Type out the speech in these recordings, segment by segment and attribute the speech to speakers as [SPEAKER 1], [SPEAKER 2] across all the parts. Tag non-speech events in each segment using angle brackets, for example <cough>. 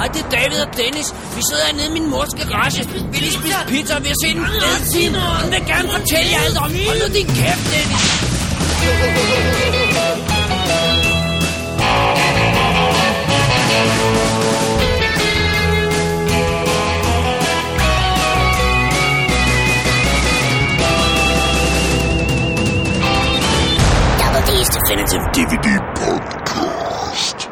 [SPEAKER 1] hedder Dennis. Vi sidder hernede i min mors garage. Vi lige spise pizza, og vi har set en fed film. Hun vil gerne fortælle jer alt om. Hold nu din kæft, Dennis.
[SPEAKER 2] Double D's Definitive
[SPEAKER 3] DVD Podcast.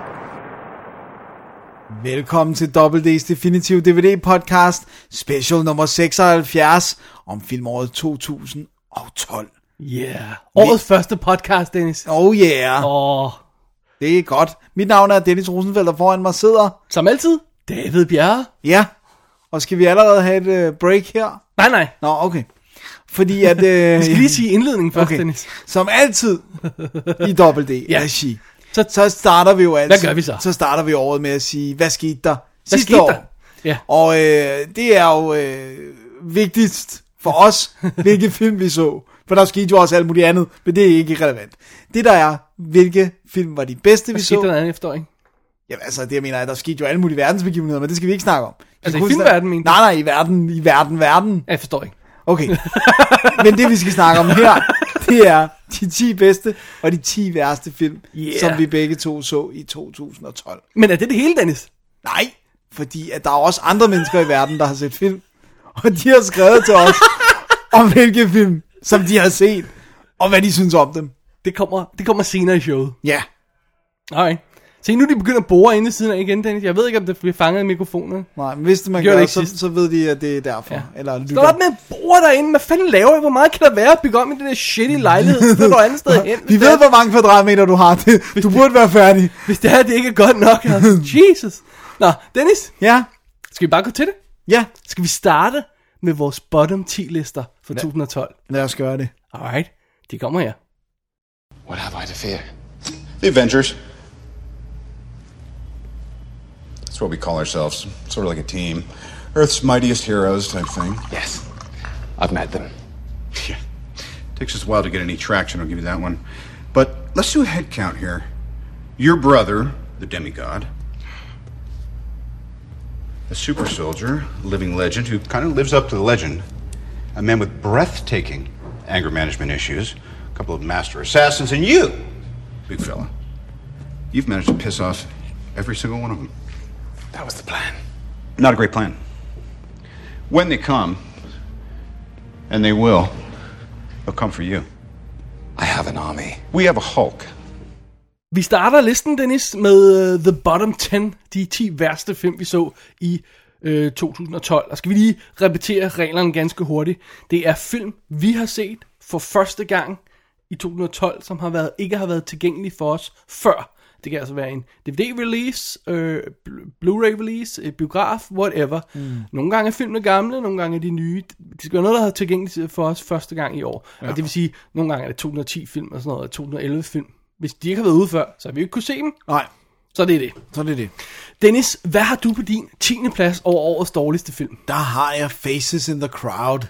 [SPEAKER 4] Velkommen til WD's Definitive DVD Podcast, special nummer 76 om filmåret 2012.
[SPEAKER 5] Yeah. Årets første podcast, Dennis.
[SPEAKER 4] Oh yeah,
[SPEAKER 5] Og
[SPEAKER 4] det er godt. Mit navn er Dennis Rosenfeldt, og foran mig sidder...
[SPEAKER 5] som altid, David Bjerre.
[SPEAKER 4] Ja, og skal vi allerede have et øh, break her?
[SPEAKER 5] Nej, nej.
[SPEAKER 4] Nå, okay. Fordi
[SPEAKER 5] <laughs>
[SPEAKER 4] at... Øh,
[SPEAKER 5] Jeg skal lige sige indledningen først, okay. Dennis.
[SPEAKER 4] Som altid i WD
[SPEAKER 5] <laughs> Ja.
[SPEAKER 4] regi.
[SPEAKER 5] Så-
[SPEAKER 4] Så starter vi jo altid...
[SPEAKER 5] Hvad gør vi så?
[SPEAKER 4] Så starter vi året med at sige, hvad skete der
[SPEAKER 5] Hvad
[SPEAKER 4] sidste
[SPEAKER 5] skete
[SPEAKER 4] år?
[SPEAKER 5] der? Ja.
[SPEAKER 4] Og øh, det er jo øh, vigtigst for
[SPEAKER 5] <laughs>
[SPEAKER 4] os, hvilke film vi så. For der skete jo også alt muligt andet, men det er ikke relevant. Det der er, hvilke film var de bedste, vi
[SPEAKER 5] Hvad skete der
[SPEAKER 4] så.
[SPEAKER 5] andet efter, ikke?
[SPEAKER 4] Jamen altså, det jeg mener, er, der skete jo alle mulige verdensbegivenheder, men det skal vi ikke snakke om. Vi
[SPEAKER 5] Altså, i
[SPEAKER 4] kunne snak-
[SPEAKER 5] filmverdenen, mener du?
[SPEAKER 4] Nej, nej, i verden, i verden, verden.
[SPEAKER 5] Ja, jeg forstår ikke. <laughs>
[SPEAKER 4] Okay. men det vi skal snakke om her, det er de 10 bedste og de 10 værste film,
[SPEAKER 5] Yeah.
[SPEAKER 4] som vi begge to så i 2012.
[SPEAKER 5] Men er det det hele, Dennis?
[SPEAKER 4] Nej, fordi at der er også andre mennesker i verden, der har set film. Og de har skrevet til <laughs> os, om hvilke film, som de har set, og hvad de synes om dem.
[SPEAKER 5] Det kommer, det kommer senere i showet.
[SPEAKER 4] Ja,
[SPEAKER 5] Nej. Se, nu er de begyndt at bore inde i siden af igen, Dennis. Jeg ved ikke, om det bliver fanget i mikrofonen.
[SPEAKER 4] nej, men hvis det man
[SPEAKER 5] Gjorde
[SPEAKER 4] gør,
[SPEAKER 5] det
[SPEAKER 4] det
[SPEAKER 5] ikke
[SPEAKER 4] så,
[SPEAKER 5] sidst.
[SPEAKER 4] så ved de, at det er derfor. Ja.
[SPEAKER 5] Ja.
[SPEAKER 4] Eller lytter.
[SPEAKER 5] Stå op med at bore derinde. Hvad fanden laver I? Hvor meget kan der være at bygge om i den der shitty lejlighed? Så går du andet <laughs> sted hen.
[SPEAKER 4] Vi
[SPEAKER 5] hvis
[SPEAKER 4] ved,
[SPEAKER 5] det er-
[SPEAKER 4] hvor mange kvadratmeter du har. Du burde være færdig.
[SPEAKER 5] Hvis det her, det ikke er godt nok. <laughs> Altså. Jesus. Nå, Dennis.
[SPEAKER 4] Ja,
[SPEAKER 5] Skal vi bare gå til det?
[SPEAKER 4] ja.
[SPEAKER 5] Skal vi starte med vores bottom 10 lister for 2012?
[SPEAKER 4] Lad os gøre det.
[SPEAKER 5] Alright, de kommer her.
[SPEAKER 6] What have I to fear?
[SPEAKER 7] The Avengers.
[SPEAKER 3] That's what we call ourselves. Sort of like a team. Earth's mightiest heroes type thing.
[SPEAKER 6] Yes, I've met them.
[SPEAKER 3] Yeah. Takes us a while to get any traction, I'll give you that one. But let's do a head count here. Your brother, the demigod, a super soldier, living legend who kind of lives up to the legend, a man with breathtaking anger management issues, a couple of master assassins, and you, big fella. You've managed to piss off every single one of them.
[SPEAKER 6] That was the plan.
[SPEAKER 3] Not a great plan. When they come, and they will, they'll come for you.
[SPEAKER 6] I have an army.
[SPEAKER 3] We have a Hulk.
[SPEAKER 5] Vi starter listen, Dennis, med øh, The Bottom 10, de 10 værste film, vi så i øh, 2012. Og skal vi lige repetere reglerne ganske hurtigt. Det er film, vi har set for første gang i 2012, som har været, ikke har været tilgængelig for os før. Det kan altså være en DVD-release, øh, bl- Blu-ray-release, øh, biograf, whatever. Mm. Nogle gange er filmene gamle, nogle gange er de nye. Det skal være noget, der har tilgængeligt for os første gang i år. Ja. Og det vil sige, nogle gange er det 2010-film og sådan noget, 2011-film. Hvis de ikke har været ude før, så har vi ikke kunne se dem.
[SPEAKER 4] Nej,
[SPEAKER 5] Så det er det.
[SPEAKER 4] så det er det.
[SPEAKER 5] Dennis, hvad har du på din 10. plads over årets dårligste film?
[SPEAKER 4] Der har jeg Faces in the Crowd.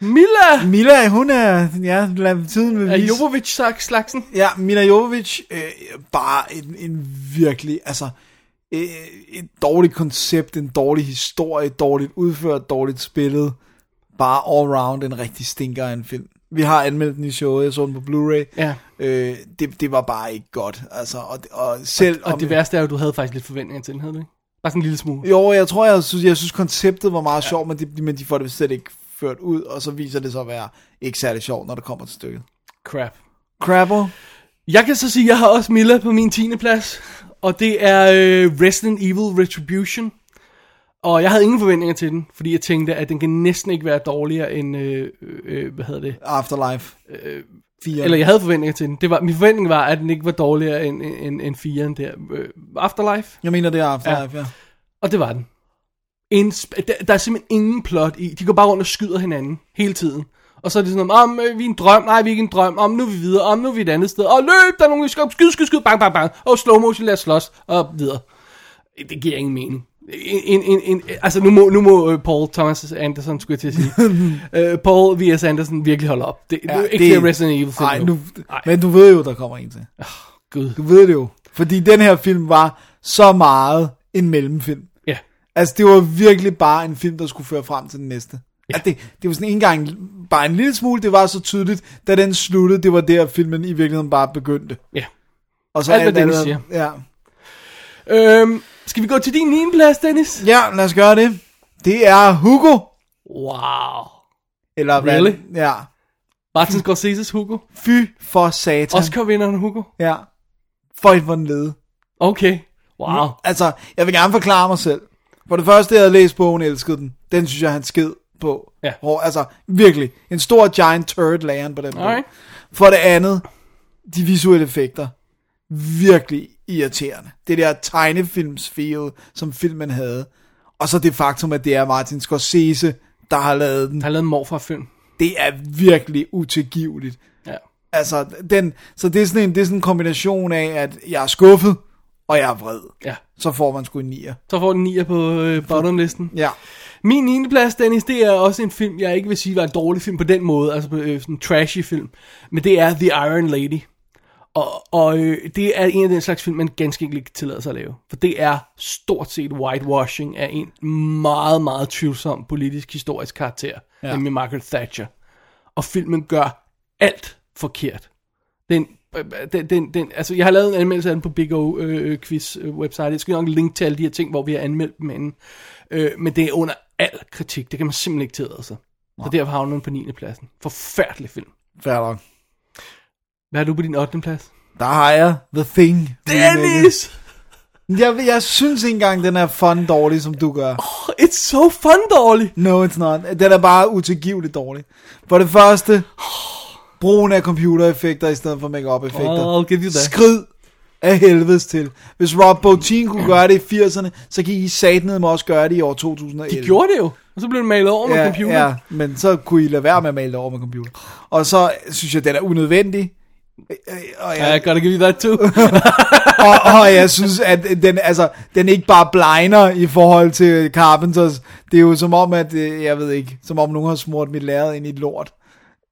[SPEAKER 5] Mila
[SPEAKER 4] Mila, hun er... Ja, lad tiden vil
[SPEAKER 5] af
[SPEAKER 4] vise.
[SPEAKER 5] Jovovic-slagsen.
[SPEAKER 4] Ja, Mila Jovovich, øh, bare en, en virkelig, altså, øh, et dårligt koncept, en dårlig historie, dårligt udført, dårligt spillet. Bare all round en rigtig stinker af en film. Vi har anmeldt den i showet, jeg så den på Blu-ray.
[SPEAKER 5] Ja.
[SPEAKER 4] Øh, det, det var bare ikke godt, altså, og, og selv
[SPEAKER 5] Og
[SPEAKER 4] om...
[SPEAKER 5] det værste er jo, at du havde faktisk lidt forventninger til den, havde du ikke? Bare sådan en lille smule.
[SPEAKER 4] Jo, jeg tror, jeg synes, jeg synes konceptet var meget ja. sjovt, men, det, men de får det slet ikke ført ud, og så viser det sig at være ikke særlig sjovt, når det kommer til stykket.
[SPEAKER 5] Crap.
[SPEAKER 4] Crabble,
[SPEAKER 5] Jeg kan så sige, at jeg har også Milla på min 10. plads, og det er øh, Resident Evil Retribution. Og jeg havde ingen forventninger til den, fordi jeg tænkte, at den kan næsten ikke være dårligere end, øh, øh, hvad hedder det?
[SPEAKER 4] Afterlife, øh, 4.
[SPEAKER 5] Eller jeg havde forventninger til den. Det var, min forventning var, at den ikke var dårligere end, end, end 4'eren der. Øh, Afterlife?
[SPEAKER 4] jeg mener, det er Afterlife, ja. ja.
[SPEAKER 5] Og det var den. En sp- der, der er simpelthen ingen plot i. De går bare rundt og skyder hinanden hele tiden. Og så er det sådan, om øh, vi er en drøm, nej, vi er ikke en drøm, om nu er vi videre, om nu er vi et andet sted, og løb, der er nogen, der skal op, skyde, skyde, skyde, bang, bang, bang, og slow motion, lad os slås, og videre. Det giver ingen mening. En, en, en, altså nu må, nu må øh, Paul Thomas Anderson, skulle jeg til at <laughs> sige, øh, Paul V.S. Anderson virkelig holde op. Det, ja, det er ikke det, Resident Evil film
[SPEAKER 4] Nej, nu,
[SPEAKER 5] nu.
[SPEAKER 4] men du ved jo, der kommer en til.
[SPEAKER 5] Gud.
[SPEAKER 4] Du ved det jo. Fordi den her film var så meget en mellemfilm.
[SPEAKER 5] Ja.
[SPEAKER 4] Altså, det var virkelig bare en film, der skulle føre frem til den næste. Ja. At det, det var sådan en gang, bare en lille smule, det var så tydeligt, da den sluttede, det var der filmen i virkeligheden bare begyndte.
[SPEAKER 5] Ja.
[SPEAKER 4] Og så
[SPEAKER 5] Alt, hvad Dennis
[SPEAKER 4] andet- Ja.
[SPEAKER 5] Øhm, skal vi gå til din 9. plads, Dennis?
[SPEAKER 4] ja, lad os gøre det. Det er Hugo.
[SPEAKER 5] Wow.
[SPEAKER 4] Eller hvad?
[SPEAKER 5] Really?
[SPEAKER 4] Ja.
[SPEAKER 5] Martin Scorsese's Hugo.
[SPEAKER 4] Fy for satan.
[SPEAKER 5] Oscar-vinderen Hugo.
[SPEAKER 4] Ja. Føj for den lede.
[SPEAKER 5] Okay. Wow.
[SPEAKER 4] Altså, jeg vil gerne forklare mig selv. For det første, jeg havde læst bogen, elskede den. Den synes jeg, han sked på.
[SPEAKER 5] Ja.
[SPEAKER 4] Hvor, altså, virkelig. En stor giant turd lagde han på den bog.
[SPEAKER 5] Alright.
[SPEAKER 4] For det andet, de visuelle effekter. Virkelig irriterende. Det der tegnefilmsfeel, som filmen havde. Og så det faktum, at det er Martin Scorsese, der har lavet den.
[SPEAKER 5] Han har lavet en morfar-film.
[SPEAKER 4] Det er virkelig utilgiveligt.
[SPEAKER 5] Ja.
[SPEAKER 4] Altså, den, så det er, sådan en, det er sådan en kombination af, at jeg er skuffet, og jeg er vred.
[SPEAKER 5] Ja.
[SPEAKER 4] Så får man sgu en nier.
[SPEAKER 5] Så får den 9 på øh, bottomlisten.
[SPEAKER 4] Ja.
[SPEAKER 5] Min 9. plads, Dennis, det er også en film, jeg ikke vil sige var en dårlig film på den måde, altså øh, sådan en trashy film, men det er The Iron Lady. Og, og øh, det er en af den slags film, man ganske enkelt ikke tillader sig at lave. For det er stort set whitewashing af en meget, meget tvivlsom politisk historisk karakter, ja. nemlig Margaret Thatcher. Og filmen gør alt forkert. Den, øh, den, den, den, altså jeg har lavet en anmeldelse af den på Big O øh, Quiz øh, website. Jeg skal nok linke til alle de her ting, hvor vi har anmeldt dem inden. Øh, men det er under al kritik. Det kan man simpelthen ikke tillade sig. Så derfor havner den på 9. pladsen. Forfærdelig film.
[SPEAKER 4] Fair nok.
[SPEAKER 5] Hvad er du på din 8. plads?
[SPEAKER 4] Der har jeg The Thing.
[SPEAKER 5] Dennis!
[SPEAKER 4] Jeg, jeg synes ikke engang, den er fun dårlig, som du gør.
[SPEAKER 5] Oh, it's so fun dårlig!
[SPEAKER 4] No, it's not. Den er bare utilgiveligt dårlig. For det første, brugen af computereffekter i stedet for make-up-effekter.
[SPEAKER 5] I'll give you that.
[SPEAKER 4] Skrid af helvedes til. Hvis Rob Bottin kunne gøre det i 80'erne, så kan I satnede også gøre det i år 2011.
[SPEAKER 5] De gjorde det jo. Og så blev den malet over med
[SPEAKER 4] ja,
[SPEAKER 5] computer.
[SPEAKER 4] Ja, men så kunne I lade være med at male det over med computer. Og så synes jeg, den er unødvendig. Øh, øh, Og
[SPEAKER 5] Ja, I
[SPEAKER 4] jeg,
[SPEAKER 5] gotta give you that too.
[SPEAKER 4] og, og jeg synes, at den, altså, den ikke bare blegner i forhold til Carpenters. Det er jo som om, at, øh, jeg ved ikke, som om nogen har smurt mit lærred ind i et lort.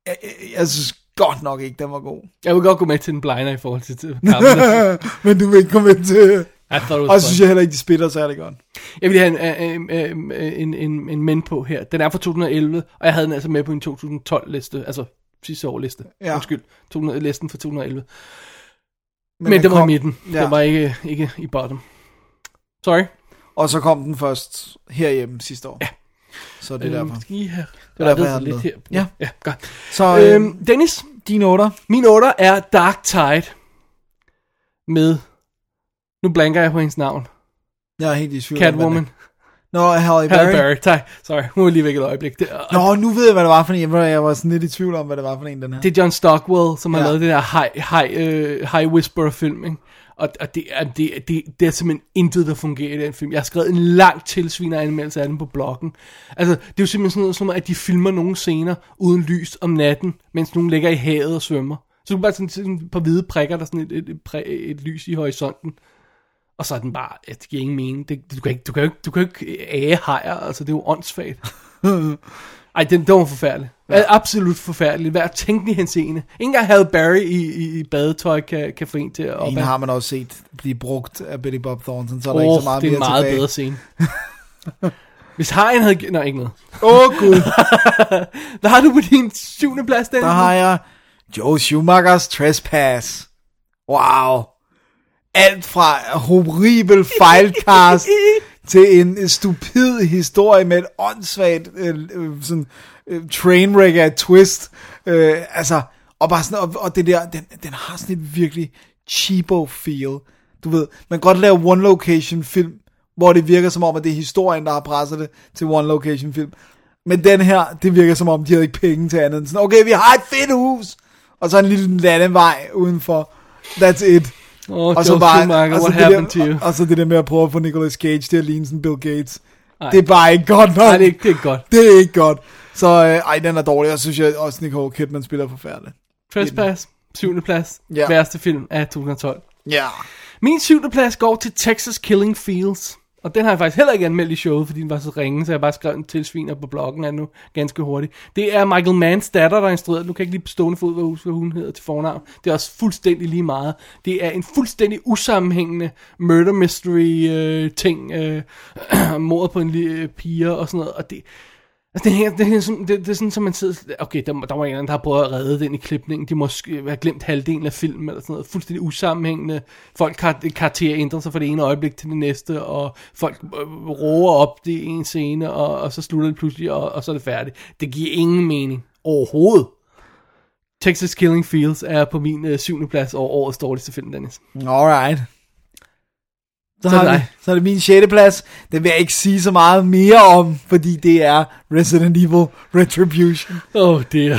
[SPEAKER 4] Jeg, jeg- jeg synes godt nok ikke, den var god.
[SPEAKER 5] <laughs> jeg vil godt gå med til den blinder i forhold til til Carpenter.
[SPEAKER 4] <laughs> men du vil ikke komme ind til...
[SPEAKER 5] <laughs> I thought
[SPEAKER 4] Og
[SPEAKER 5] it was
[SPEAKER 4] så
[SPEAKER 5] fun.
[SPEAKER 4] synes jeg heller ikke, de spiller særlig godt.
[SPEAKER 5] Jeg ville have en, øh, øh, øh, en, en, en men på her. Den er fra 2011, og jeg havde den altså med på en 2012-liste. Altså sidste år liste.
[SPEAKER 4] Ja.
[SPEAKER 5] Undskyld. 200, listen for 2011. Men, men den var i
[SPEAKER 4] kom-
[SPEAKER 5] midten. Ja. Den var ikke, ikke i bottom. Sorry.
[SPEAKER 4] Og så kom den først herhjemme sidste år. Ja. Så det er
[SPEAKER 5] Øhm,
[SPEAKER 4] derfor.
[SPEAKER 5] Skal I have
[SPEAKER 4] er derfor,
[SPEAKER 5] rettet
[SPEAKER 4] jeg har den
[SPEAKER 5] lidt
[SPEAKER 4] med.
[SPEAKER 5] her?
[SPEAKER 4] Ja.
[SPEAKER 5] ja godt.
[SPEAKER 4] Så øhm,
[SPEAKER 5] Øhm, Dennis,
[SPEAKER 4] dine otter.
[SPEAKER 5] min otter er Dark Tide med, nu blanker jeg på hendes navn,
[SPEAKER 4] Jeg er helt i tvivl. om, hvad
[SPEAKER 5] Catwoman,
[SPEAKER 4] det er. Nå, Halle Berry.
[SPEAKER 5] Halle Berry, tak, sorry, hun var lige væk et øjeblik. Det, og-
[SPEAKER 4] Nå, nu ved jeg, hvad det var for en. Jeg var- Jeg var sådan lidt i tvivl om, hvad det var for en, den her.
[SPEAKER 5] det er John Stockwell, som har
[SPEAKER 4] Ja.
[SPEAKER 5] lavet den der High, high, øh, high Whisperer film, ikke? Og, og det, er, det, er- det, det er simpelthen intet, der fungerer i den film. Jeg har skrevet en lang tilsviner anmeldelse af den på bloggen. Altså, det er jo simpelthen sådan noget som, at de filmer nogle scener uden lys om natten, mens nogen ligger i havet og svømmer. Så du bare sådan, sådan et par hvide prikker, der er sådan et, et, et, præ- et lys i horisonten. Og så er den bare, at det giver ingen mening. Det, du, kan ikke, du, kan jo ikke, du kan jo ikke æge hejer, altså det er jo
[SPEAKER 4] <laughs>
[SPEAKER 5] åndssvagt. Ej, den, den var forfærdelig. Ja. Absolut forfærdelig. Hver tænkelig henseende. Ingen engang Halle Berry i, i, i badetøj kan, kan få en til at op.
[SPEAKER 4] En har man også set blive brugt af Billy Bob Thornton, så er der ikke
[SPEAKER 5] oh,
[SPEAKER 4] så meget
[SPEAKER 5] det er en
[SPEAKER 4] mere
[SPEAKER 5] meget
[SPEAKER 4] tilbage.
[SPEAKER 5] bedre
[SPEAKER 4] <laughs>
[SPEAKER 5] scene. Hvis Harjen havde... gi- Nå, ikke noget.
[SPEAKER 4] Åh, oh, gud.
[SPEAKER 5] <laughs> Hvad har du på din syvende plads, den?
[SPEAKER 4] Der har jeg Joe Schumachers Trespass. Wow. Alt fra horribel fejlkast til en stupid historie med et åndssvagt øh, øh, sådan, øh, trainwreck af et twist. Øh, altså, og, bare sådan, og, og det der, den, den har sådan et virkelig cheapo feel. Du ved, man kan godt lave one location film, hvor det virker som om, at det er historien, der har presset det til one location film. Men den her, det virker som om, de havde ikke penge til andet end sådan, okay, vi har et fedt hus, og så en lille landevej udenfor. That's it.
[SPEAKER 5] Oh,
[SPEAKER 4] Og så bare, og så, det
[SPEAKER 5] what happened to
[SPEAKER 4] der,
[SPEAKER 5] you?
[SPEAKER 4] og, og så det der med at prøve at få Nicolas Cage til at ligne sådan Bill Gates.
[SPEAKER 5] Ej.
[SPEAKER 4] Ej. Det er bare ikke godt nok.
[SPEAKER 5] Nej, det er ikke, det er ikke godt.
[SPEAKER 4] det er ikke godt. Så øh, ej, den er dårlig, og så synes jeg også, Nicole Kidman spiller forfærdeligt.
[SPEAKER 5] Trespass, syvende plads,
[SPEAKER 4] Ja.
[SPEAKER 5] værste film af 2012.
[SPEAKER 4] Ja.
[SPEAKER 5] Min syvende plads går til Texas Killing Fields. Og den har jeg faktisk heller ikke anmeldt i showet, fordi den var så ringe, så jeg bare skrev en tilsviner på bloggen er nu ganske hurtigt. Det er Michael Manns datter, der er instrueret. Nu kan jeg ikke lige på stående fod, hvad hun- hvad hun hedder til fornavn. Det er også fuldstændig lige meget. Det er en fuldstændig usammenhængende murder mystery øh, ting. Øh, <clears throat> mordet på en lille øh, pige og sådan noget. Og det, Altså, det, hænger, det, hænger sådan, det, det er sådan, som man sidder... Okay, der, må- der var en eller anden, der har prøvet at redde den i klipningen. De må sk- have glemt halvdelen af filmen eller sådan noget. Fuldstændig usammenhængende. Folk kar- karakterer ændrer sig fra det ene øjeblik til det næste, og folk øh, roer op det ene scene, og, og så slutter det pludselig, og, og så er det færdigt. Det giver ingen mening. Overhovedet. Texas Killing Fields er på min øh, syvende plads over årets dårligste film, Dennis.
[SPEAKER 4] Alright. Så,
[SPEAKER 5] Så er
[SPEAKER 4] har
[SPEAKER 5] det
[SPEAKER 4] vi,
[SPEAKER 5] dig.
[SPEAKER 4] så er det min 6. plads. Den vil jeg ikke sige så meget mere om, fordi det er Resident Evil Retribution.
[SPEAKER 5] Åh, oh dear.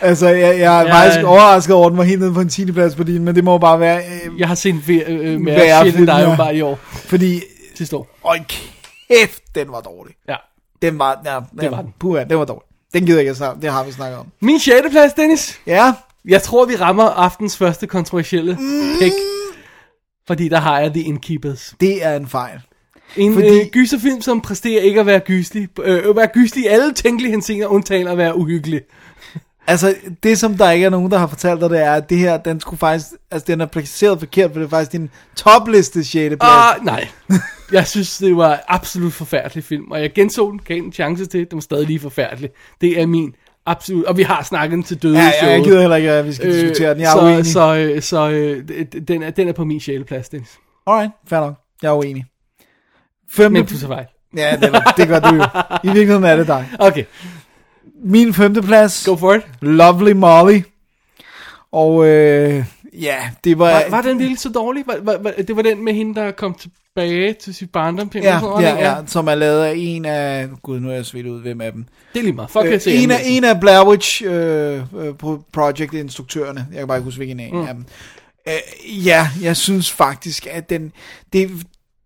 [SPEAKER 4] Altså, jeg, jeg er
[SPEAKER 5] Ja.
[SPEAKER 4] ja, faktisk overrasket over, at den var helt nede på en 10. plads på din, men det må jo bare være, øh,
[SPEAKER 5] Jeg har set mere, øh,
[SPEAKER 4] Værre
[SPEAKER 5] mere shit
[SPEAKER 4] film,
[SPEAKER 5] end dig
[SPEAKER 4] ja.
[SPEAKER 5] jo bare i år.
[SPEAKER 4] fordi,
[SPEAKER 5] Sidste år.
[SPEAKER 4] øj kæft, den var dårlig.
[SPEAKER 5] Ja.
[SPEAKER 4] Den var, ja, det var
[SPEAKER 5] var den.
[SPEAKER 4] den. Puha, den var dårlig. Den gider jeg ikke at snakke om, det har vi snakket om.
[SPEAKER 5] Min sjette plads, Dennis.
[SPEAKER 4] Ja,
[SPEAKER 5] Jeg tror, vi rammer aftens første kontroversielle
[SPEAKER 4] Mm.
[SPEAKER 5] pick. Fordi der har jeg The Innkeepers.
[SPEAKER 4] det er en fejl.
[SPEAKER 5] En fordi...
[SPEAKER 4] Fordi-
[SPEAKER 5] øh, gyserfilm, som præsterer ikke at være gyselig. Øh, at være gyselig i alle tænkelige henseender, undtagen at være uhyggelig.
[SPEAKER 4] Altså, det som der ikke er nogen, der har fortalt dig, det er, at det her, den skulle faktisk, altså den er placeret forkert, for det er faktisk din topliste 6. plads.
[SPEAKER 5] Ah, nej. Jeg synes, det var en absolut forfærdelig film. Og jeg genså den, gav den en chance til. Den var stadig lige forfærdelig. Det er min absolut... Og vi har snakket den til døde i
[SPEAKER 4] ja, jeg, jeg
[SPEAKER 5] showet.
[SPEAKER 4] gider heller ikke, at vi skal øh, diskutere den. Jeg er
[SPEAKER 5] så,
[SPEAKER 4] uenig.
[SPEAKER 5] så, øh, så øh, d- den, er, den er på min sjæleplads, Dennis.
[SPEAKER 4] Alright, fair nok. Jeg er uenig. Femte...
[SPEAKER 5] Men du så fejl.
[SPEAKER 4] Ja, det, var, det gør du jo. I virkeligheden er det dig.
[SPEAKER 5] Okay,
[SPEAKER 4] Min femte plads,
[SPEAKER 5] go for it.
[SPEAKER 4] Lovely Molly. Og øh, ja, det var...
[SPEAKER 5] Var, var den lille så dårlig? Var, var, var, det var den med hende, der kom tilbage til sit barndom.
[SPEAKER 4] Ja, ja, ja, som er lavet af en af... Gud, nu er jeg svedt ud, hvem af dem.
[SPEAKER 5] Det er lige meget. Fuck, jeg
[SPEAKER 4] Øh,
[SPEAKER 5] ser
[SPEAKER 4] en, af,
[SPEAKER 5] anmeldelsen.
[SPEAKER 4] en af Blair Witch øh, øh, pro- Project-instruktørerne. Jeg kan bare ikke huske, hvilken en mm. af dem. Øh, ja, jeg synes faktisk, at den, det,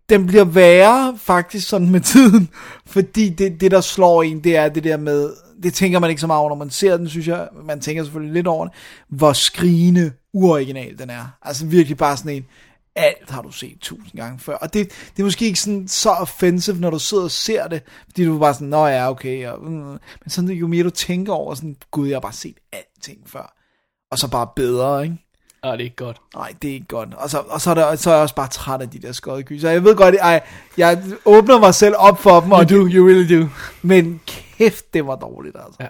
[SPEAKER 4] den bliver værre faktisk sådan med tiden. Fordi det, det, der slår en, det er det der med... Det tænker man ikke så meget over, når man ser den, synes jeg. Man tænker selvfølgelig lidt over det. Hvor skrigende uoriginal den er. Altså virkelig bare sådan en alt har du set tusind gange før. Og det, det er måske ikke sådan så offensive, når du sidder og ser det, fordi du er bare sådan, nå ja, okay. Og, mm, men sådan, jo mere du tænker over, sådan, gud, jeg har bare set alting før. Og så bare bedre, ikke?
[SPEAKER 5] Ah, det er ikke godt.
[SPEAKER 4] Nej, det er ikke godt. Og så, og så, er, der, så er jeg også bare træt af de der skodegyser. Jeg ved godt, ej, jeg åbner mig selv op for dem, og
[SPEAKER 5] You do,
[SPEAKER 4] du,
[SPEAKER 5] you really do.
[SPEAKER 4] men kæft, det var dårligt, altså.
[SPEAKER 5] Ja.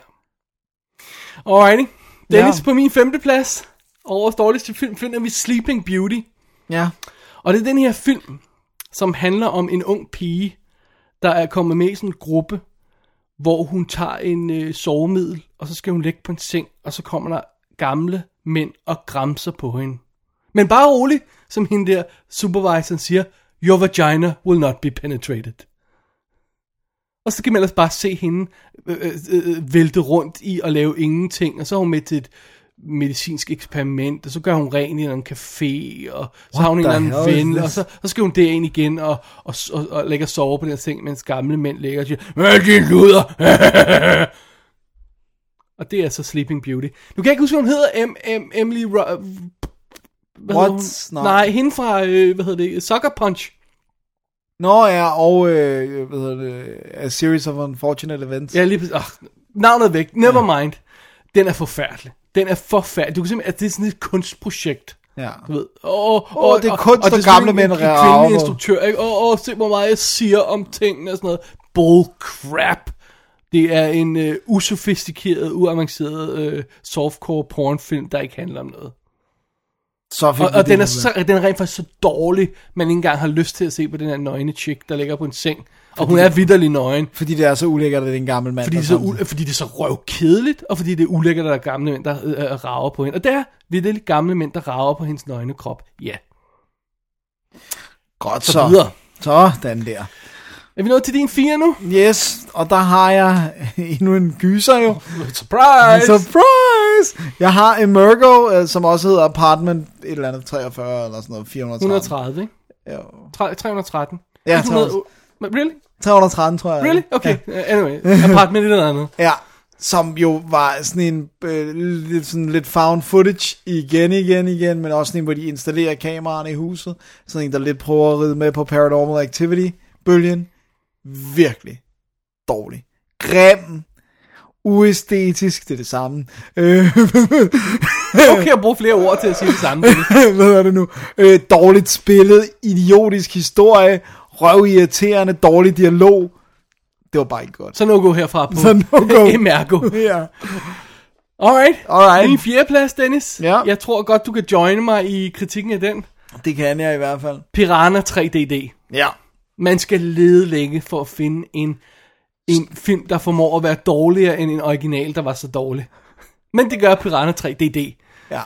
[SPEAKER 5] Alrighty. Dennis
[SPEAKER 4] Ja.
[SPEAKER 5] på min femte plads. Årets dårligste film finder vi Sleeping Beauty.
[SPEAKER 4] Ja.
[SPEAKER 5] Og det er den her film, som handler om en ung pige, der er kommet med i sådan en gruppe, hvor hun tager en øh, sovemiddel, og så skal hun ligge på en seng, og så kommer der gamle mænd og græmser på hende. Men bare rolig, som hende der supervisoren siger, your vagina will not be penetrated. Og så kan man ellers bare se hende øh, øh, øh, vælte rundt i og lave ingenting, og så er hun med til et medicinsk eksperiment, og så gør hun ren i en eller anden café, og så har hun en
[SPEAKER 4] the
[SPEAKER 5] eller anden
[SPEAKER 4] hell is
[SPEAKER 5] ven,
[SPEAKER 4] this?
[SPEAKER 5] og så, så skal hun derind igen og, og, og, og lægger sove på den her seng, mens gamle mænd ligger og siger, Hvad din luder? <laughs> og det er så Sleeping Beauty. Nu kan jeg ikke huske, hvad hun hedder. M, M, Emily... Ro- øh, hvad
[SPEAKER 4] What?
[SPEAKER 5] hedder hun?
[SPEAKER 4] Nej.
[SPEAKER 5] Nej, hende fra, øh, hvad hedder det, Sucker Punch.
[SPEAKER 4] Nå ja, og øh, hvad hedder det, A Series of Unfortunate Events.
[SPEAKER 5] Ja, lige præcis. Oh, navnet er væk. Never mind. Den er forfærdelig. Den er forfærdelig. Du kan simpelthen, at det er sådan et kunstprojekt.
[SPEAKER 4] Ja.
[SPEAKER 5] Du ved. Åh,
[SPEAKER 4] Åh, det er kunst, og gamle mænd
[SPEAKER 5] Og det
[SPEAKER 4] rager
[SPEAKER 5] er sådan en- en
[SPEAKER 4] over.
[SPEAKER 5] kvindelig instruktør, ikke? Åh, åh, se hvor meget jeg siger om tingene og sådan noget. Bull crap. Det er en øh, usofistikeret, uavanceret øh, softcore pornfilm, der ikke handler om noget.
[SPEAKER 4] Så fik
[SPEAKER 5] Og,
[SPEAKER 4] vi
[SPEAKER 5] og
[SPEAKER 4] det
[SPEAKER 5] den, er
[SPEAKER 4] ud af.
[SPEAKER 5] så, den er rent faktisk så dårlig, man ikke engang har lyst til at se på den her nøgne chick, der ligger på en seng. Og hun er vidderlig nøgen.
[SPEAKER 4] Fordi det er så ulækkert, at det er en gammel mand.
[SPEAKER 5] Fordi
[SPEAKER 4] der
[SPEAKER 5] det, er så
[SPEAKER 4] samtidig-
[SPEAKER 5] u- fordi det er så røvkedeligt, og fordi det er ulækkert, at der er gamle mænd, der øh, øh, rager på hende. Og der vil det er lidt gamle mænd, der rager på hendes nøgne krop. Ja.
[SPEAKER 4] Godt
[SPEAKER 5] Så
[SPEAKER 4] så.
[SPEAKER 5] videre.
[SPEAKER 4] Sådan der.
[SPEAKER 5] Er vi nået til din fire nu?
[SPEAKER 4] Yes, og der har jeg <laughs> endnu en gyser jo.
[SPEAKER 5] <laughs> Surprise!
[SPEAKER 4] <laughs> Surprise! Jeg har Emergo, øh, som også hedder Apartment et eller andet 43 eller sådan noget, 430.
[SPEAKER 5] 130, ikke?
[SPEAKER 4] Ja.
[SPEAKER 5] Tre- 313.
[SPEAKER 4] Ja,
[SPEAKER 5] 100 Really?
[SPEAKER 4] 313, tror jeg.
[SPEAKER 5] Really? Okay. Uh, anyway. Apartment et eller <laughs> andet.
[SPEAKER 4] Ja, som jo var sådan en øh, lidt, sådan lidt found footage igen, igen, igen, men også sådan en, hvor de installerer kameraerne i huset. Sådan en, der lidt prøver at ride med på Paranormal Activity bølgen virkelig dårlig. Grim, uæstetisk, det er det samme. Øh, <laughs>
[SPEAKER 5] Okay, jeg bruger flere ord til at sige det samme. Dennis.
[SPEAKER 4] hvad er det nu? Øh, dårligt spillet, idiotisk historie, røvirriterende, dårlig dialog. Det var bare ikke godt.
[SPEAKER 5] Så no go herfra på
[SPEAKER 4] Så no-go.
[SPEAKER 5] <laughs> Emergo.
[SPEAKER 4] Ja.
[SPEAKER 5] Alright.
[SPEAKER 4] Alright.
[SPEAKER 5] Min fjerdeplads, Dennis.
[SPEAKER 4] Ja.
[SPEAKER 5] Jeg tror godt, du kan joine mig i kritikken af den.
[SPEAKER 4] Det kan jeg i hvert fald.
[SPEAKER 5] Piranha 3DD.
[SPEAKER 4] Ja.
[SPEAKER 5] Man skal lede længe for at finde en, en film, der formår at være dårligere end en original, der var så dårlig. Men det gør Piranha 3DD.
[SPEAKER 4] Ja.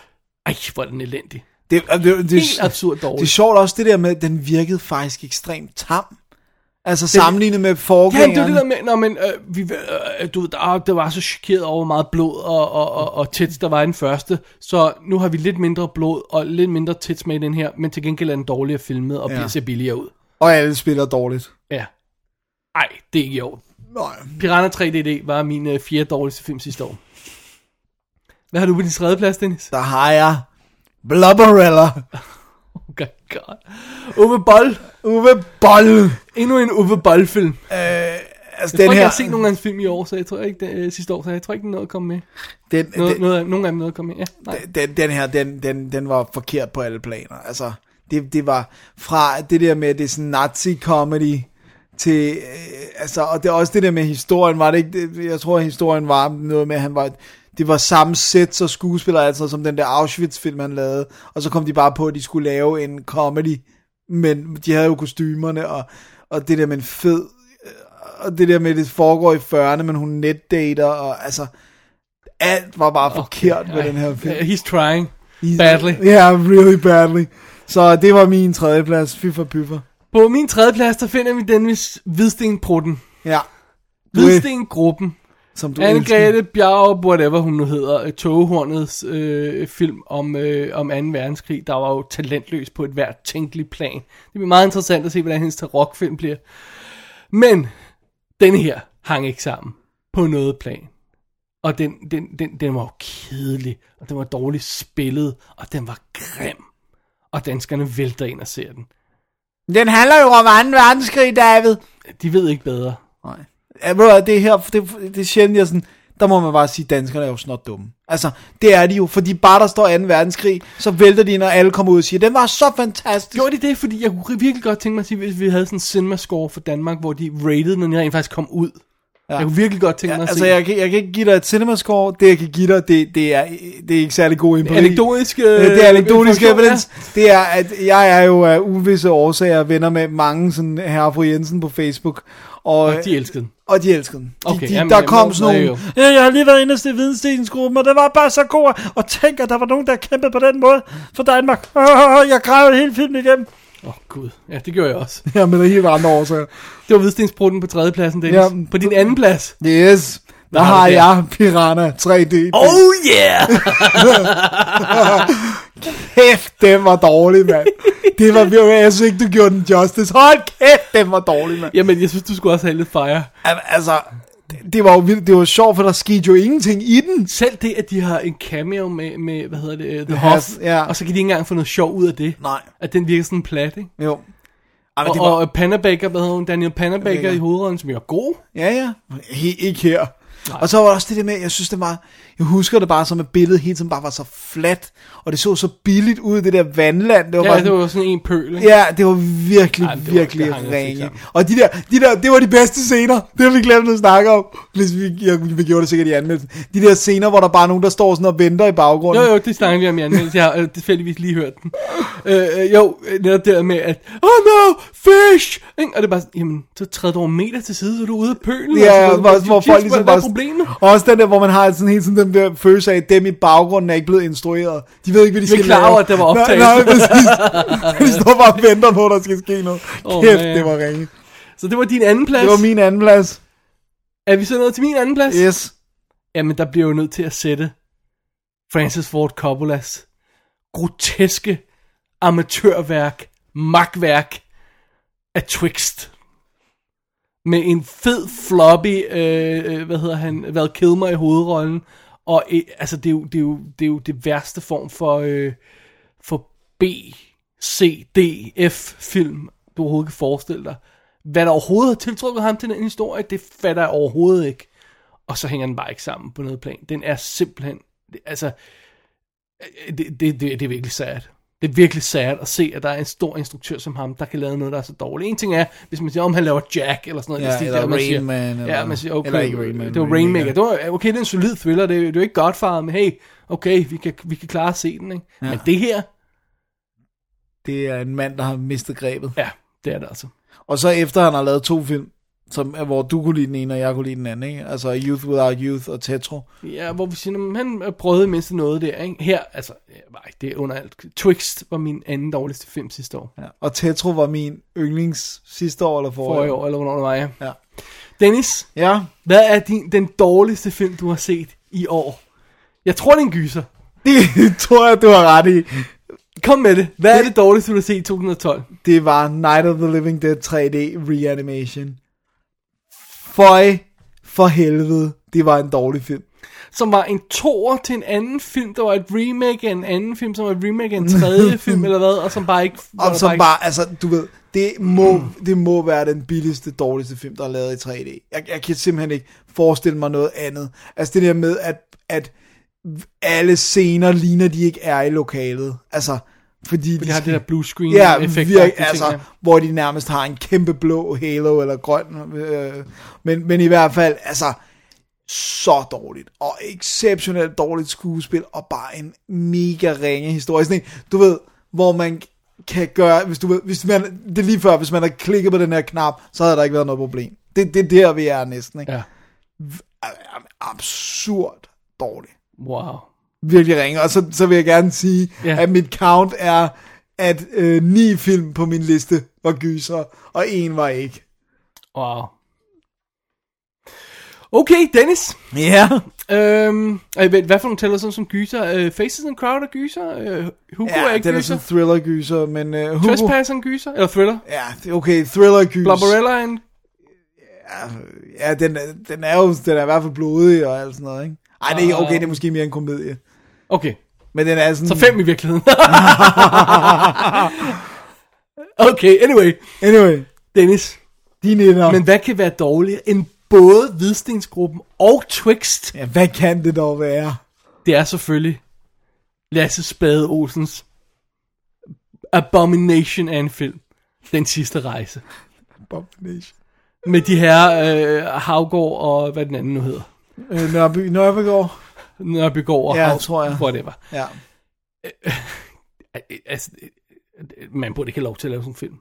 [SPEAKER 5] Ej, hvor er den elendig.
[SPEAKER 4] Det, øh, det, det, det,
[SPEAKER 5] Helt absurd dårlig.
[SPEAKER 4] Det er sjovt også det der med, at den virkede faktisk ekstremt tam. Altså sammenlignet med
[SPEAKER 5] Ja,
[SPEAKER 4] forgængeren.
[SPEAKER 5] det er det der med, når man, øh, vi, øh, du ved, ah, det var så chokeret over hvor meget blod og, og, og, og tits, der var i den første, så nu har vi lidt mindre blod og lidt mindre tits med i den her, men til gengæld er den dårligere filmet og
[SPEAKER 4] Ja.
[SPEAKER 5] ja. ser billigere ud.
[SPEAKER 4] Og alle spiller dårligt.
[SPEAKER 5] Ja. Ej, det er ikke i orden.
[SPEAKER 4] Nej.
[SPEAKER 5] Piranha 3DD var min øh, fjerde dårligste film sidste år. Hvad har du på din tredje plads, Dennis?
[SPEAKER 4] Der har jeg Blubberella.
[SPEAKER 5] Oh my god. Uwe Boll.
[SPEAKER 4] Uwe Boll.
[SPEAKER 5] Endnu en Uwe Boll-film. Jeg
[SPEAKER 4] Altså
[SPEAKER 5] tror
[SPEAKER 4] den
[SPEAKER 5] ikke, jeg
[SPEAKER 4] her,
[SPEAKER 5] har set nogen af hans film i år, så jeg tror ikke, det, øh, sidste år, så jeg tror ikke, den nåede at komme med.
[SPEAKER 4] den,
[SPEAKER 5] Noget,
[SPEAKER 4] den,
[SPEAKER 5] noget af, nogen af dem nåede at komme med, ja. Nej.
[SPEAKER 4] den, den her, den, den, den var forkert på alle planer. Altså, det, det var fra det der med, at det er sådan nazi-comedy, til, øh, altså, og det er også det der med historien, var det ikke, det, jeg tror, at historien var noget med, at han var, det var samme sæt så skuespillere, altså som den der Auschwitz-film, han lavede, og så kom de bare på, at de skulle lave en comedy, men de havde jo kostymerne, og, og det der med en fed, øh, og det der med, at det foregår i 40'erne, men hun netdater, og altså, alt var bare forkert okay, med den her film.
[SPEAKER 5] Uh, he's trying. Badly.
[SPEAKER 4] Ja, yeah, really badly. Så det var min tredjeplads, fy for pyffer.
[SPEAKER 5] På min tredje plads, der finder vi Dennis Hvidsten-prutten.
[SPEAKER 4] Ja,
[SPEAKER 5] Hvidsten-gruppen.
[SPEAKER 4] som du elsker.
[SPEAKER 5] Anne-Grethe Bjarup, whatever hun nu hedder, øh, Togehornets øh, film om, øh, om 2. verdenskrig, der var jo talentløs på et hvert tænkeligt plan. Det bliver meget interessant at se, hvordan hendes rockfilm bliver. Men den her hang ikke sammen på noget plan. Og den, den, den, den var jo kedelig, og den var dårligt spillet, og den var grim. Og danskerne vælter ind og ser den.
[SPEAKER 4] Den handler jo om 2. verdenskrig, David.
[SPEAKER 5] De ved ikke bedre.
[SPEAKER 4] Nej. Ja, ved du hvad, det er her, det, det er sjældent, jeg er sådan, der må man bare sige, at danskerne er jo snot dumme. Altså, det er de jo, fordi bare der står 2. verdenskrig, så vælter de, når alle kommer ud og siger, den var så fantastisk.
[SPEAKER 5] Gjorde de det? Fordi jeg kunne virkelig godt tænke mig at sige, hvis vi havde sådan en cinema-score for Danmark, hvor de rated, når den rent faktisk kom ud. Ja. Jeg kunne virkelig godt tænke mig at
[SPEAKER 4] Altså,
[SPEAKER 5] se.
[SPEAKER 4] jeg kan, jeg kan ikke give dig et cinemascore, det jeg kan give dig, det, det, er, det er ikke særlig god empiri.
[SPEAKER 5] Anekdotisk, øh,
[SPEAKER 4] Øh, det er anekdotisk
[SPEAKER 5] information,
[SPEAKER 4] evidence. Det er, at jeg er jo af uvisse årsager venner med mange sådan herre og fru Jensen på Facebook. Og,
[SPEAKER 5] Og de elskede den.
[SPEAKER 4] og de elskede den. De,
[SPEAKER 5] Okay,
[SPEAKER 4] de,
[SPEAKER 5] jamen,
[SPEAKER 4] der
[SPEAKER 5] jamen,
[SPEAKER 4] kom
[SPEAKER 5] nå,
[SPEAKER 4] sådan
[SPEAKER 5] nå,
[SPEAKER 4] nogle, ja, jeg har lige været inde og se vidensdelingsgruppen, og det var bare så god, og tænk, at der var nogen, der kæmpede på den måde for Danmark. Øh, jeg græd hele filmen igennem.
[SPEAKER 5] Åh, oh, gud. Ja, det gjorde jeg også.
[SPEAKER 4] Ja, men der er helt andre årsager.
[SPEAKER 5] Det var Hvidstensbrutten på tredjepladsen, Dennis.
[SPEAKER 4] Ja.
[SPEAKER 5] på din anden plads.
[SPEAKER 4] Yes, der
[SPEAKER 5] har
[SPEAKER 4] har
[SPEAKER 5] du der?
[SPEAKER 4] jeg Piranha 3D.
[SPEAKER 5] Oh yeah!
[SPEAKER 4] <laughs> kæft, den var dårlig, mand. Det var virkelig, jeg synes ikke, du gjorde den justice. Hold kæft, den var dårlig, mand.
[SPEAKER 5] Jamen, jeg synes, du skulle også have lidt fire.
[SPEAKER 4] Al- Altså, det, det var jo vildt, det var sjovt, for der skete jo ingenting i den.
[SPEAKER 5] Selv det, at de har en cameo med, med hvad hedder det, øh, The
[SPEAKER 4] Has-
[SPEAKER 5] Hoff,
[SPEAKER 4] ja.
[SPEAKER 5] og så kan de ikke engang få noget sjov ud af det.
[SPEAKER 4] Nej.
[SPEAKER 5] At den virker sådan plat, ikke?
[SPEAKER 4] Jo. Ej, men
[SPEAKER 5] Og,
[SPEAKER 4] det
[SPEAKER 5] var...
[SPEAKER 4] var,
[SPEAKER 5] og Panabaker, hvad hedder hun? Daniel Panabaker
[SPEAKER 4] Panabaker.
[SPEAKER 5] i hovedrollen, som jo er god.
[SPEAKER 4] ja, ja. He, ikke her. Nej. Og så var der også det der med, jeg synes det var, jeg husker det bare som, at billedet hele tiden bare var så fladt, og det så så billigt ud, det der vandland. Det var bare
[SPEAKER 5] Ja, det
[SPEAKER 4] sådan,
[SPEAKER 5] var sådan en pøl, ikke?
[SPEAKER 4] Ja, det var virkelig,
[SPEAKER 5] Ej,
[SPEAKER 4] Ej,
[SPEAKER 5] det var-
[SPEAKER 4] virkelig
[SPEAKER 5] det hang
[SPEAKER 4] var,
[SPEAKER 5] altså ikke
[SPEAKER 4] ringe.
[SPEAKER 5] sammen.
[SPEAKER 4] Og de der, de der, det var de bedste scener. Det har vi glemt at snakke om. Hvis vi, ja, vi gjorde det sikkert i anmeldelsen. De der scener, hvor der bare er nogen, der står sådan og venter i
[SPEAKER 5] Jo,
[SPEAKER 4] baggrunden.
[SPEAKER 5] jo, det snakker vi om i anmeldelsen. Jeg har øh, tilfældigvis lige hørt den. Øh, øh, jo, øh, netop der med, at, oh no, fish! Ikke? Og det er bare sådan, jamen, så træder du over en meter til side, så er du ude af pølen.
[SPEAKER 4] Ja,
[SPEAKER 5] Altså,
[SPEAKER 4] hvor, hvor folk
[SPEAKER 5] Jesus,
[SPEAKER 4] ligesom
[SPEAKER 5] hvad er
[SPEAKER 4] bare...
[SPEAKER 5] problemet?
[SPEAKER 4] Og også den der, hvor man har sådan hele tiden den der følelse af, at dem i baggrunden er ikke blevet instrueret. De ved ikke, hvad de
[SPEAKER 5] Vi er
[SPEAKER 4] skal
[SPEAKER 5] klar
[SPEAKER 4] lave.
[SPEAKER 5] over, at der var optagelse.
[SPEAKER 4] Nej, nej, præcis. <laughs> de står bare og venter på, at der skal ske noget.
[SPEAKER 5] Åh,
[SPEAKER 4] Kæft,
[SPEAKER 5] man.
[SPEAKER 4] det var ringe.
[SPEAKER 5] Så det var din anden plads.
[SPEAKER 4] Det var min anden plads.
[SPEAKER 5] Er vi så nået til min anden plads?
[SPEAKER 4] Yes.
[SPEAKER 5] Jamen, der bliver jo nødt til at sætte Francis Ford Coppolas groteske amatørværk, magtværk af Twixt. Med en fed floppy, øh, øh, hvad hedder han, Val Kilmer i hovedrollen. Og øh, altså, det er, jo, det, er jo, det er jo det værste form for, øh, for B, C, D, F film, du overhovedet kan forestille dig. Hvad der overhovedet har tiltrukket ham til den historie, det fatter jeg overhovedet ikke. Og så hænger den bare ikke sammen på noget plan. Den er simpelthen... det- Altså, øh, det, det, det, det er virkelig sad. Det er virkelig sad at se, at der er en stor instruktør som ham, der kan lave noget, der er så dårligt. En ting er, hvis man siger, om han laver Jack, eller sådan noget. i
[SPEAKER 4] Ja,
[SPEAKER 5] den stil
[SPEAKER 4] eller
[SPEAKER 5] der, man
[SPEAKER 4] Rain
[SPEAKER 5] siger,
[SPEAKER 4] Man,
[SPEAKER 5] ja,
[SPEAKER 4] eller-
[SPEAKER 5] man siger, okay,
[SPEAKER 4] eller ikke Rain Man,
[SPEAKER 5] det var
[SPEAKER 4] Rainmaker.
[SPEAKER 5] Rainmaker. Det var, okay, det er en solid thriller, det, er- det er jo ikke Godfather, men hey, okay, vi kan, vi kan klare at se den, ikke? Ja. Men det her,
[SPEAKER 4] Det er en mand, der har mistet grebet.
[SPEAKER 5] ja, det er det altså.
[SPEAKER 4] Og så efter han har lavet to film, som, er, hvor du kunne lide den ene, og jeg kunne lide den anden, ikke? Altså Youth Without Youth og Tetro.
[SPEAKER 5] Ja, hvor vi siger, "Nå, men han prøvede mindst noget der, ikke? Her, altså, nej, det er under alt. Twixt var min anden dårligste film sidste år.
[SPEAKER 4] Ja. Og Tetro var min yndlings sidste år eller forrige.
[SPEAKER 5] For i år, eller hvornår det var, ja.
[SPEAKER 4] Ja.
[SPEAKER 5] Dennis,
[SPEAKER 4] Ja, <laughs>
[SPEAKER 5] hvad er din, den dårligste film, du har set i år? Jeg tror, det er en gyser.
[SPEAKER 4] det tror jeg, du har ret i.
[SPEAKER 5] Kom med det. Hvad er det dårligste, du har set i 2012?
[SPEAKER 4] Det var Night of the Living Dead 3D Reanimation. Føj for helvede, det var en dårlig film.
[SPEAKER 5] Som var en toer til en anden film, der var et remake af en anden film, som var et remake af en
[SPEAKER 4] <laughs>
[SPEAKER 5] tredje film, eller hvad, og som bare ikke... hvor der
[SPEAKER 4] Og som
[SPEAKER 5] ikke-
[SPEAKER 4] bare, altså, du ved, det må, det må være den billigste, dårligste film, der er lavet i 3D. Jeg, jeg kan simpelthen ikke forestille mig noget andet. Altså det der med, at, at alle scener ligner, de ikke er i lokalet. Altså, fordi,
[SPEAKER 5] Det har det der blue screen
[SPEAKER 4] Ja,
[SPEAKER 5] effekt.
[SPEAKER 4] virk, altså, hvor de nærmest har en kæmpe blå halo eller grøn. Øh, men, men i hvert fald, altså, så dårligt. Og exceptionelt dårligt skuespil, og bare en mega ringe historie. Sådan en, du ved, hvor man kan gøre, hvis du ved, hvis man, det er lige før, hvis man havde klikket på den her knap, så havde der ikke været noget problem. Det, det er der, vi er næsten, ikke? altså,
[SPEAKER 5] Ja.
[SPEAKER 4] Absurd dårligt
[SPEAKER 5] Wow.
[SPEAKER 4] virkelig ringe. Og så, så vil jeg gerne sige,
[SPEAKER 5] Ja.
[SPEAKER 4] yeah. at mit count er, at øh, ni film på min liste var gyser, og en var ikke.
[SPEAKER 5] Wow. Okay, Dennis.
[SPEAKER 4] Ja.
[SPEAKER 5] Øhm, øh, vent, hvad for nogle tæller sådan som gyser? Øh, Faces and Crowd er gyser? Øh, Hugo
[SPEAKER 4] Ja,
[SPEAKER 5] er ikke
[SPEAKER 4] den er
[SPEAKER 5] gyser?
[SPEAKER 4] sådan thriller-gyser, men øh, Hugo...
[SPEAKER 5] Trespass er en gyser? Eller thriller?
[SPEAKER 4] Ja, det- okay, thriller-gys.
[SPEAKER 5] Blubberella er en...
[SPEAKER 4] Ja, den, er- den er jo den er i hvert fald blodig og alt sådan noget, ikke? Ej, det er, okay, det er måske mere en komedie.
[SPEAKER 5] Okay,
[SPEAKER 4] Men den er sådan...
[SPEAKER 5] så fem
[SPEAKER 4] <laughs>
[SPEAKER 5] i virkeligheden. okay, anyway.
[SPEAKER 4] Anyway,
[SPEAKER 5] Dennis,
[SPEAKER 4] din etter.
[SPEAKER 5] men hvad kan være dårligere end både Hvidstensgruppen og Twixt?
[SPEAKER 4] Ja, hvad kan det dog være?
[SPEAKER 5] Det er selvfølgelig Lasse Spade Olsens Abomination af en film. Den sidste rejse.
[SPEAKER 4] Abomination.
[SPEAKER 5] Med de her øh, Havgård og hvad den anden nu hedder.
[SPEAKER 4] Øh, Nørby, Nørbegaard.
[SPEAKER 5] Nørrebygård og
[SPEAKER 4] Ja,
[SPEAKER 5] Hav-
[SPEAKER 4] tror jeg.
[SPEAKER 5] Whatever.
[SPEAKER 4] Ja.
[SPEAKER 5] Al- Altså, øh, man burde ikke have lov til at lave sådan en film.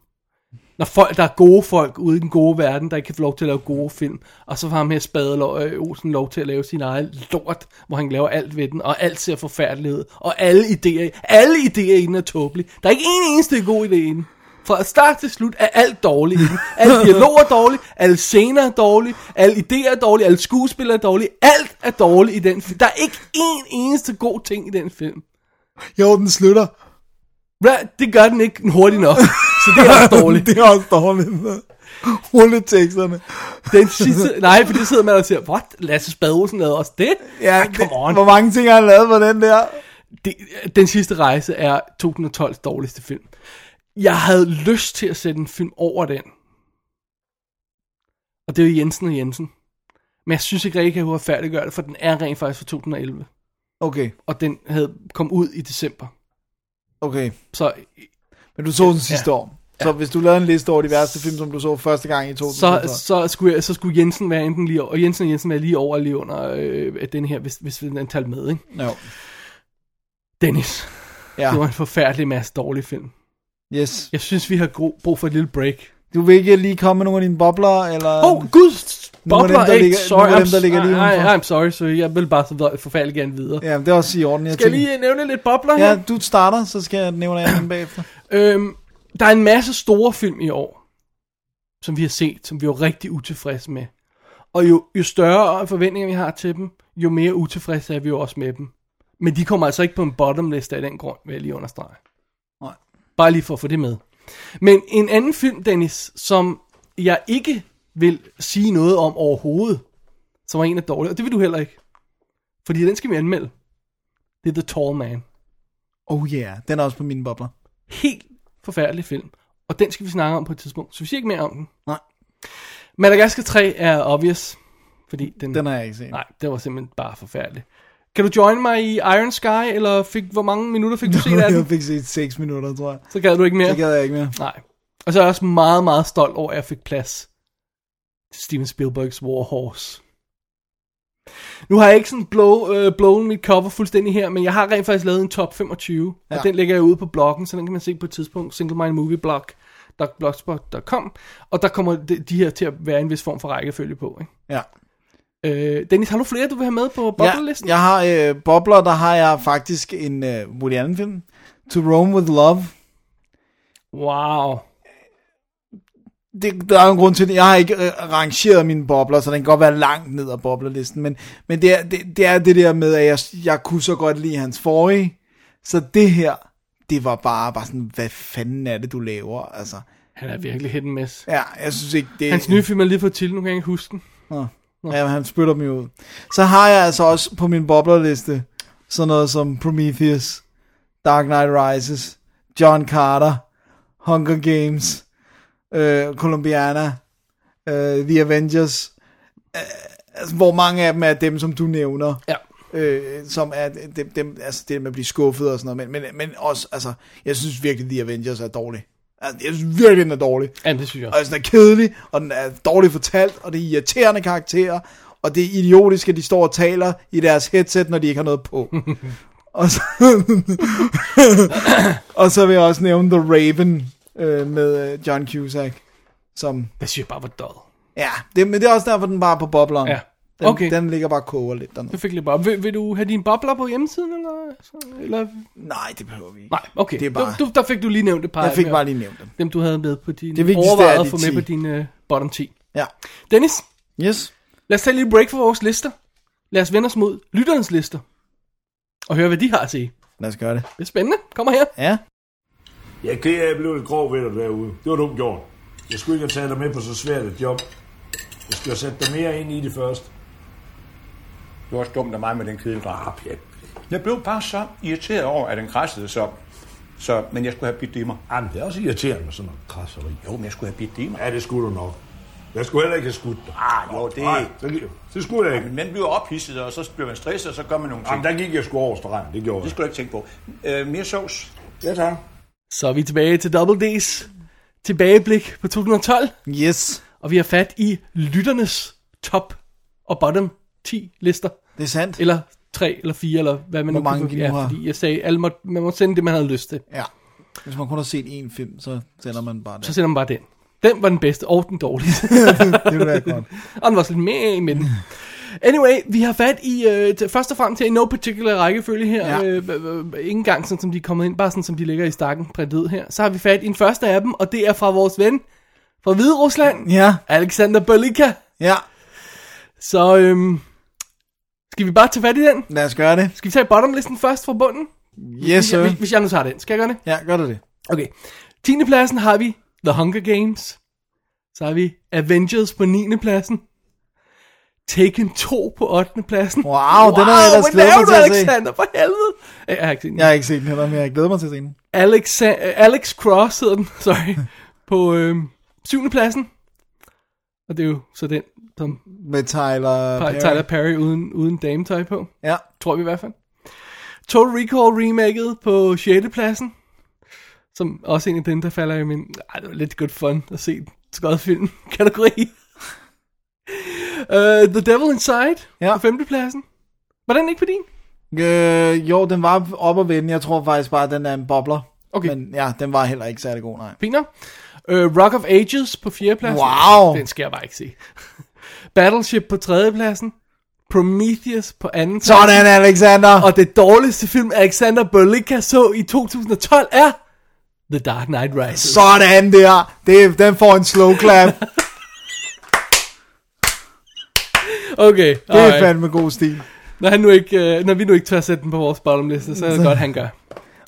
[SPEAKER 5] Når folk, der er gode folk ude i den gode verden, der ikke kan få lov til at lave gode film, og så får ham her Spade øh, Olsen lov til at lave sin egen lort, hvor han laver alt ved den, og alt ser forfærdeligt ud, og alle idéer, alle idéer i den er tåbelige. Der er ikke en eneste god idé i den. Fra start til slut er alt dårligt. i den. Alle dialoger er dårlige, alle scener er dårlige, alle idéer er dårlige, alle skuespillere er dårlige, alt er dårligt i den film. Der er ikke en eneste god ting i den film.
[SPEAKER 4] Jo, den slutter.
[SPEAKER 5] Hva? Det gør den ikke hurtigt nok. Så det er
[SPEAKER 4] <laughs>
[SPEAKER 5] også dårligt.
[SPEAKER 4] det er også dårligt. Rulleteksterne.
[SPEAKER 5] Den sidste... Nej, for det sidder man og siger, what? Lasse Spadelsen lavede også det?
[SPEAKER 4] Ja,
[SPEAKER 5] Ej, come on.
[SPEAKER 4] Hvor mange ting har han lavet på den der?
[SPEAKER 5] det, den sidste rejse er 2012's dårligste film. Jeg havde lyst til at sætte en film over den. Og det er jo Jensen og Jensen. Men jeg synes ikke rigtig, at jeg kunne færdiggøre det, for den er rent faktisk fra 2011.
[SPEAKER 4] Okay,
[SPEAKER 5] Og den havde kom ud i december.
[SPEAKER 4] okay.
[SPEAKER 5] Så,
[SPEAKER 4] Men du så den sidste
[SPEAKER 5] Ja.
[SPEAKER 4] ja. år. Så hvis du lavede en liste over de værste film, som du så første gang i 2012.
[SPEAKER 5] så,
[SPEAKER 4] Så,
[SPEAKER 5] så, skulle, jeg, så skulle Jensen være enten lige over, og Jensen og Jensen være lige over eller lige under øh, den her, hvis, hvis den talte med, ikke?
[SPEAKER 4] no.
[SPEAKER 5] Dennis,
[SPEAKER 4] Ja,
[SPEAKER 5] ja. det var en forfærdelig masse dårlige film.
[SPEAKER 4] yes.
[SPEAKER 5] Jeg synes, vi har gro- brug for et lille break.
[SPEAKER 4] Du vil ikke lige komme med nogle af dine bobler, eller...
[SPEAKER 5] Åh, oh, gud,
[SPEAKER 4] Nogle af
[SPEAKER 5] bobler
[SPEAKER 4] dem, der
[SPEAKER 5] ikke,
[SPEAKER 4] ligger-
[SPEAKER 5] sorry,
[SPEAKER 4] nogle af dem, der
[SPEAKER 5] I'm-
[SPEAKER 4] ligger lige
[SPEAKER 5] nej,
[SPEAKER 4] udenfor.
[SPEAKER 5] nej, I'm sorry, så jeg vil bare så forfærdeligt gerne videre.
[SPEAKER 4] Ja, det er også i orden. Jeg
[SPEAKER 5] Skal jeg
[SPEAKER 4] tænker-
[SPEAKER 5] lige øh, nævne lidt bobler her?
[SPEAKER 4] Ja, du starter, så skal jeg nævne en anden bagefter.
[SPEAKER 5] Øhm, der er en masse store film i år, som vi har set, som vi er rigtig utilfredse med. Og jo, jo større forventninger vi har til dem, jo mere utilfredse er vi jo også med dem. Men de kommer altså ikke på en bottomliste af den grund, vil jeg lige understrege.
[SPEAKER 4] Nej.
[SPEAKER 5] Bare lige for at få det med. Men en anden film, Dennis, som jeg ikke vil sige noget om overhovedet, som er en af dårlige, og det vil du heller ikke. Fordi den skal vi anmelde. Det er The Tall Man
[SPEAKER 4] Oh yeah, den er også på mine bobler.
[SPEAKER 5] helt forfærdelig film. Og den skal vi snakke om på et tidspunkt. Så vi siger ikke mere om den.
[SPEAKER 4] Nej.
[SPEAKER 5] Madagascar 3 er obvious, fordi den...
[SPEAKER 4] Den har jeg ikke set.
[SPEAKER 5] Nej, det var simpelthen bare forfærdeligt. Kan du join mig i Iron Sky, eller fik, hvor mange minutter fik du set af
[SPEAKER 4] <laughs> Jeg
[SPEAKER 5] den?
[SPEAKER 4] fik set 6 minutter, tror jeg.
[SPEAKER 5] Så gad du ikke mere.
[SPEAKER 4] Det gad jeg ikke mere.
[SPEAKER 5] Nej. Og så er jeg også meget, meget stolt over, at jeg fik plads til Steven Spielbergs War Horse. Nu har jeg ikke sådan blow, øh, blown mit cover fuldstændig her, men jeg har rent faktisk lavet en top 25, ja.
[SPEAKER 4] Ja.
[SPEAKER 5] og den lægger jeg ude på bloggen, så den kan man se på et tidspunkt, singlemindmovieblog.blogspot.com, og der kommer de, de her til at være en vis form for rækkefølge på.
[SPEAKER 4] Ja.
[SPEAKER 5] Ikke? Øh, Dennis, har du flere, du vil have med på boblelisten?
[SPEAKER 4] Ja, jeg har øh, bobler, der har jeg faktisk en øh, Woody Allen film. To Rome With Love.
[SPEAKER 5] Wow.
[SPEAKER 4] Det, der er jo en grund til det. Jeg har ikke øh, rangeret mine bobler, så den kan godt være langt ned ad boblerlisten. Men, men det, er, det, det er det der med, at jeg, jeg kunne så godt lide hans forrige. Så det her, det var bare, bare sådan, hvad fanden er det, du laver? Altså,
[SPEAKER 5] Han er virkelig hit and miss.
[SPEAKER 4] ja, jeg synes ikke, det
[SPEAKER 5] Hans nye film er lige for til, nu kan jeg ikke huske den.
[SPEAKER 4] Ja, men han spytter dem jo ud. Så har jeg altså også på min boblerliste sådan noget som Prometheus, Dark Knight Rises, John Carter, Hunger Games, øh, Columbiana, øh, The Avengers, øh, altså, hvor mange af dem er dem, som du nævner,
[SPEAKER 5] Ja.
[SPEAKER 4] øh, som er dem, dem, altså det med at blive skuffet og sådan noget, men, men, men også, altså, jeg synes virkelig, The Avengers er dårlig. Altså, jeg synes virkelig, den er dårlig.
[SPEAKER 5] Ja, det synes jeg
[SPEAKER 4] Og
[SPEAKER 5] også.
[SPEAKER 4] altså, den er kedelig, og den er dårligt fortalt, og det er irriterende karakterer, og det er idiotisk, at de står og taler i deres headset, når de ikke har noget
[SPEAKER 5] <laughs>
[SPEAKER 4] på. og, så, <laughs> og så vil jeg også nævne The Raven øh, med øh, John Cusack, som...
[SPEAKER 5] Det synes jeg bare var død.
[SPEAKER 4] Ja, det, men det er også derfor, den bare er på bobleren.
[SPEAKER 5] Ja.
[SPEAKER 4] Den,
[SPEAKER 5] Okay.
[SPEAKER 4] den ligger bare og koger lidt dernede.
[SPEAKER 5] Det fik lidt bare. Vil, vil du have dine bobler på hjemmesiden, eller? så- eller?
[SPEAKER 4] Nej, det behøver vi ikke.
[SPEAKER 5] Nej, okay.
[SPEAKER 4] Det er bare-
[SPEAKER 5] du, du, der fik du lige nævnt et par
[SPEAKER 4] Jeg
[SPEAKER 5] af
[SPEAKER 4] fik
[SPEAKER 5] dem,
[SPEAKER 4] bare
[SPEAKER 5] her.
[SPEAKER 4] lige nævnt dem.
[SPEAKER 5] Dem, du havde med på din
[SPEAKER 4] Det vigtigste
[SPEAKER 5] overvejede
[SPEAKER 4] er
[SPEAKER 5] at
[SPEAKER 4] de
[SPEAKER 5] få med
[SPEAKER 4] 10.
[SPEAKER 5] på din uh, bottom 10.
[SPEAKER 4] Ja.
[SPEAKER 5] Dennis,
[SPEAKER 4] Yes.
[SPEAKER 5] lad os tage lige break for vores lister. Lad os vende os mod lytterens lister. Og høre, hvad de har at sige.
[SPEAKER 4] Lad os gøre det.
[SPEAKER 5] Det er spændende. Kommer her.
[SPEAKER 4] Ja.
[SPEAKER 2] Jeg er ked af, at jeg blev et grov ved dig derude. Det var dumt gjort. Jeg skulle ikke have taget dig med på så svært et job. Jeg skulle have sat dig mere ind i det først.
[SPEAKER 7] Det var også dumt af mig med den kedeldrag.
[SPEAKER 2] Ah, pjat.
[SPEAKER 7] Jeg blev bare så irriteret over, at den krassede så. så men jeg skulle have bidt det i mig.
[SPEAKER 2] Jamen, Ah, det er også irriterende med sådan noget krasseri.
[SPEAKER 7] Jo, men jeg skulle have bidt det i mig.
[SPEAKER 2] Ja, det skulle du nok. Jeg skulle heller ikke have skudt dig.
[SPEAKER 7] Ah, jo, det-
[SPEAKER 2] Nej, det, det skulle jeg ikke.
[SPEAKER 7] Men man bliver ophidset, og så bliver man stresset, og så gør man nogle ting.
[SPEAKER 2] Jamen, der gik jeg sgu over stregen. Det gjorde
[SPEAKER 7] Det
[SPEAKER 2] jeg.
[SPEAKER 7] skulle du ikke tænke på. Øh, mere sovs?
[SPEAKER 2] Ja, tak.
[SPEAKER 5] Så er vi tilbage til Double D's tilbageblik på 2012.
[SPEAKER 4] Yes.
[SPEAKER 5] Og vi har fat i lytternes top og bottom 10 lister.
[SPEAKER 4] Det er sandt.
[SPEAKER 5] Eller tre, eller fire, eller hvad man
[SPEAKER 4] Hvor
[SPEAKER 5] nu
[SPEAKER 4] mange
[SPEAKER 5] kunne-
[SPEAKER 4] vi nu
[SPEAKER 5] ja,
[SPEAKER 4] har.
[SPEAKER 5] fordi jeg sagde, alle må, man må sende det, man havde lyst til.
[SPEAKER 4] Ja. Hvis man kun har set én film, så sender man bare det.
[SPEAKER 5] Så sender man bare den. Den var den bedste, og den dårligste. <laughs>
[SPEAKER 4] Det ville være godt.
[SPEAKER 5] og den var også lidt mere i midten. Anyway, vi har fat i, øh, t- først og fremmest her i no particular rækkefølge her,
[SPEAKER 4] Ja.
[SPEAKER 5] øh, øh, øh, ikke engang sådan som de er kommet ind, bare sådan som de ligger i stakken printet her. Så har vi fat i den første af dem, og det er fra vores ven fra Hvide Rusland,
[SPEAKER 4] Ja,
[SPEAKER 5] Alexander Balika.
[SPEAKER 4] ja.
[SPEAKER 5] Så øhm, skal vi bare tage fat i den?
[SPEAKER 4] Lad os gøre det.
[SPEAKER 5] Skal vi tage bottomlisten først fra bunden?
[SPEAKER 4] Yes,
[SPEAKER 5] Hvis
[SPEAKER 4] sir.
[SPEAKER 5] jeg, hvis, hvis jeg nu tager den, skal jeg gøre det?
[SPEAKER 4] Ja, gør du det.
[SPEAKER 5] Okay. 10. pladsen har vi The Hunger Games. Så har vi Avengers på 9. pladsen. Taken 2 på 8. pladsen.
[SPEAKER 4] Wow, den har jeg ellers
[SPEAKER 5] hvad
[SPEAKER 4] glædet
[SPEAKER 5] laver
[SPEAKER 4] mig
[SPEAKER 5] du,
[SPEAKER 4] til at se.
[SPEAKER 5] Alexander? For helvede. Jeg, jeg har ikke set den.
[SPEAKER 4] Jeg har ikke set den heller, men jeg glæder mig til at se den.
[SPEAKER 5] Alex, øh, Alex Cross hedder den, <laughs> sorry, på øhm, 7. pladsen. Og det er jo så den, som
[SPEAKER 4] Med Tyler Perry.
[SPEAKER 5] Tyler Perry uden, uden dametøj på.
[SPEAKER 4] Ja,
[SPEAKER 5] Tror vi i hvert fald. Total Recall remaket på 6. pladsen. Som også en af dem, der falder i min... Ej, det var lidt good fun at se en skød film <laughs> kategori. uh, The Devil Inside
[SPEAKER 4] Ja.
[SPEAKER 5] på 5. pladsen. Var den ikke på din?
[SPEAKER 4] øh, jo, den var op og vende. Jeg tror faktisk bare, at den er en bobler.
[SPEAKER 5] Okay.
[SPEAKER 4] Men ja, den var heller ikke særlig god, nej.
[SPEAKER 5] Piner. Uh, Rock of Ages på 4. pladsen.
[SPEAKER 4] Wow.
[SPEAKER 5] Den skal jeg bare ikke se. <laughs> Battleship på 3. pladsen. Prometheus på 2. pladsen.
[SPEAKER 4] Sådan, Alexander!
[SPEAKER 5] Og det dårligste film, Alexander Berlinka så i 2012 er... The Dark Knight Rises.
[SPEAKER 4] Sådan der! Det, den får en slow
[SPEAKER 5] <laughs>
[SPEAKER 4] clap.
[SPEAKER 5] Okay,
[SPEAKER 4] Det er
[SPEAKER 5] alright.
[SPEAKER 4] fandme god stil.
[SPEAKER 5] Når, han nu ikke, øh, når vi nu ikke tør sætte den på vores bottomliste, så er det godt, han gør.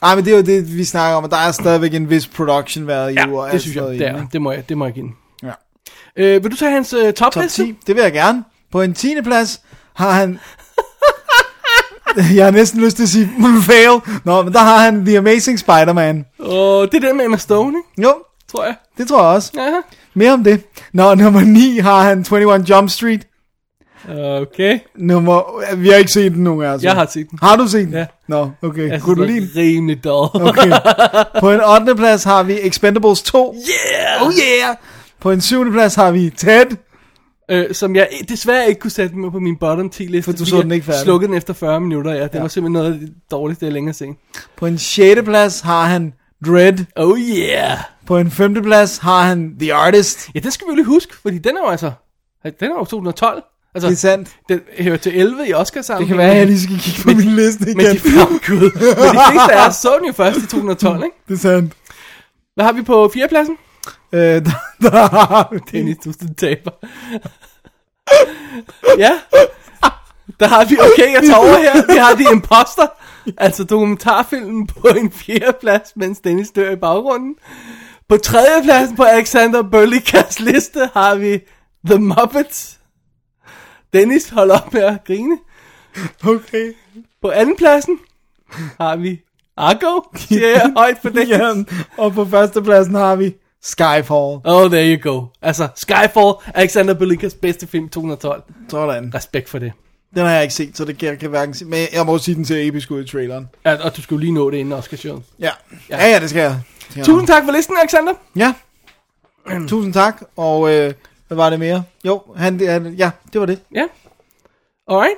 [SPEAKER 4] Ej, men det er jo det, vi snakker om, og der er stadigvæk en vis production value. og
[SPEAKER 5] Ja, det
[SPEAKER 4] alt
[SPEAKER 5] synes
[SPEAKER 4] sådan
[SPEAKER 5] jeg,
[SPEAKER 4] noget
[SPEAKER 5] det,
[SPEAKER 4] i den,
[SPEAKER 5] er.
[SPEAKER 4] ikke?
[SPEAKER 5] det må jeg, det må jeg give den.
[SPEAKER 4] Ja.
[SPEAKER 5] Øh, vil du tage hans øh,
[SPEAKER 4] Top
[SPEAKER 5] topliste?
[SPEAKER 4] 10, det vil jeg gerne. På en 10. plads har han... <laughs> jeg har næsten lyst til at sige fail. Nå, men der har han The Amazing Spider-Man.
[SPEAKER 5] Og det er den med Emma Stone, ikke?
[SPEAKER 4] Jo,
[SPEAKER 5] tror jeg.
[SPEAKER 4] det tror jeg også.
[SPEAKER 5] Ja.
[SPEAKER 4] Mere om det. Nå, nummer 9 har han 21 Jump Street.
[SPEAKER 5] Okay.
[SPEAKER 4] Nummer, vi har ikke set den nogen af os.
[SPEAKER 5] Jeg har set den.
[SPEAKER 4] Har du set den?
[SPEAKER 5] Ja.
[SPEAKER 4] Nå, okay.
[SPEAKER 5] Jeg
[SPEAKER 4] Kunne du lide den?
[SPEAKER 5] synes, den er rimelig død.
[SPEAKER 4] Okay. På en 8. plads har vi Expendables 2. Yeah! Oh yeah! På en 7. plads har vi Ted.
[SPEAKER 5] øh, som jeg desværre ikke kunne sætte med på min bottom 10 liste.
[SPEAKER 4] For du så den ikke færdig.
[SPEAKER 5] Slukket den efter 40 minutter, ja. Det ja. var simpelthen noget af det dårligste, jeg længere set.
[SPEAKER 4] På en 6. plads har han Dread.
[SPEAKER 5] Oh yeah!
[SPEAKER 4] På en 5. plads har han The Artist.
[SPEAKER 5] Ja, den skal vi jo lige huske, fordi den er jo altså... Den er jo 2012. Altså,
[SPEAKER 4] Det er sandt.
[SPEAKER 5] Den hører til 11 i oscar sammen.
[SPEAKER 4] Det kan være, at jeg lige skal kigge på min liste igen.
[SPEAKER 5] Men de, Gud. <laughs>
[SPEAKER 4] <laughs>
[SPEAKER 5] men de fleste af os så den jo først i 2012, ikke?
[SPEAKER 4] Det er sandt.
[SPEAKER 5] Hvad har vi på
[SPEAKER 4] <laughs>
[SPEAKER 5] fjerdepladsen?
[SPEAKER 4] Øh, der, der har vi
[SPEAKER 5] Dennis, du er sådan en taber. <laughs> ja. Der har vi, okay, jeg tager over her. Vi har de imposter. Altså dokumentarfilmen på en fjerdeplads, mens Dennis dør i baggrunden. På tredjepladsen på Alexander Bøllikas liste har vi The Muppets. Dennis holder op med at grine.
[SPEAKER 4] Okay.
[SPEAKER 5] På andenpladsen har vi Argo, siger jeg højt for Dennis.
[SPEAKER 4] Ja, og på førstepladsen har vi Skyfall.
[SPEAKER 5] Oh, there you go. Altså, Skyfall, Alexander Belikas bedste film 212.
[SPEAKER 4] Sådan.
[SPEAKER 5] Respekt for det.
[SPEAKER 4] Den har jeg ikke set, så det kan jeg kan hverken se. Men jeg må sige, den ser episk ud i traileren.
[SPEAKER 5] Ja, og du skulle lige nå det inden Oscar Show.
[SPEAKER 4] Ja. Ja, ja, det skal jeg. Ja.
[SPEAKER 5] Tusind tak for listen, Alexander. <clears throat>
[SPEAKER 4] Ja. Tusind tak, og øh, hvad var det mere? Jo, han, han, ja, det var det.
[SPEAKER 5] Ja. Alright.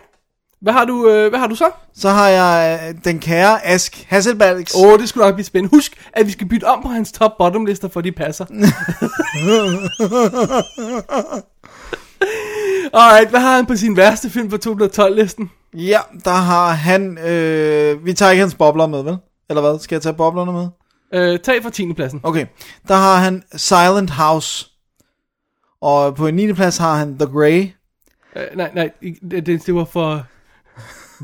[SPEAKER 5] Hvad har du, øh, hvad har du så?
[SPEAKER 4] Så har jeg øh, den kære Ask Hasselbalgs.
[SPEAKER 5] Åh, oh, det skulle nok blive spændende. Husk, at vi skal bytte om på hans top-bottom lister, for
[SPEAKER 4] <laughs>
[SPEAKER 5] de passer. Alright, hvad har han på sin værste film fra 2012-listen?
[SPEAKER 4] Ja, der har han, øh, vi tager ikke hans bobler med, vel? Eller hvad, skal jeg tage boblerne med?
[SPEAKER 5] Øh, tag fra 10. pladsen.
[SPEAKER 4] Okay, der har han Silent House. Og på en 9. plads har han The Grey.
[SPEAKER 5] Øh, nej, nej, ikke- det, det, det var for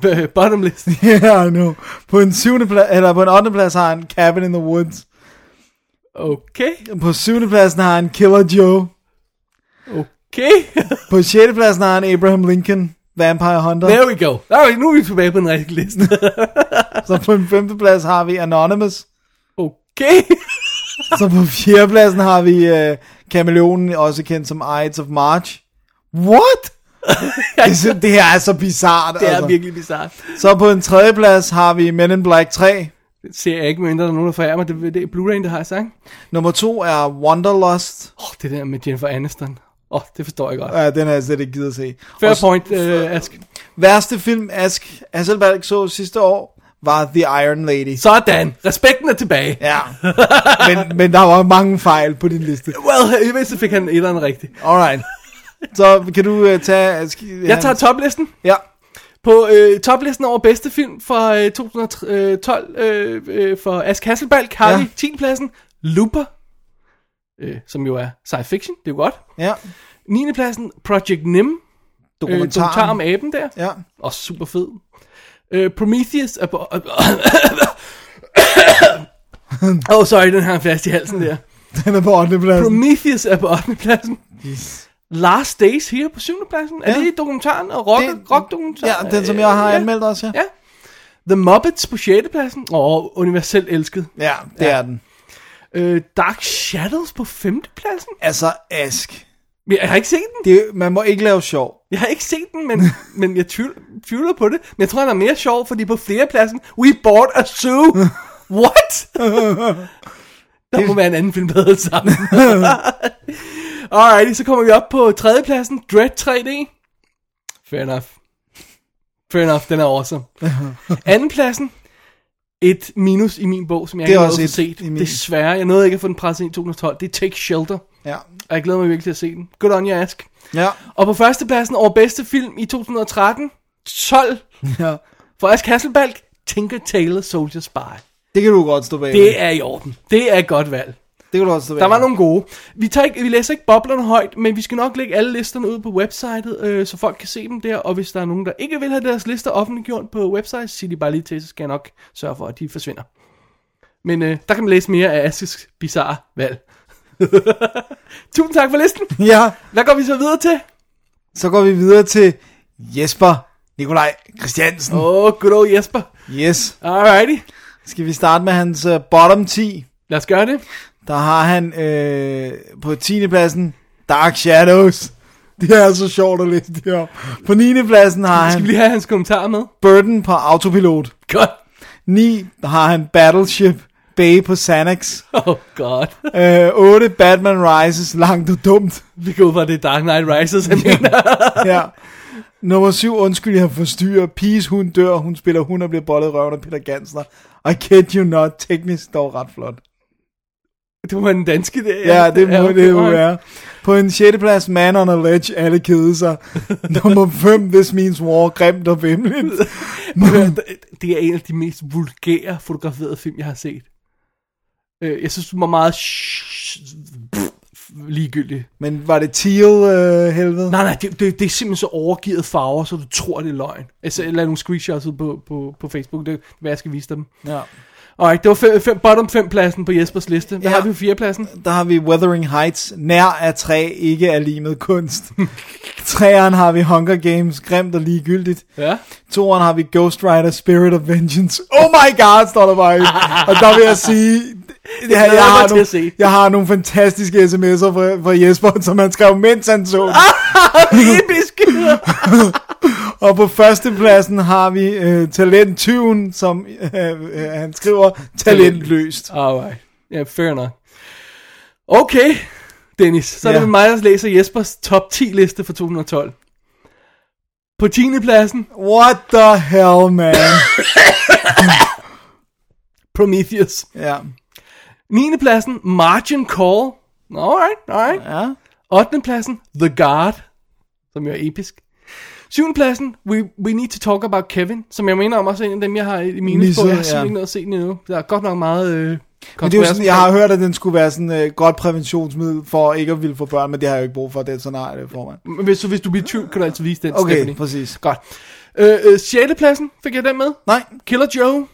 [SPEAKER 5] øh, bottom listen.
[SPEAKER 4] Yeah, I know. På en 7. plads, eller på en 8. plads har han Cabin in the Woods.
[SPEAKER 5] Okay,
[SPEAKER 4] På 7. pladsen har han Killer Joe.
[SPEAKER 5] okay.
[SPEAKER 4] På 6. pladsen har han Abraham Lincoln, Vampire Hunter.
[SPEAKER 5] There we go. Alright, nu er vi tilbage på den rigtige liste.
[SPEAKER 4] Så på en 5. plads har vi Anonymous.
[SPEAKER 5] Okay. <laughs>
[SPEAKER 4] Så på 4. pladsen har vi øh, Kameleonen, også kendt som Ides of March. What? det, er, så- det her er så bizart.
[SPEAKER 5] Det er
[SPEAKER 4] altså.
[SPEAKER 5] virkelig bizarrt.
[SPEAKER 4] Så på en 3. plads har vi Men in Black 3.
[SPEAKER 5] Det ser jeg ikke, mindre der er nogen, der forærer mig. Det, det er Blu-ray, der har jeg sang.
[SPEAKER 4] Nummer 2 er Wanderlust.
[SPEAKER 5] Åh, oh, det der med Jennifer Aniston. Åh, oh, det forstår jeg godt.
[SPEAKER 4] Ja, den har jeg slet ikke givet at se.
[SPEAKER 5] Fair
[SPEAKER 4] Og s-
[SPEAKER 5] point, øh, Ask.
[SPEAKER 4] Værste film Ask Hasselbalg så sidste år var The Iron Lady.
[SPEAKER 5] Sådan. Respekten er tilbage.
[SPEAKER 4] Ja, men, men der var mange fejl på din liste.
[SPEAKER 5] Well, i mindste fik han et eller andet rigtigt.
[SPEAKER 4] Alright. Så kan du uh, tage... Uh,
[SPEAKER 5] Jeg tager toplisten.
[SPEAKER 4] Ja,
[SPEAKER 5] På øh, toplisten over bedste film fra øh, 2012 øh, øh, for Ask Hasselbalg har
[SPEAKER 4] Ja.
[SPEAKER 5] vi 10. pladsen Looper, øh, som jo er science fiction. Det er jo godt.
[SPEAKER 4] ja.
[SPEAKER 5] 9. pladsen Project Nim, øh,
[SPEAKER 4] Dokumentaren.
[SPEAKER 5] dokumentar om aben der.
[SPEAKER 4] Ja. <laughs>
[SPEAKER 5] Også super fed. Øh, Prometheus er
[SPEAKER 4] <coughs>
[SPEAKER 5] på... oh, sorry, den har en fast i
[SPEAKER 4] <coughs>
[SPEAKER 5] halsen der.
[SPEAKER 4] Den er på 8. pladsen.
[SPEAKER 5] Prometheus er på 8. pladsen. Last Days her på 7. pladsen. Er
[SPEAKER 4] Ja.
[SPEAKER 5] det dokumentaren og rock,
[SPEAKER 4] Det-
[SPEAKER 5] rock-dokumentaren?
[SPEAKER 4] Ja, den som jeg har
[SPEAKER 5] Øh, ja.
[SPEAKER 4] anmeldt også, ja.
[SPEAKER 5] Ja. The Muppets på 6. pladsen. Åh, oh, universelt elsket.
[SPEAKER 4] Ja, det ja. er den.
[SPEAKER 5] Øh, Dark Shadows på 5. pladsen.
[SPEAKER 4] Altså, Ask.
[SPEAKER 5] Men Jeg har ikke set den.
[SPEAKER 4] Det, man må ikke lave sjov.
[SPEAKER 5] Jeg har ikke set den,
[SPEAKER 4] <laughs>
[SPEAKER 5] men, men jeg tvivl, tvivler på det. Men jeg tror, han er mere sjov, fordi på pladsen, we bought a
[SPEAKER 4] <laughs>
[SPEAKER 5] zoo. What? Der må være en anden film, der hedder det
[SPEAKER 4] <laughs>
[SPEAKER 5] samme. Alrighty, så kommer vi op på tredjepladsen, Dread 3D. Fair enough. Fair enough, den er
[SPEAKER 4] <laughs>
[SPEAKER 5] awesome. Andenpladsen, et minus i min bog, som jeg
[SPEAKER 4] Det er
[SPEAKER 5] ikke har
[SPEAKER 4] også
[SPEAKER 5] fået
[SPEAKER 4] et
[SPEAKER 5] set.
[SPEAKER 4] i min.
[SPEAKER 5] Desværre, jeg nåede ikke at få den presset ind i 2012. Det er Take Shelter,
[SPEAKER 4] Ja.
[SPEAKER 5] og jeg glæder mig virkelig til at se den. Good on your ask.
[SPEAKER 4] Ja.
[SPEAKER 5] Og på førstepladsen over bedste film i 2013, 12,
[SPEAKER 4] ja.
[SPEAKER 5] for Ask Hasselbalg, Tinker Tailor Soldier Spy.
[SPEAKER 4] Det kan du godt stå bag.
[SPEAKER 5] Det er i orden. Det er et godt valg.
[SPEAKER 4] det kan du godt stå bag.
[SPEAKER 5] Der var nogle gode. Vi, tager ikke, vi læser ikke boblerne højt, men vi skal nok lægge alle listerne ud på websitet, øh, så folk kan se dem der. Og hvis der er nogen, der ikke vil have deres lister offentliggjort på website, sig de bare lige til, så skal jeg nok sørge for, at de forsvinder. Men øh, der kan man læse mere af Askes bizarre valg. <laughs> Tusind tak for listen.
[SPEAKER 4] Ja.
[SPEAKER 5] Hvad går vi så videre til?
[SPEAKER 4] Så går vi videre til Jesper Nikolaj Christiansen. Oh.
[SPEAKER 5] Åh, oh, good old Jesper.
[SPEAKER 4] Yes.
[SPEAKER 5] Alrighty.
[SPEAKER 4] Skal vi starte med hans uh, bottom 10? <laughs>
[SPEAKER 5] Lad os gøre det.
[SPEAKER 4] der har han øh, på 10. pladsen Dark Shadows. <laughs> Det er så sjovt at læse det op. På 9. pladsen har
[SPEAKER 5] Skal vi
[SPEAKER 4] han
[SPEAKER 5] lige have hans kommentar med?
[SPEAKER 4] Burden på autopilot.
[SPEAKER 5] Godt.
[SPEAKER 4] 9 har han Battleship Bay på
[SPEAKER 5] <laughs>
[SPEAKER 4] Xanax.
[SPEAKER 5] <laughs> Oh god.
[SPEAKER 4] Øh, 8 Batman Rises langt og dumt.
[SPEAKER 5] Vi går ud fra, at det er Dark Knight Rises, han mener. <laughs>
[SPEAKER 4] ja. Nummer 7, undskyld, jeg forstyrrer. Piges, hun dør, hun spiller hun og bliver bollet i røven af Peter Gansner. I kid you not, teknisk dog ret flot.
[SPEAKER 5] Det var en danske, det
[SPEAKER 4] Ja, det må det jo
[SPEAKER 5] okay.
[SPEAKER 4] være. På en 6. plads, Man on a Ledge, alle kede <laughs> sig. Nummer 5, This Means War, grimt og vimligt.
[SPEAKER 5] Det er en af de mest vulgære fotograferede film, jeg har set. Øh, Jeg synes, den var meget sh- pff, ligegyldig.
[SPEAKER 4] Men var det Teal, øh, helvede?
[SPEAKER 5] Nej, nej, det, det, det er simpelthen så overgivet farver, så du tror, det er løgn. Altså, jeg lader nogle screenshots ud på, på, på Facebook, det er, hvad jeg skal vise dem.
[SPEAKER 4] Ja.
[SPEAKER 5] Alright, det var fem, fem, bottom 5 pladsen på Jespers liste. Hvad
[SPEAKER 4] Ja.
[SPEAKER 5] ja. har vi på 4.
[SPEAKER 4] <laughs>
[SPEAKER 5] pladsen?
[SPEAKER 4] Der har vi Wuthering Heights, nær af træ, ikke er limet
[SPEAKER 5] <laughs>
[SPEAKER 4] kunst. Træeren har vi Hunger Games, grimt og ligegyldigt.
[SPEAKER 5] Ja.
[SPEAKER 4] Toren har vi Ghost Rider Spirit of Vengeance. Oh my god, står der bare i. Og der vil jeg
[SPEAKER 5] <laughs>
[SPEAKER 4] sige, det, jeg,
[SPEAKER 5] glæder
[SPEAKER 4] jeg,
[SPEAKER 5] jeg mig
[SPEAKER 4] har
[SPEAKER 5] til
[SPEAKER 4] nogle,
[SPEAKER 5] at se.
[SPEAKER 4] jeg har nogle fantastiske sms'er fra, fra Jesper, som han skrev, mens han så den.
[SPEAKER 5] Ah!
[SPEAKER 4] Og på førstepladsen har vi øh, Talenttyven, som øh, øh, han skriver, talentløst.
[SPEAKER 5] Alright. Ja, fair nok. Okay, Dennis. Så er det
[SPEAKER 4] Ja.
[SPEAKER 5] yeah. mig, der læser Jespers top 10 liste for 2012. På 10. pladsen,
[SPEAKER 4] What the hell, man?
[SPEAKER 5] Prometheus.
[SPEAKER 4] Ja,
[SPEAKER 5] 9. pladsen, Margin Call. Alright, alright.
[SPEAKER 4] ja.
[SPEAKER 5] 8. pladsen, The Guard, som jo er episk. 7. pladsen, we, we Need to Talk About Kevin, som jeg mener om også er en af dem, jeg har i mine
[SPEAKER 4] Lige
[SPEAKER 5] på.
[SPEAKER 4] så,
[SPEAKER 5] Jeg har
[SPEAKER 4] ja.
[SPEAKER 5] simpelthen ikke noget at se den endnu. Der er godt nok meget øh,
[SPEAKER 4] Men det er jo sådan, jeg har hørt, at den skulle være sådan et øh, godt præventionsmiddel for ikke at ville få børn, men det har jeg jo ikke brug for, det er sådan, nej, det får man.
[SPEAKER 5] Men Hvis, så hvis du bliver i tvivl, kan du altid vise den,
[SPEAKER 4] Okay,
[SPEAKER 5] Stephanie.
[SPEAKER 4] præcis.
[SPEAKER 5] Godt. Øh, øh, 6. pladsen, fik jeg den med?
[SPEAKER 4] Nej,
[SPEAKER 5] Killer Joe,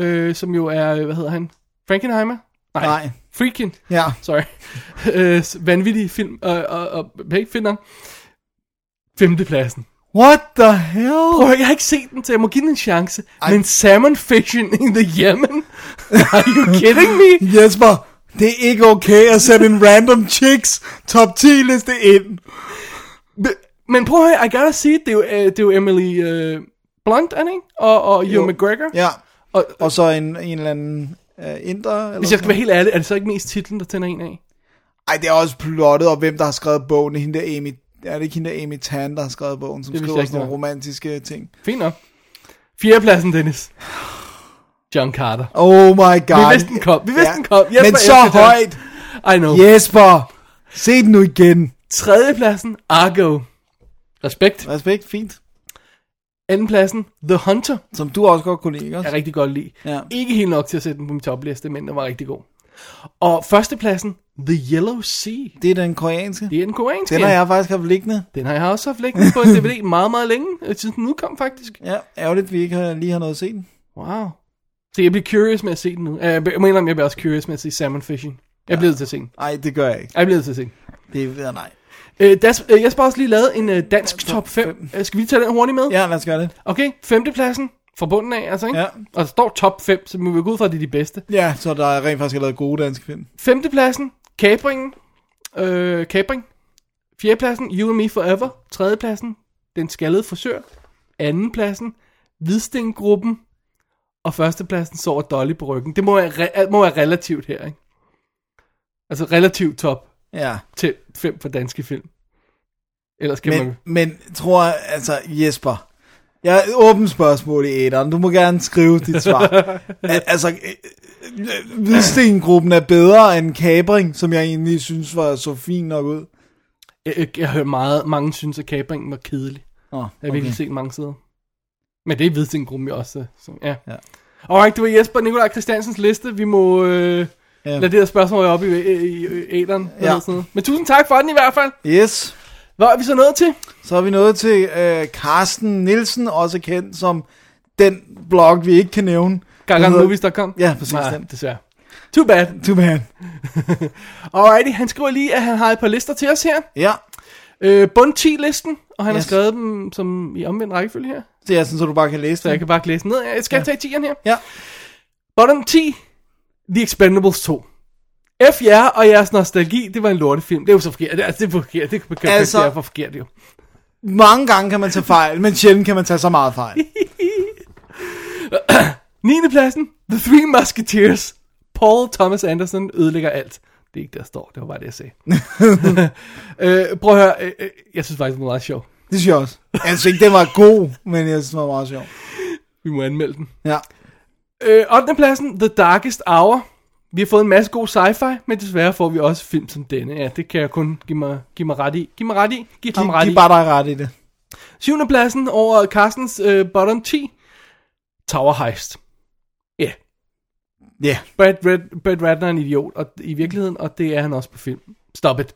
[SPEAKER 5] øh, som jo er, øh, hvad hedder han? Frankenheimer? Nej.
[SPEAKER 4] Nej.
[SPEAKER 5] Freakin.
[SPEAKER 4] ja.
[SPEAKER 5] Sorry. <laughs> øh, vanvittig film. Og, og, og hey, find den. Femtepladsen.
[SPEAKER 4] What the hell?
[SPEAKER 5] Prøv at høre, jeg har ikke set den, så jeg må give den en chance. Ej. Men salmon fishing in the Yemen? <laughs> Are you kidding me?
[SPEAKER 4] Jesper, det er ikke okay at sætte en random chicks top 10 liste ind.
[SPEAKER 5] Men prøv at høre, I gotta see it. Det er jo, øh, det er jo Emily øh, Blunt, er det ikke? Og, og Ewan McGregor.
[SPEAKER 4] Ja,
[SPEAKER 5] Og,
[SPEAKER 4] og så en, en eller anden uh, inder. Eller
[SPEAKER 5] hvis jeg skal være helt ærlig, er det så ikke mest titlen, der tænder en af?
[SPEAKER 4] Ej, det er også plottet, og hvem der har skrevet bogen. Hende der Amy, er det ikke hende der Amy Tan, der har skrevet bogen, som
[SPEAKER 5] Det vidste
[SPEAKER 4] skriver
[SPEAKER 5] jeg ikke,
[SPEAKER 4] sådan nogle
[SPEAKER 5] det var.
[SPEAKER 4] romantiske ting?
[SPEAKER 5] Fint nok. Fjerdepladsen, Dennis. John Carter.
[SPEAKER 4] Oh my god.
[SPEAKER 5] Vi vidste, den kom. Vi vidste,
[SPEAKER 4] Ja.
[SPEAKER 5] den kom. Jesper
[SPEAKER 4] Men så
[SPEAKER 5] elsker den.
[SPEAKER 4] højt.
[SPEAKER 5] I know.
[SPEAKER 4] Jesper, se den nu igen.
[SPEAKER 5] Tredjepladsen, Argo. Respekt.
[SPEAKER 4] Respekt, fint.
[SPEAKER 5] Andenpladsen, The Hunter.
[SPEAKER 4] Som du også godt kunne lide, ikke? også?
[SPEAKER 5] Jeg rigtig godt lide.
[SPEAKER 4] Ja.
[SPEAKER 5] Ikke helt nok til at sætte den på min topliste, men den var rigtig god. Og førstepladsen, The Yellow Sea.
[SPEAKER 4] Det er den koreanske.
[SPEAKER 5] Det er den koreanske.
[SPEAKER 4] Den har jeg faktisk haft liggende.
[SPEAKER 5] den har jeg også haft liggende
[SPEAKER 4] <laughs>
[SPEAKER 5] på en DVD meget, meget længe. Jeg synes, den udkom faktisk.
[SPEAKER 4] Ja, ærgerligt, vi ikke har, lige har noget at se den.
[SPEAKER 5] Wow. Så jeg bliver curious med at se den nu. Øh, Jeg mener, jeg bliver også curious med at se Salmon Fishing. Jeg bliver nødt til at se den.
[SPEAKER 4] Nej, det gør jeg ikke.
[SPEAKER 5] Jeg bliver nødt til at se den.
[SPEAKER 4] Det er nej.
[SPEAKER 5] Øh, das, øh, jeg har også lige lavet en øh, dansk top 5. Øh, skal vi tage den hurtigt med?
[SPEAKER 4] Ja, lad os gøre det.
[SPEAKER 5] Okay, femtepladsen fra bunden af, altså, ikke?
[SPEAKER 4] Ja.
[SPEAKER 5] Og der står top 5, så vi vil gå ud fra, at det er de bedste.
[SPEAKER 4] Ja, så der er rent faktisk lavet gode danske film.
[SPEAKER 5] Femtepladsen, Kabringen. Øh, Kabring. Fjerdepladsen, You and Me Forever. Tredjepladsen, Den Skaldede Forsør. Andenpladsen, Hvidstengruppen. Og førstepladsen sover Dolly på ryggen. Det må være, re- må være relativt her, ikke? Altså relativt top
[SPEAKER 4] Ja.
[SPEAKER 5] til 5 for danske film. Ellers kan
[SPEAKER 4] Men,
[SPEAKER 5] man...
[SPEAKER 4] men tror jeg, altså Jesper, jeg har et åbent spørgsmål i æderen. Du må gerne skrive dit
[SPEAKER 5] <laughs>
[SPEAKER 4] svar. Al- altså, øh, øh, Hvidstengruppen er bedre end Kabring, som jeg egentlig synes var så fint nok ud.
[SPEAKER 5] Jeg, jeg, jeg hører meget, mange synes, at Kabringen var kedelig.
[SPEAKER 4] Oh,
[SPEAKER 5] Jeg har virkelig set mange sider. Men det er Hvidstengruppen jo også. Så, ja.
[SPEAKER 4] Ja.
[SPEAKER 5] ja. Alright, det var Jesper Nikolaj Christiansens liste. Vi må øh,
[SPEAKER 4] Ja.
[SPEAKER 5] lade det her spørgsmål være oppe i, i, i, i æderen.
[SPEAKER 4] Ja.
[SPEAKER 5] Ja. Sådan noget. Men tusind tak for den i hvert fald.
[SPEAKER 4] Yes,
[SPEAKER 5] Hvad er vi så nået til?
[SPEAKER 4] så er vi nået til øh, Carsten Nielsen, også kendt som den blog, vi ikke kan nævne.
[SPEAKER 5] Gargammovies.com?
[SPEAKER 4] Ja, præcis
[SPEAKER 5] Nej,
[SPEAKER 4] den.
[SPEAKER 5] desværre. Too bad.
[SPEAKER 4] Too bad.
[SPEAKER 5] Alrighty, han skriver lige, at han har et par lister til os her.
[SPEAKER 4] Ja,
[SPEAKER 5] Øh, bund 10-listen, og han
[SPEAKER 4] Yes.
[SPEAKER 5] yes. har skrevet dem som i omvendt rækkefølge her.
[SPEAKER 4] det er sådan, så du bare kan læse
[SPEAKER 5] Så jeg
[SPEAKER 4] det.
[SPEAKER 5] kan bare læse ned. Jeg skal ja. tage 10'eren her.
[SPEAKER 4] Ja.
[SPEAKER 5] Bottom 10, The Expendables 2. F jer og jeres nostalgi, det var en lortefilm. Det er jo så forkert. Altså, det er forkert. Det
[SPEAKER 4] Altså-
[SPEAKER 5] kan altså... det er for forkert jo.
[SPEAKER 4] Mange gange kan man tage fejl, men sjældent kan man tage så meget fejl.
[SPEAKER 5] 9. pladsen, The Three Musketeers. Paul Thomas Anderson ødelægger alt. Det er ikke, der står. Det var bare det, jeg <laughs> sagde. øh, prøv at høre. Øh, øh, jeg synes faktisk, det var meget sjov.
[SPEAKER 4] Det synes jeg også. Jeg synes ikke, den var god, men jeg synes, den var meget sjov.
[SPEAKER 5] Vi må anmelde den.
[SPEAKER 4] Ja.
[SPEAKER 5] Øh, 8. pladsen, The Darkest Hour. Vi har fået en masse god sci-fi, men desværre får vi også film som denne. Ja, det kan jeg kun give mig, give mig ret i. Giv mig ret i. Giv ham
[SPEAKER 4] De,
[SPEAKER 5] ret
[SPEAKER 4] de
[SPEAKER 5] i.
[SPEAKER 4] bare dig ret i det.
[SPEAKER 5] 7. pladsen over Carstens øh, bottom 10. Tower Heist. Ja. Yeah.
[SPEAKER 4] Ja. Yeah.
[SPEAKER 5] Brad, Brad, Brad Ratner er en idiot og, i virkeligheden, og det er han også på film. Stop it.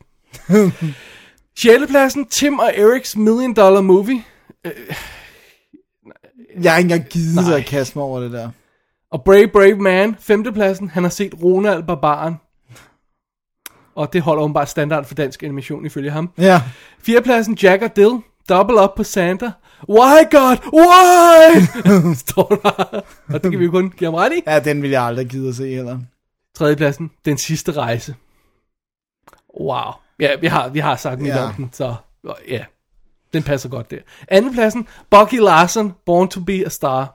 [SPEAKER 5] 6. pladsen, Tim og Erics Million Dollar Movie.
[SPEAKER 4] Jeg har ikke engang givet sig
[SPEAKER 5] Nej.
[SPEAKER 4] at kaste mig over det der.
[SPEAKER 5] Og Brave Brave Man, 5. pladsen, han har set Ronald Barbaren. Og det holder åbenbart standard for dansk animation ifølge ham.
[SPEAKER 4] Ja.
[SPEAKER 5] 4. pladsen, Jack og Dill. Double up på Santa. Why God, why? Står der. Og det kan vi jo kun give ham ret i.
[SPEAKER 4] Ja, den ville jeg aldrig give at se heller.
[SPEAKER 5] Tredjepladsen, Den sidste rejse. Wow. Ja, vi har, vi har sagt mit
[SPEAKER 4] Ja.
[SPEAKER 5] om den, så ja. Den passer godt der. Andenpladsen, Bucky Larson, Born to be a Star.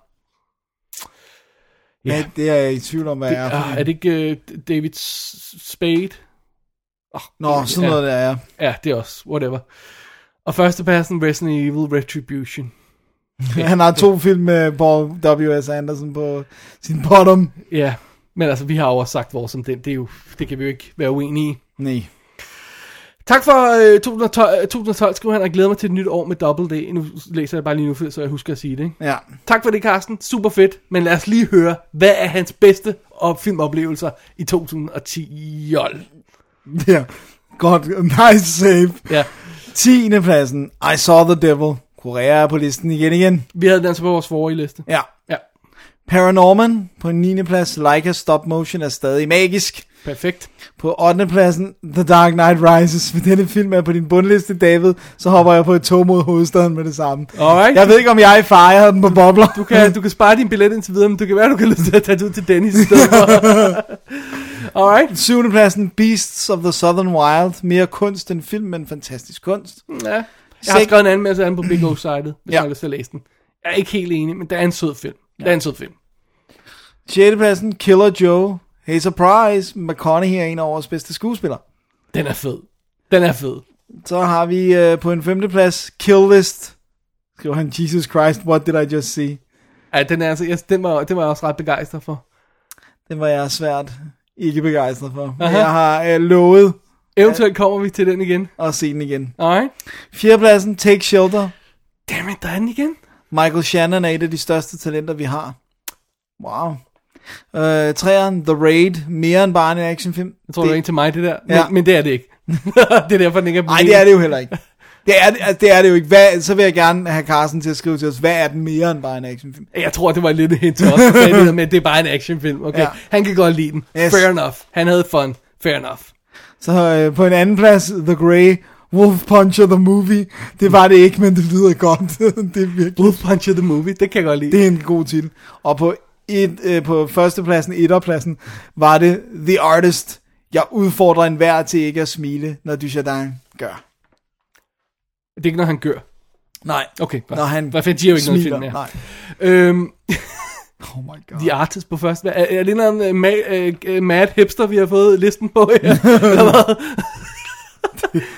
[SPEAKER 4] Ja, det er jeg i tvivl om, hvad
[SPEAKER 5] Det,
[SPEAKER 4] jeg er.
[SPEAKER 5] ja, Ah, er det ikke uh, David S- Spade?
[SPEAKER 4] Nå, sådan
[SPEAKER 5] ja.
[SPEAKER 4] noget der er.
[SPEAKER 5] Ja, det er også, whatever. Og førstepladsen, Resident Evil Retribution.
[SPEAKER 4] <laughs> Han har to film med Paul W.S. Anderson på sin bottom.
[SPEAKER 5] Ja, men altså, vi har jo også sagt vores om den. Det, er jo, det kan vi jo ikke være uenige i.
[SPEAKER 4] Nej.
[SPEAKER 5] Tak for øh, 2012, øh, 2012 skriver han, og jeg glæder mig til et nyt år med Double D. Nu læser jeg bare lige nu, så jeg husker at sige det. Ikke?
[SPEAKER 4] Ja.
[SPEAKER 5] Tak for det, Carsten. Super fedt. Men lad os lige høre, hvad er hans bedste op- filmoplevelser i 2010? Jol.
[SPEAKER 4] ja. Godt. Nice save.
[SPEAKER 5] Ja,
[SPEAKER 4] 10. pladsen. I saw the devil. Korea er på listen igen igen.
[SPEAKER 5] vi havde den altså på vores forrige liste.
[SPEAKER 4] Ja.
[SPEAKER 5] Ja,
[SPEAKER 4] Paranorman på en 9. plads. Leica Stop Motion er stadig magisk.
[SPEAKER 5] perfekt.
[SPEAKER 4] På 8. pladsen, The Dark Knight Rises. Hvis denne film er på din bundliste, David, så hopper jeg på et tog mod hovedstaden med det samme.
[SPEAKER 5] Alright.
[SPEAKER 4] Jeg ved ikke, om jeg er i far, jeg havde den på bobler.
[SPEAKER 5] Du kan, du kan spare din billet indtil videre, men du kan være, du kan lyst til at tage det ud til Dennis i stedet <laughs> for. Alright.
[SPEAKER 4] 7. pladsen, Beasts of the Southern Wild. Mere kunst end film, men fantastisk kunst.
[SPEAKER 5] Ja. Jeg har
[SPEAKER 4] Sek-
[SPEAKER 5] skrevet en anden masse af den på Big O-sitet, hvis
[SPEAKER 4] Ja.
[SPEAKER 5] ja. man har lyst til at læse den. Jeg er ikke helt enig, men det er en sød film. Det er en sød film.
[SPEAKER 4] 6. pladsen, Killer Joe. Hey surprise, McConaughey er en af vores bedste skuespillere.
[SPEAKER 5] Den er fed. Den er fed.
[SPEAKER 4] Så har vi øh, på en 5. plads, Kill List. Skriver han, Jesus Christ, what did I just see?
[SPEAKER 5] Ej, den er altså, jeg, den, var, den var jeg også ret begejstret for.
[SPEAKER 4] Den var jeg svært ikke begejstret for. Men
[SPEAKER 5] Aha.
[SPEAKER 4] jeg har øh, lovet
[SPEAKER 5] Eventuelt kommer vi til den igen.
[SPEAKER 4] at se den igen.
[SPEAKER 5] Alright.
[SPEAKER 4] Fjerdepladsen, Take Shelter.
[SPEAKER 5] Dammit, der er den igen.
[SPEAKER 4] Michael Shannon er et af de største talenter, vi har. Wow. Øh, træeren, The Raid. Mere end bare en actionfilm.
[SPEAKER 5] Jeg tror, det, det var en til mig, det der. Men,
[SPEAKER 4] Ja.
[SPEAKER 5] ja. men det er det ikke. <laughs> det er derfor, den ikke er på
[SPEAKER 4] Nej,
[SPEAKER 5] min.
[SPEAKER 4] det er det jo heller ikke. Det er det, altså, det, er det jo ikke. Hvad, så vil jeg gerne have Carsten til at skrive til os, hvad er den mere end bare en actionfilm?
[SPEAKER 5] Jeg tror, det var lidt et hint til os, der sagde det der med, at det er bare en actionfilm. Okay,
[SPEAKER 4] Ja.
[SPEAKER 5] ja. han kan godt lide den.
[SPEAKER 4] Yes.
[SPEAKER 5] Yes. Fair enough. Han havde fun. Fair enough.
[SPEAKER 4] Så øh, på en anden plads, The Grey. Wolf Puncher The Movie. Det var det ikke, men det lyder godt. <laughs> det er virkelig...
[SPEAKER 5] Wolf Punch of the Movie, det kan jeg godt lide.
[SPEAKER 4] Det er en god titel. Og på, et, øh, på førstepladsen, etterpladsen, var det The Artist. Jeg udfordrer enhver til ikke at smile, når Dujardin gør.
[SPEAKER 5] Det er ikke, når han gør.
[SPEAKER 4] Nej.
[SPEAKER 5] Okay, godt.
[SPEAKER 4] Når han
[SPEAKER 5] Hvad fanden, de er jo ikke
[SPEAKER 4] smiler.
[SPEAKER 5] noget
[SPEAKER 4] Nej.
[SPEAKER 5] film, ja. øhm,
[SPEAKER 4] Oh my god.
[SPEAKER 5] The Artist på første. Er, er det en eller anden uh, ma- uh, uh, mad hipster, vi har fået listen på
[SPEAKER 4] <laughs>
[SPEAKER 5] her? Eller hvad?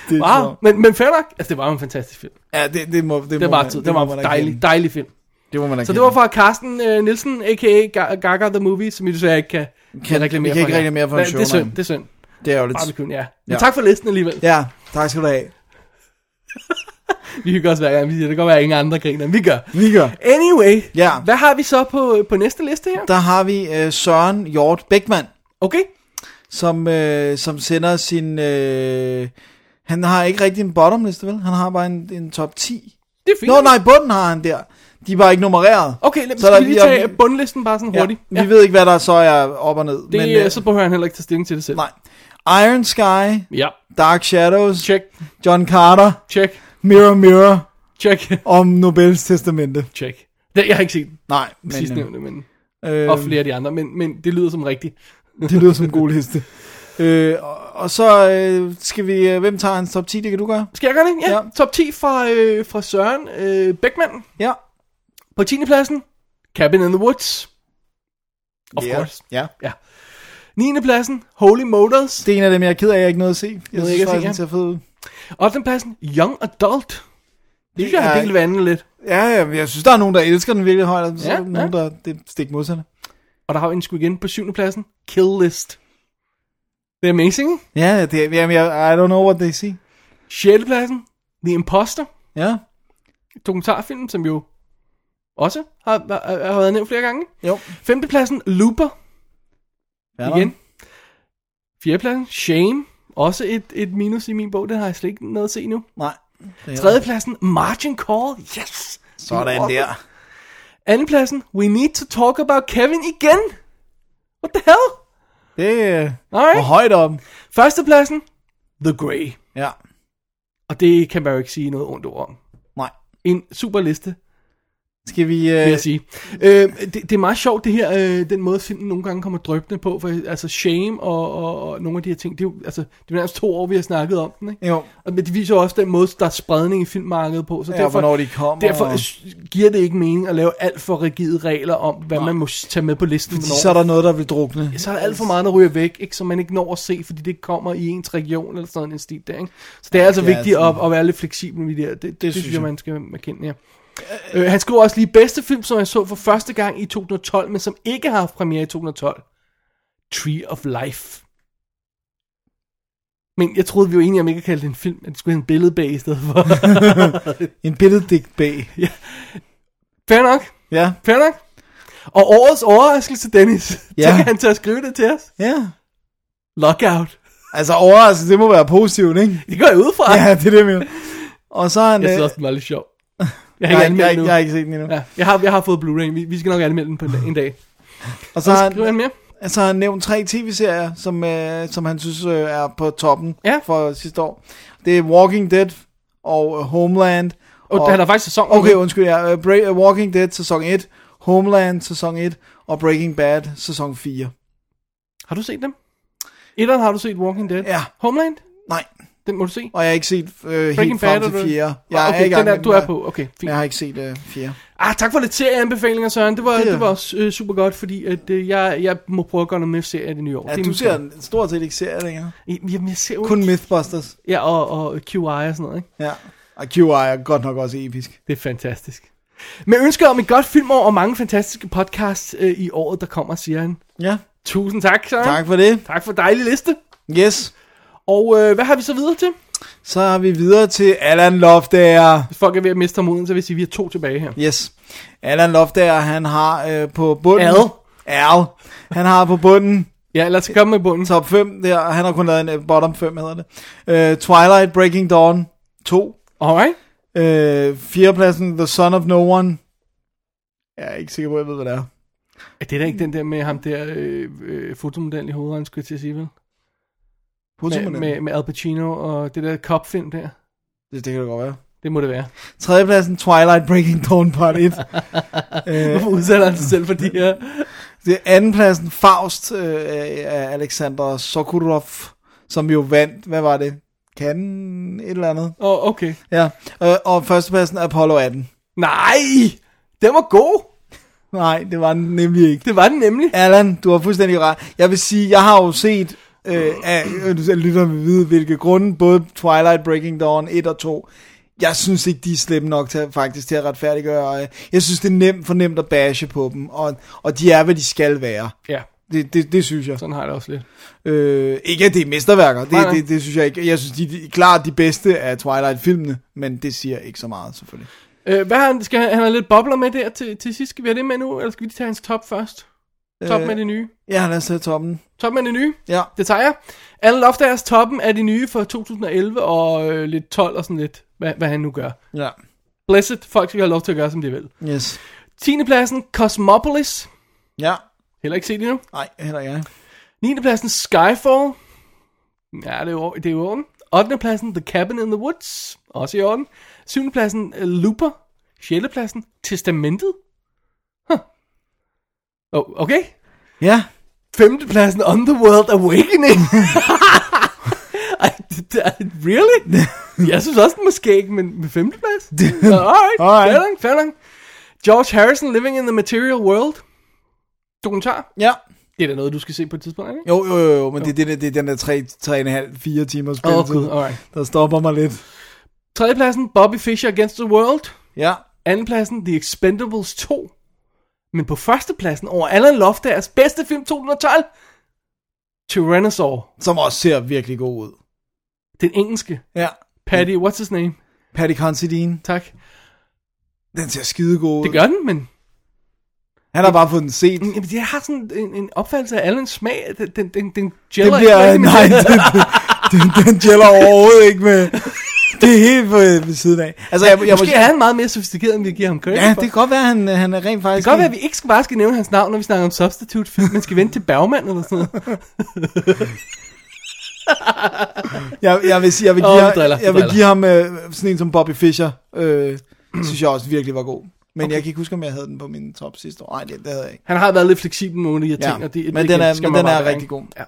[SPEAKER 4] det, er
[SPEAKER 5] wow.
[SPEAKER 4] sjovt.
[SPEAKER 5] Men, men fair nok. Altså, det var jo en fantastisk film.
[SPEAKER 4] Ja, det, det må, det,
[SPEAKER 5] Det
[SPEAKER 4] må
[SPEAKER 5] var,
[SPEAKER 4] man,
[SPEAKER 5] det, det var
[SPEAKER 4] må
[SPEAKER 5] en
[SPEAKER 4] man
[SPEAKER 5] dejlig,
[SPEAKER 4] erkende.
[SPEAKER 5] dejlig film.
[SPEAKER 4] Det må man
[SPEAKER 5] Så det var fra Carsten øh, Nielsen, a.k.a. Ga- Gaga The Movie, som I desværre ikke kan, kan,
[SPEAKER 4] kan ikke
[SPEAKER 5] her.
[SPEAKER 4] reklamere for en
[SPEAKER 5] Nej, Det er
[SPEAKER 4] show, nej.
[SPEAKER 5] synd, det er synd.
[SPEAKER 4] Det er jo lidt...
[SPEAKER 5] Barbecuen, ja. Men
[SPEAKER 4] Ja.
[SPEAKER 5] ja. tak for listen alligevel. Ja.
[SPEAKER 4] Ja, tak skal du have.
[SPEAKER 5] Vi hygger os hver gang, vi siger, det kan godt være, at ingen andre griner, men vi gør.
[SPEAKER 4] Vi gør.
[SPEAKER 5] Anyway,
[SPEAKER 4] Ja.
[SPEAKER 5] hvad har vi så på, på næste liste her?
[SPEAKER 4] Der har vi øh, Søren Hjort Bækman,
[SPEAKER 5] Okay,
[SPEAKER 4] som, øh, som sender sin... Øh, han har ikke rigtig en bottomliste, vel? Han har bare en, en top 10.
[SPEAKER 5] det er fint.
[SPEAKER 4] Nå nej, bunden har han der. De er bare ikke nummereret.
[SPEAKER 5] Okay, lad,
[SPEAKER 4] Så
[SPEAKER 5] så skal
[SPEAKER 4] der-
[SPEAKER 5] vi lige
[SPEAKER 4] ja,
[SPEAKER 5] tage
[SPEAKER 4] vi-
[SPEAKER 5] bundlisten bare sådan hurtigt.
[SPEAKER 4] Ja, vi ved ikke, hvad der så er op og ned.
[SPEAKER 5] det,
[SPEAKER 4] men,
[SPEAKER 5] øh, så behøver han heller ikke tage stilling til det selv.
[SPEAKER 4] nej. Iron Sky,
[SPEAKER 5] Ja,
[SPEAKER 4] Dark Shadows,
[SPEAKER 5] check,
[SPEAKER 4] John Carter,
[SPEAKER 5] check,
[SPEAKER 4] Mirror Mirror
[SPEAKER 5] check,
[SPEAKER 4] om Nobels testamente.
[SPEAKER 5] check. Det, jeg har ikke set
[SPEAKER 4] Nej,
[SPEAKER 5] den
[SPEAKER 4] men,
[SPEAKER 5] sidstnævnte, men,
[SPEAKER 4] øh, <laughs>
[SPEAKER 5] og flere af de andre, men, men det lyder som rigtigt.
[SPEAKER 4] det lyder som en god liste. Øh, og, og så øh, skal vi... øh, Hvem tager hans top 10? Det kan du gøre.
[SPEAKER 5] Skal jeg gøre det? Ja.
[SPEAKER 4] Ja.
[SPEAKER 5] ja. Top 10 fra, øh, fra Søren øh, Beckmann.
[SPEAKER 4] Ja.
[SPEAKER 5] På 10. pladsen, Cabin in the Woods. Of
[SPEAKER 4] Ja.
[SPEAKER 5] course.
[SPEAKER 4] Ja.
[SPEAKER 5] Ja. 9. pladsen, Holy Motors.
[SPEAKER 4] Det er en af dem, jeg er ked af, jeg ikke nåede at se. Jeg
[SPEAKER 5] Nåede
[SPEAKER 4] synes
[SPEAKER 5] ikke at se,
[SPEAKER 4] faktisk, den
[SPEAKER 5] ja.
[SPEAKER 4] ser fed ud.
[SPEAKER 5] 8. pladsen, Young Adult. Det synes jeg
[SPEAKER 4] er-
[SPEAKER 5] har delt vandet lidt.
[SPEAKER 4] Ja, ja, men jeg synes, der er nogen, der elsker den virkelig højt, og så ja,
[SPEAKER 5] Ja,
[SPEAKER 4] er der nogen,
[SPEAKER 5] ja.
[SPEAKER 4] der det er stik modsatte.
[SPEAKER 5] Og der har vi en sgu igen på 7. pladsen, Kill List. Det er amazing, ikke?
[SPEAKER 4] Ja, ja, det, er- jamen, jeg, I don't know what they see.
[SPEAKER 5] 6. pladsen, The Imposter.
[SPEAKER 4] Ja,
[SPEAKER 5] Dokumentarfilm, som jo også har, har, har været nævnt flere gange.
[SPEAKER 4] jo.
[SPEAKER 5] 5. pladsen, Looper.
[SPEAKER 4] Ja,
[SPEAKER 5] Igen. Fjerdepladsen, Shame. Også et, et minus i min bog, den har jeg slet ikke noget at se nu.
[SPEAKER 4] Nej. Det er-
[SPEAKER 5] Tredjepladsen, Margin Call. Yes!
[SPEAKER 4] Sådan der.
[SPEAKER 5] Andenpladsen, We Need to Talk About Kevin igen. What the hell?
[SPEAKER 4] Det øh,
[SPEAKER 5] Alright.
[SPEAKER 4] var højt om.
[SPEAKER 5] Førstepladsen, The Grey.
[SPEAKER 4] Ja,
[SPEAKER 5] Og det kan man jo ikke sige noget ondt ord om.
[SPEAKER 4] nej.
[SPEAKER 5] En super liste,
[SPEAKER 4] Skal vi...
[SPEAKER 5] vil
[SPEAKER 4] Øh,
[SPEAKER 5] jeg sige. Øh, det, det er meget sjovt, det her, øh, den måde filmen nogle gange kommer drøbende på, for altså Shame og, og, og nogle af de her ting, det er jo altså, det er nærmest to år, vi har snakket om den, ikke?
[SPEAKER 4] Jo.
[SPEAKER 5] Og- Men det viser jo også den måde, der er spredning i filmmarkedet på, så
[SPEAKER 4] Ja,
[SPEAKER 5] derfor,
[SPEAKER 4] hvornår de kommer,
[SPEAKER 5] derfor
[SPEAKER 4] og-
[SPEAKER 5] s- giver det ikke mening at lave alt for rigide regler om, hvad man må s- tage med på listen,
[SPEAKER 4] Fordi
[SPEAKER 5] hvornår.
[SPEAKER 4] så er der noget, der vil drukne.
[SPEAKER 5] så er der alt for meget, der ryger væk, ikke? som man ikke når at se, fordi det kommer i ens region eller sådan en stil der. Ikke? Så det er altså
[SPEAKER 4] det er
[SPEAKER 5] vigtigt
[SPEAKER 4] sådan-
[SPEAKER 5] at, at være lidt fleksibel med det der. Det, det, det synes
[SPEAKER 4] synes
[SPEAKER 5] jeg,
[SPEAKER 4] jeg.
[SPEAKER 5] man skal erkende, ja. Øh, han skriver også lige bedste film, som jeg så for første gang i 2012, men som ikke har haft premiere i 2012. Tree of Life. Men jeg troede, vi var enige om ikke at kalde det en film, at det skulle have en billede bag i
[SPEAKER 4] <laughs>
[SPEAKER 5] stedet for.
[SPEAKER 4] En billeddægt bag.
[SPEAKER 5] fair nok,
[SPEAKER 4] Ja.
[SPEAKER 5] fair nok. Og årets overraskelse, Dennis.
[SPEAKER 4] Ja.
[SPEAKER 5] Ja. Så kan han tage at skrive det til os.
[SPEAKER 4] Ja.
[SPEAKER 5] Lockout.
[SPEAKER 4] Altså overraskelse, det må være positivt, ikke?
[SPEAKER 5] Det går jeg ud fra.
[SPEAKER 4] Ja, det er det, jeg mener. Og så er han...
[SPEAKER 5] Jeg synes
[SPEAKER 4] øh,
[SPEAKER 5] også, den var lidt
[SPEAKER 4] <laughs>
[SPEAKER 5] sjov. Jeg har
[SPEAKER 4] jeg,
[SPEAKER 5] ikke
[SPEAKER 4] jeg,
[SPEAKER 5] anmeldt den
[SPEAKER 4] jeg,
[SPEAKER 5] nu.
[SPEAKER 4] jeg har ikke set den endnu.
[SPEAKER 5] Ja, jeg, har, jeg har fået Blu-ray. Vi, vi skal nok anmelde den på en dag. En dag.
[SPEAKER 4] Og så har han,
[SPEAKER 5] Skriver han mere?
[SPEAKER 4] altså, har han nævnt tre tv-serier, som, øh, som han synes øh, er på toppen
[SPEAKER 5] Ja.
[SPEAKER 4] for sidste år. Det er Walking Dead og øh, Homeland.
[SPEAKER 5] Og, og han har faktisk sæson.
[SPEAKER 4] Okay, undskyld, ja. Øh, Bra- øh, Walking Dead sæson 1, Homeland sæson 1 og Breaking Bad sæson 4.
[SPEAKER 5] Har du set dem? Etteren har du set Walking Dead.
[SPEAKER 4] Ja.
[SPEAKER 5] Homeland?
[SPEAKER 4] Nej,
[SPEAKER 5] Den må du se.
[SPEAKER 4] og jeg har ikke set øh,
[SPEAKER 5] Breaking
[SPEAKER 4] helt frem
[SPEAKER 5] Bad, er
[SPEAKER 4] til
[SPEAKER 5] du-
[SPEAKER 4] 4. Jeg
[SPEAKER 5] Ja, okay,
[SPEAKER 4] i gang
[SPEAKER 5] den er,
[SPEAKER 4] med
[SPEAKER 5] du
[SPEAKER 4] den
[SPEAKER 5] er
[SPEAKER 4] der,
[SPEAKER 5] på. Okay,
[SPEAKER 4] men
[SPEAKER 5] fint.
[SPEAKER 4] Jeg har ikke set øh, 4.
[SPEAKER 5] Ah, tak for lidt serieanbefalinger, Søren. Det var,
[SPEAKER 4] Det er-
[SPEAKER 5] det var også øh, super godt, fordi at, øh, jeg, jeg må prøve at gøre noget med serier i det nye år.
[SPEAKER 4] Ja,
[SPEAKER 5] det er
[SPEAKER 4] du
[SPEAKER 5] min
[SPEAKER 4] ser
[SPEAKER 5] plan.
[SPEAKER 4] den stort set ikke serier længere.
[SPEAKER 5] Jamen, jeg ser jo
[SPEAKER 4] Kun
[SPEAKER 5] ikke-
[SPEAKER 4] Mythbusters.
[SPEAKER 5] Ja, og, og QI og sådan noget, ikke?
[SPEAKER 4] Ja. Og QI er godt nok også episk.
[SPEAKER 5] Det er fantastisk. Med ønsker om et godt filmår og mange fantastiske podcasts øh, i året, der kommer, siger han.
[SPEAKER 4] Ja,
[SPEAKER 5] Tusind tak, Søren.
[SPEAKER 4] tak for det.
[SPEAKER 5] Tak for dejlig liste.
[SPEAKER 4] Yes.
[SPEAKER 5] Og øh, hvad har vi så videre til?
[SPEAKER 4] Så er vi videre til Allan Loftager.
[SPEAKER 5] Hvis folk er ved at miste moden, så vil jeg sige, at vi har to tilbage her.
[SPEAKER 4] Yes. Allan Loftager, han har øh, på bunden...
[SPEAKER 5] Al.
[SPEAKER 4] Al. Han har på bunden
[SPEAKER 5] Ja, lad os komme med bunden.
[SPEAKER 4] top 5 der. og Han har kun lavet en øh, bottom 5, hedder det. Øh, Twilight Breaking Dawn 2.
[SPEAKER 5] Alright.
[SPEAKER 4] Øh, fjerdepladsen The Son of No One. Jeg er ikke sikker på, at jeg ved, hvad det er.
[SPEAKER 5] Er det da ikke den der med ham der øh, øh, fotomodel i hovedet, skulle jeg til at sige, vel? Med,
[SPEAKER 4] Fotomodellen.
[SPEAKER 5] med, med Al Pacino og det der cop-film der.
[SPEAKER 4] Det, det kan det godt være.
[SPEAKER 5] Det må det være. <laughs>
[SPEAKER 4] Tredjepladsen Twilight Breaking Dawn Part 1. øh,
[SPEAKER 5] Hvorfor udsætter han sig selv for de her?
[SPEAKER 4] Det er andenpladsen, Faust øh, af Alexander Sokurov, som jo vandt, hvad var det? Kan et eller andet.
[SPEAKER 5] Åh, oh, okay.
[SPEAKER 4] Ja, øh, og førstepladsen Apollo 18.
[SPEAKER 5] Nej! Den var god!
[SPEAKER 4] Nej, det var den nemlig ikke.
[SPEAKER 5] Det var den nemlig.
[SPEAKER 4] Allan, du har fuldstændig ret. Jeg vil sige, jeg har jo set, øh, af, øh, du lytter med vide, hvilke grunde, både Twilight, Breaking Dawn 1 og 2. Jeg synes ikke, de er slemme nok til, at- faktisk til at retfærdiggøre. øh, Jeg synes, det er nemt for nemt at bashe på dem, og, og de er, hvad de skal være.
[SPEAKER 5] Ja,
[SPEAKER 4] Det, det, det synes jeg.
[SPEAKER 5] sådan har jeg det også lidt.
[SPEAKER 4] Øh, ikke at det er mesterværker, det,
[SPEAKER 5] Nej, nej.
[SPEAKER 4] det, det synes jeg ikke. Jeg synes, de, de er klart de bedste af Twilight-filmene, men det siger ikke så meget, selvfølgelig.
[SPEAKER 5] Øh, hvad har han, skal han, han har lidt bobler med der til, til sidst? Skal vi have det med nu, eller skal vi lige tage hans top først? Top
[SPEAKER 4] Øh.
[SPEAKER 5] med det nye.
[SPEAKER 4] Ja, lad os tage toppen.
[SPEAKER 5] Top med det nye.
[SPEAKER 4] Ja,
[SPEAKER 5] Det tager jeg. Allen Loftagers toppen er de nye for 2011 og øh, lidt 12 og sådan lidt, hvad, hvad han nu gør.
[SPEAKER 4] ja.
[SPEAKER 5] Blessed, folk skal have lov til at gøre, som de vil.
[SPEAKER 4] Yes.
[SPEAKER 5] 10. pladsen, Cosmopolis.
[SPEAKER 4] Ja,
[SPEAKER 5] Heller ikke set endnu.
[SPEAKER 4] nej, heller ikke.
[SPEAKER 5] 9. pladsen, Skyfall. Ja, det er jo, det er jo orden. 8. pladsen, The Cabin in the Woods. Også i orden. 7. pladsen, øh, Looper. 6. pladsen, Testamentet. Huh. Oh, okay.
[SPEAKER 4] Ja,
[SPEAKER 5] Femtepladsen Underworld Awakening. <laughs> Ej, det- det er- <laughs> really? Jeg synes også, den var skæg, men med femteplads? Nå, Alright,
[SPEAKER 4] Alright.
[SPEAKER 5] fair nok, fair nok. George Harrison, Living in the Material World. Dokumentar.
[SPEAKER 4] Ja.
[SPEAKER 5] Det er da noget, du skal se på et tidspunkt, ikke?
[SPEAKER 4] Jo, jo, jo, jo men Det, er det, der- det er den der 3,5-4 timers
[SPEAKER 5] Åh, oh,
[SPEAKER 4] spilletid,
[SPEAKER 5] gud, alright.
[SPEAKER 4] der stopper mig lidt.
[SPEAKER 5] Tredjepladsen, Bobby Fischer Against the World.
[SPEAKER 4] Ja.
[SPEAKER 5] Andenpladsen, The Expendables 2. Men på førstepladsen over Alan Loftagers bedste film 2012, Tyrannosaur.
[SPEAKER 4] Som også ser virkelig god ud.
[SPEAKER 5] Den engelske.
[SPEAKER 4] Ja.
[SPEAKER 5] Paddy, what's his name?
[SPEAKER 4] Patty Considine,
[SPEAKER 5] Tak.
[SPEAKER 4] den ser skide god ud.
[SPEAKER 5] Det gør den, men
[SPEAKER 4] Han har bare fået den set.
[SPEAKER 5] Mm, jamen, jeg har sådan en, en opfattelse af Alans smag. Den, den, den, den
[SPEAKER 4] Det
[SPEAKER 5] gælder
[SPEAKER 4] bliver,
[SPEAKER 5] rigtig
[SPEAKER 4] <laughs>
[SPEAKER 5] med <laughs>
[SPEAKER 4] nej,
[SPEAKER 5] det.
[SPEAKER 4] den, den, den gælder overhovedet ikke med... Det er helt på, ved siden af. Altså, jeg, jeg,
[SPEAKER 5] Måske er han meget mere sofistikeret, end vi giver ham credit
[SPEAKER 4] Ja,
[SPEAKER 5] for.
[SPEAKER 4] det kan godt være, han, han er rent
[SPEAKER 5] Det
[SPEAKER 4] faktisk...
[SPEAKER 5] kan godt være, at vi ikke skal bare skal nævne hans navn, når vi snakker om substitute film. Man skal vente til Bergman eller sådan noget.
[SPEAKER 4] Jeg, jeg, vil, sige, jeg vil
[SPEAKER 5] Åh,
[SPEAKER 4] give,
[SPEAKER 5] du driller,
[SPEAKER 4] oh,
[SPEAKER 5] du
[SPEAKER 4] jeg vil
[SPEAKER 5] driller.
[SPEAKER 4] give ham øh, sådan en som Bobby Fischer, øh, synes jeg også virkelig var god. Men okay. jeg kan ikke huske, om jeg havde den på min top sidste år. Nej, det, det havde jeg ikke.
[SPEAKER 5] Han har været lidt fleksibel med nogle af de her
[SPEAKER 4] Ja,
[SPEAKER 5] ting, og det,
[SPEAKER 4] men
[SPEAKER 5] det
[SPEAKER 4] den er-
[SPEAKER 5] skal
[SPEAKER 4] men
[SPEAKER 5] man
[SPEAKER 4] den
[SPEAKER 5] bare
[SPEAKER 4] er
[SPEAKER 5] være,
[SPEAKER 4] rigtig
[SPEAKER 5] ikke?
[SPEAKER 4] god.
[SPEAKER 5] Ja.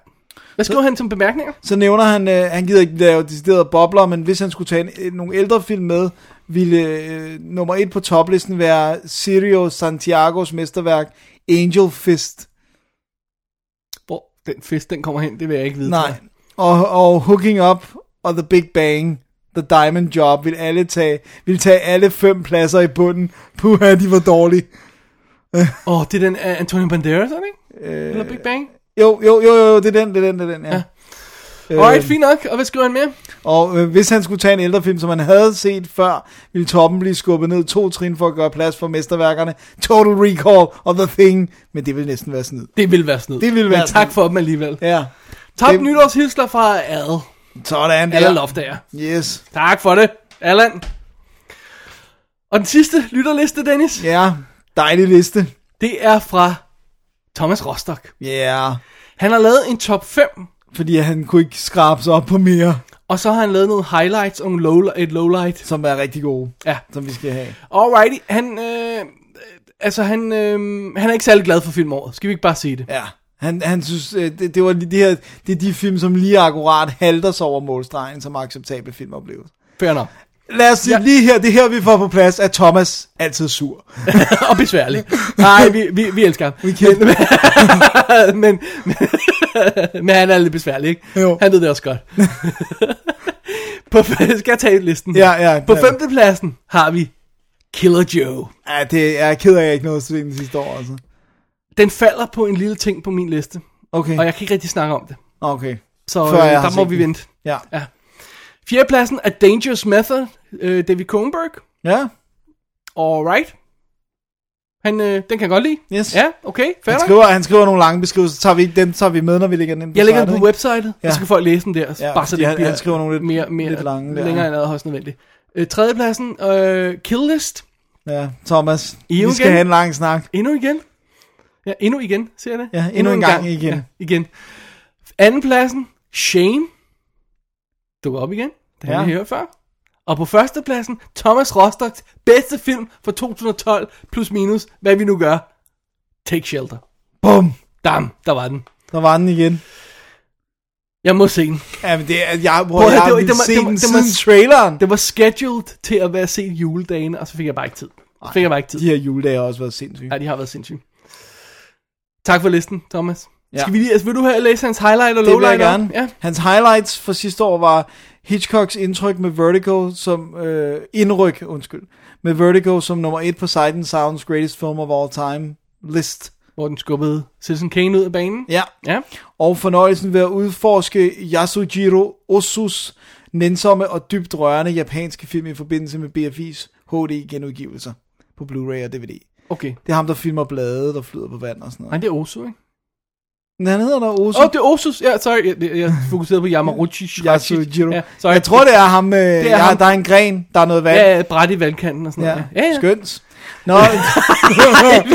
[SPEAKER 5] Hvad skriver han som bemærkninger?
[SPEAKER 4] Så nævner han, øh, han gider ikke lave deciderede bobler, men hvis han skulle tage en, øh, nogle ældre film med, ville øh, nummer et på toplisten være Sirio Santiagos mesterværk Angel Fist.
[SPEAKER 5] Hvor den fisk, den kommer hen, det vil jeg ikke vide. tror
[SPEAKER 4] Nej.
[SPEAKER 5] jeg.
[SPEAKER 4] Og, og Hooking Up og The Big Bang, The Diamond Job, vil alle tage, vil tage alle fem pladser i bunden. Puha, de var dårlige.
[SPEAKER 5] Åh, oh, det er den af Antonio Banderas, er det ikke? Øh... Eller Big Bang?
[SPEAKER 4] Jo, jo, jo, jo, det er den, det er den, det er den, ja.
[SPEAKER 5] Ja.
[SPEAKER 4] ja. øh,
[SPEAKER 5] Alright, fint nok. Og hvad skriver han mere?
[SPEAKER 4] Og øh, hvis han skulle tage en ældrefilm, som han havde set før, ville toppen blive skubbet ned to trin for at gøre plads for mesterværkerne Total Recall og The Thing, men det ville næsten være snyd.
[SPEAKER 5] Det vil være snyd.
[SPEAKER 4] Det vil være
[SPEAKER 5] Men tak
[SPEAKER 4] snyd.
[SPEAKER 5] for dem alligevel.
[SPEAKER 4] Ja,
[SPEAKER 5] Top
[SPEAKER 4] Det-
[SPEAKER 5] nytårshilsner fra Adel.
[SPEAKER 4] sådan
[SPEAKER 5] Alle
[SPEAKER 4] der.
[SPEAKER 5] loftager.
[SPEAKER 4] Yes.
[SPEAKER 5] Tak for det, Allan. Og den sidste lytterliste, Dennis, yeah.
[SPEAKER 4] Ja, dejlig liste.
[SPEAKER 5] det er fra Thomas Rostock.
[SPEAKER 4] Ja, yeah.
[SPEAKER 5] Han har lavet en top 5,
[SPEAKER 4] fordi han kunne ikke skrabe sig op på mere,
[SPEAKER 5] og så har han lavet nogle highlights og nogle low, et lowlight.
[SPEAKER 4] som er rigtig gode,
[SPEAKER 5] Ja,
[SPEAKER 4] som vi skal have.
[SPEAKER 5] alrighty. Han, øh, altså han, øh, han er ikke særlig glad for filmåret. Skal vi ikke bare sige det?
[SPEAKER 4] Ja. Han, han synes, øh, det, det, var lige- det, her, det er de film, som lige akkurat halter sig over målstregen som acceptabel filmoplevelse.
[SPEAKER 5] Fair nok.
[SPEAKER 4] Lad os sige
[SPEAKER 5] Ja.
[SPEAKER 4] ja. lige her, det her vi får på plads, at Thomas altid sur.
[SPEAKER 5] <laughs> og besværlig. Nej, vi, vi, vi elsker ham.
[SPEAKER 4] Vi kender det.
[SPEAKER 5] men, <laughs> men, men han er lidt besværlig, ikke?
[SPEAKER 4] Jo.
[SPEAKER 5] Han ved det
[SPEAKER 4] <laughs>
[SPEAKER 5] også godt. på, skal jeg tage listen?
[SPEAKER 4] Ja, ja.
[SPEAKER 5] På
[SPEAKER 4] ja.
[SPEAKER 5] femtepladsen har vi Killer Joe.
[SPEAKER 4] Ja, det er jeg ked af, at jeg ikke nåede at se den sidste år, altså.
[SPEAKER 5] Den falder på en lille ting på min liste,
[SPEAKER 4] Okay,
[SPEAKER 5] og jeg kan ikke rigtig snakke om det.
[SPEAKER 4] okay.
[SPEAKER 5] Så øh,
[SPEAKER 4] Før jeg har
[SPEAKER 5] der må
[SPEAKER 4] set
[SPEAKER 5] vi
[SPEAKER 4] den.
[SPEAKER 5] vente.
[SPEAKER 4] Ja.
[SPEAKER 5] Fjerdepladsen er Dangerous Method, øh, David Kronberg.
[SPEAKER 4] Ja,
[SPEAKER 5] Alright. Han, øh, den kan jeg godt lide.
[SPEAKER 4] yes.
[SPEAKER 5] Ja, okay, fair
[SPEAKER 4] han,
[SPEAKER 5] nok.
[SPEAKER 4] skriver, han skriver nogle lange beskrivelser, så tager vi ikke dem, så tager vi med, når vi lægger dem
[SPEAKER 5] Jeg lægger den
[SPEAKER 4] site,
[SPEAKER 5] på websitet, ja.
[SPEAKER 4] Ja.
[SPEAKER 5] og så kan folk læse den der, ja,
[SPEAKER 4] Ja,
[SPEAKER 5] bare så
[SPEAKER 4] fordi
[SPEAKER 5] det
[SPEAKER 4] han-
[SPEAKER 5] bliver
[SPEAKER 4] han skriver nogle lidt-
[SPEAKER 5] mere, mere,
[SPEAKER 4] lidt lange der,
[SPEAKER 5] længere
[SPEAKER 4] ja.
[SPEAKER 5] end ad højst nødvendigt. Øh, tredjepladsen, øh, Kill List,
[SPEAKER 4] ikke? Ja, Thomas,
[SPEAKER 5] I jo
[SPEAKER 4] vi skal
[SPEAKER 5] igen.
[SPEAKER 4] have en lang snak.
[SPEAKER 5] endnu igen. Ja, endnu igen, ser jeg det?
[SPEAKER 4] Ja, endnu en gang igen.
[SPEAKER 5] Ja, igen. Andenpladsen, Shane, dukker op igen, det har
[SPEAKER 4] Ja.
[SPEAKER 5] vi hørt før. Og på førstepladsen, Thomas Rostocks bedste film fra 2012, plus minus, hvad vi nu gør, Take Shelter.
[SPEAKER 4] Bum!
[SPEAKER 5] Dam, der var den.
[SPEAKER 4] Der var den igen.
[SPEAKER 5] Jeg må se den.
[SPEAKER 4] Ja, men det er, jeg, bror,
[SPEAKER 5] Prøv at
[SPEAKER 4] jeg
[SPEAKER 5] høre, det
[SPEAKER 4] har
[SPEAKER 5] var- det
[SPEAKER 4] vildt
[SPEAKER 5] var-
[SPEAKER 4] se
[SPEAKER 5] det var-
[SPEAKER 4] den
[SPEAKER 5] det var-
[SPEAKER 4] siden traileren.
[SPEAKER 5] Det var scheduled til at være set juledagen, og så fik jeg bare ikke tid. Så fik jeg bare ikke tid.
[SPEAKER 4] De her juledage har også været sindssyge.
[SPEAKER 5] Ja, de har været sindssyge. Tak for listen, Thomas. Ja.
[SPEAKER 4] Ja.
[SPEAKER 5] Skal vi lige, altså, vil du have læse hans highlight og
[SPEAKER 4] Det vil
[SPEAKER 5] lowlight?
[SPEAKER 4] jeg
[SPEAKER 5] op?
[SPEAKER 4] gerne.
[SPEAKER 5] Ja.
[SPEAKER 4] Hans highlights fra sidste år var Hitchcocks indtryk med Vertigo som øh, indryk, undskyld, med Vertigo som nummer et på Sight Sounds Greatest Film of All Time list.
[SPEAKER 5] Hvor den skubbede Citizen Kane ud af banen.
[SPEAKER 4] Ja.
[SPEAKER 5] Ja.
[SPEAKER 4] Og fornøjelsen ved at udforske Yasujiro Osus nænsomme og dybt rørende japanske film i forbindelse med BFI's HD genudgivelser på Blu-ray og DVD.
[SPEAKER 5] Okay.
[SPEAKER 4] Det er ham, der filmer blade, der flyder på vand og sådan
[SPEAKER 5] Nej,
[SPEAKER 4] noget.
[SPEAKER 5] det er Osu, ikke?
[SPEAKER 4] Men han hedder da Osu.
[SPEAKER 5] Åh, oh, det er Osus. Ja, sorry. Jeg, jeg, jeg fokuserede på
[SPEAKER 4] <laughs>
[SPEAKER 5] Yamaruchi.
[SPEAKER 4] Yasujiro.
[SPEAKER 5] Ja,
[SPEAKER 4] Ja,
[SPEAKER 5] sorry.
[SPEAKER 4] jeg tror, det er ham. Øh, det
[SPEAKER 5] er
[SPEAKER 4] er ja,
[SPEAKER 5] ham.
[SPEAKER 4] ham. Der er en gren, der er noget vand.
[SPEAKER 5] Ja, ja, bræt i vandkanten og sådan
[SPEAKER 4] Ja,
[SPEAKER 5] noget. Ja, ja. <laughs>
[SPEAKER 4] skønt. Nå,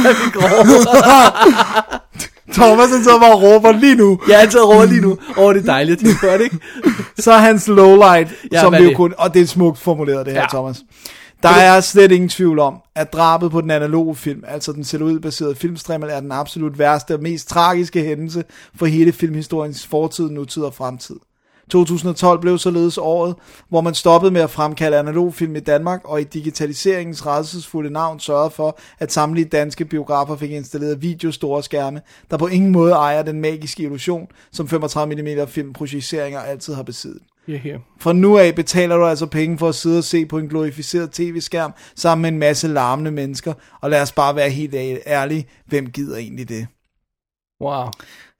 [SPEAKER 4] <laughs> Thomas han sidder bare og råber lige nu.
[SPEAKER 5] Jeg er altid over lige nu. Åh, oh, det er dejligt
[SPEAKER 4] <laughs>
[SPEAKER 5] at tilføre det, ikke?
[SPEAKER 4] Så er hans lowlight,
[SPEAKER 5] Ja,
[SPEAKER 4] ja, som
[SPEAKER 5] hvad
[SPEAKER 4] vi
[SPEAKER 5] er
[SPEAKER 4] jo
[SPEAKER 5] det?
[SPEAKER 4] kun... Og det er smukt formuleret, det her,
[SPEAKER 5] Ja.
[SPEAKER 4] ja. Thomas. Der er slet ingen tvivl om, at drabet på den analoge film, altså den celluloidbaserede filmstrimmel, er den absolut værste og mest tragiske hændelse for hele filmhistoriens fortid, nutid og fremtid. 2012 blev således året, hvor man stoppede med at fremkalde analogfilm i Danmark, og i digitaliseringens redselsfulde navn sørgede for, at samtlige danske biografer fik installeret videostore skærme, der på ingen måde ejer den magiske illusion, som 35mm filmprojiceringer altid har besiddet.
[SPEAKER 5] Ja, her.
[SPEAKER 4] Fra nu af betaler du altså penge for at sidde og se på en glorificeret tv-skærm sammen med en masse larmende mennesker, og lad os bare være helt ærlige, hvem gider egentlig det?
[SPEAKER 5] Wow.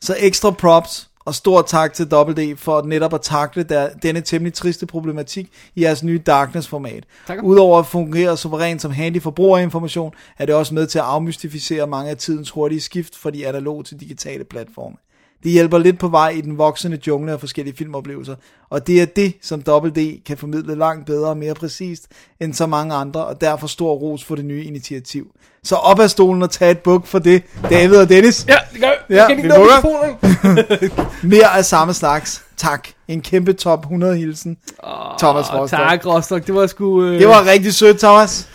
[SPEAKER 4] Så ekstra props og stor tak til WD for netop at takle der, denne temmelig triste problematik i jeres nye Darkness-format.
[SPEAKER 5] Tak.
[SPEAKER 4] Udover at fungere suverænt som handy forbrugerinformation, er det også med til at afmystificere mange af tidens hurtige skift fra de analoge til digitale platforme. Det hjælper lidt på vej i den voksende jungle af forskellige filmoplevelser, og det er det, som WD kan formidle langt bedre og mere præcist end så mange andre, og derfor stor ros for det nye initiativ. Så op af stolen og tag et buk for det, David og Dennis.
[SPEAKER 5] Ja, det gør vi.
[SPEAKER 4] Ja,
[SPEAKER 5] Kan ikke
[SPEAKER 4] vi
[SPEAKER 5] nå
[SPEAKER 4] lukker.
[SPEAKER 5] mikrofonerne?
[SPEAKER 4] Mere af samme slags. Tak. En kæmpe top 100 hilsen. Oh, Thomas
[SPEAKER 5] Åh,
[SPEAKER 4] Rostock.
[SPEAKER 5] Tak, Rostock. Det var sgu... Øh...
[SPEAKER 4] Det var rigtig sødt, Thomas.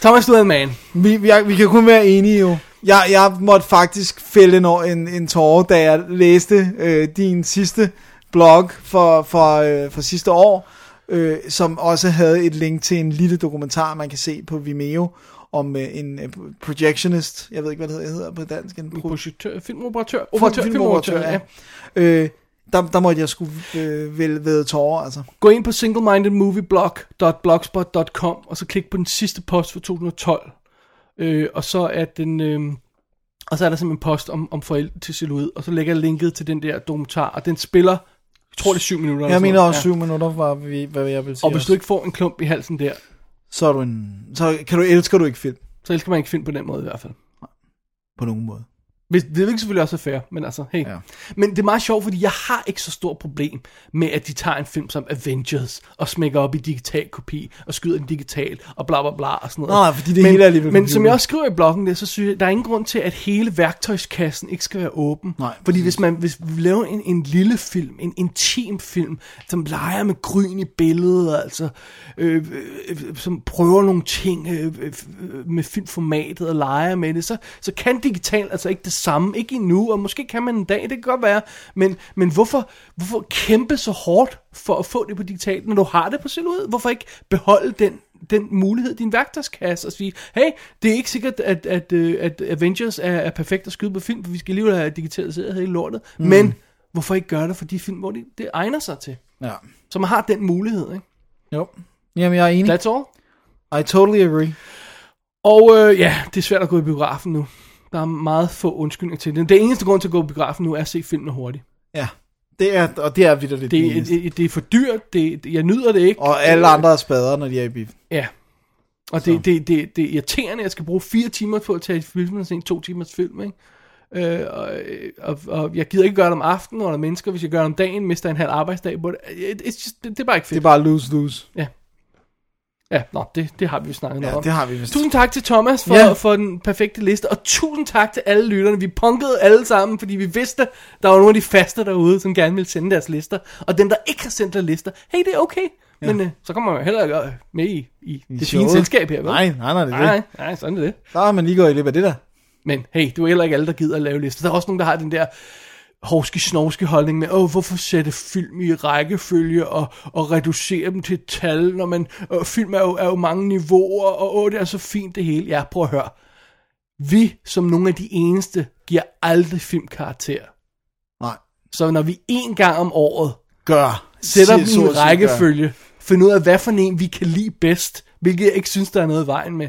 [SPEAKER 5] Thomas, du er en man.
[SPEAKER 4] Vi, vi, vi kan kun være enige jo. Jeg, jeg måtte faktisk fælde en, en, en tårer, da jeg læste øh, din sidste blog for, for, øh, for sidste år, øh, som også havde et link til en lille dokumentar, man kan se på Vimeo, om øh, en øh, projectionist, jeg ved ikke, hvad det hedder på dansk, en pro-
[SPEAKER 5] Projektør, filmoperatør.
[SPEAKER 4] Operatør, filmoperatør, ja. Øh, der, der måtte jeg sgu øh, vel ved tårer, altså.
[SPEAKER 5] Gå ind på singlemindedmovieblog.blogspot.com og så klik på den sidste post for 2012. Øh, og så er den... Øh, og så er der simpelthen en post om, om forældre til celluloid, og så lægger jeg linket til den der dokumentar, og den spiller, jeg tror det er syv minutter. eller
[SPEAKER 4] Jeg
[SPEAKER 5] sådan
[SPEAKER 4] mener
[SPEAKER 5] noget.
[SPEAKER 4] også syv minutter, var vi, hvad jeg vil sige.
[SPEAKER 5] Og hvis du ikke får en klump i halsen der,
[SPEAKER 4] Så, er du en, så kan du, elsker du ikke film
[SPEAKER 5] så elsker man ikke film på den måde i hvert fald.
[SPEAKER 4] på nogen måde.
[SPEAKER 5] Hvis, det er ikke selvfølgelig også er fair, men altså, hey. Ja.
[SPEAKER 4] Ja.
[SPEAKER 5] Men det er meget sjovt, fordi jeg har ikke så stort problem med, at de tager en film som Avengers, og smækker op i digital kopi, og skyder den digital, og bla bla bla, og sådan noget.
[SPEAKER 4] Nej, fordi det
[SPEAKER 5] men,
[SPEAKER 4] hele er alligevel
[SPEAKER 5] Men
[SPEAKER 4] computer.
[SPEAKER 5] som jeg også skriver i bloggen der, så synes jeg, der er ingen grund til, at hele værktøjskassen ikke skal være åben.
[SPEAKER 4] Nej,
[SPEAKER 5] fordi hvis man hvis vi laver en, en lille film, en intim film, som leger med gryn i billedet, altså, øh, øh, som prøver nogle ting øh, øh, med filmformatet og leger med det, så, så kan digital altså ikke det samme, ikke endnu, og måske kan man en dag, det kan godt være, men, men hvorfor, hvorfor kæmpe så hårdt for at få det på digitalt, når du har det på celluloid? Hvorfor ikke beholde den den mulighed, din værktøjskasse, og sige, hey, det er ikke sikkert, at, at, øh, at Avengers er, er perfekt at skyde på film, for vi skal alligevel have digitaliseret hele lortet, mm. men hvorfor ikke gøre det for de film, hvor det, det egner sig til?
[SPEAKER 4] Ja.
[SPEAKER 5] Så man har den mulighed, ikke?
[SPEAKER 4] Jo. Jamen, jeg er enig.
[SPEAKER 5] That's
[SPEAKER 4] I
[SPEAKER 5] all.
[SPEAKER 4] totally agree.
[SPEAKER 5] Og øh, ja, det er svært at gå i biografen nu. Der er meget få undskyldninger til det. Den eneste grund til at gå i biografen nu er at se filmene hurtigt.
[SPEAKER 4] Ja. Det er, og det er vidt lidt
[SPEAKER 5] Det,
[SPEAKER 4] det, det,
[SPEAKER 5] det, det er for dyrt, det, jeg nyder det ikke.
[SPEAKER 4] Og alle andre er spader, når de er i biffen.
[SPEAKER 5] Ja. Og det, det, det, det er irriterende, at jeg skal bruge fire timer på at tage et film og se en to timers film, ikke? Øh, og, og, og jeg gider ikke gøre det om aftenen, når der er mennesker. Hvis jeg gør det om dagen, mister jeg en halv arbejdsdag på det. It, it's just, det, det er bare ikke
[SPEAKER 4] Det
[SPEAKER 5] fedt.
[SPEAKER 4] er bare lose-lose.
[SPEAKER 5] Ja, nå, det, det har vi jo snakket
[SPEAKER 4] Ja,
[SPEAKER 5] noget om.
[SPEAKER 4] det har vi vist.
[SPEAKER 5] Tusind tak til Thomas for,
[SPEAKER 4] Ja.
[SPEAKER 5] for den perfekte liste, og tusind tak til alle lytterne. Vi punkede alle sammen, fordi vi vidste, der var nogle af de faste derude, som gerne ville sende deres lister. Og dem, der ikke har sendt deres lister, hey, det er okay. Men øh, så kommer man jo heller ikke øh, med i, i det fine
[SPEAKER 4] showet.
[SPEAKER 5] selskab her, vel?
[SPEAKER 4] Nej, nej, nej, det er
[SPEAKER 5] Nej,
[SPEAKER 4] det.
[SPEAKER 5] nej, sådan er det.
[SPEAKER 4] Der er man lige gået i løbet af det der.
[SPEAKER 5] Men hey, det er jo heller ikke alle, der gider at lave lister. Der er også nogen, der har den der hovske snovske holdning med, åh, hvorfor sætte film i rækkefølge og, og reducere dem til et tal, når man, og film er jo, er jo mange niveauer, og åh, det er så fint det hele. Ja, prøv at høre. Vi, som nogle af de eneste, giver aldrig filmkarakter.
[SPEAKER 4] Nej.
[SPEAKER 5] Så når vi en gang om året
[SPEAKER 4] Gør.
[SPEAKER 5] sætter dem
[SPEAKER 4] Så-
[SPEAKER 5] i
[SPEAKER 4] så-
[SPEAKER 5] en
[SPEAKER 4] så-
[SPEAKER 5] rækkefølge, finder ud af, hvad for en vi kan lide bedst, hvilket jeg ikke synes, der er noget i vejen med.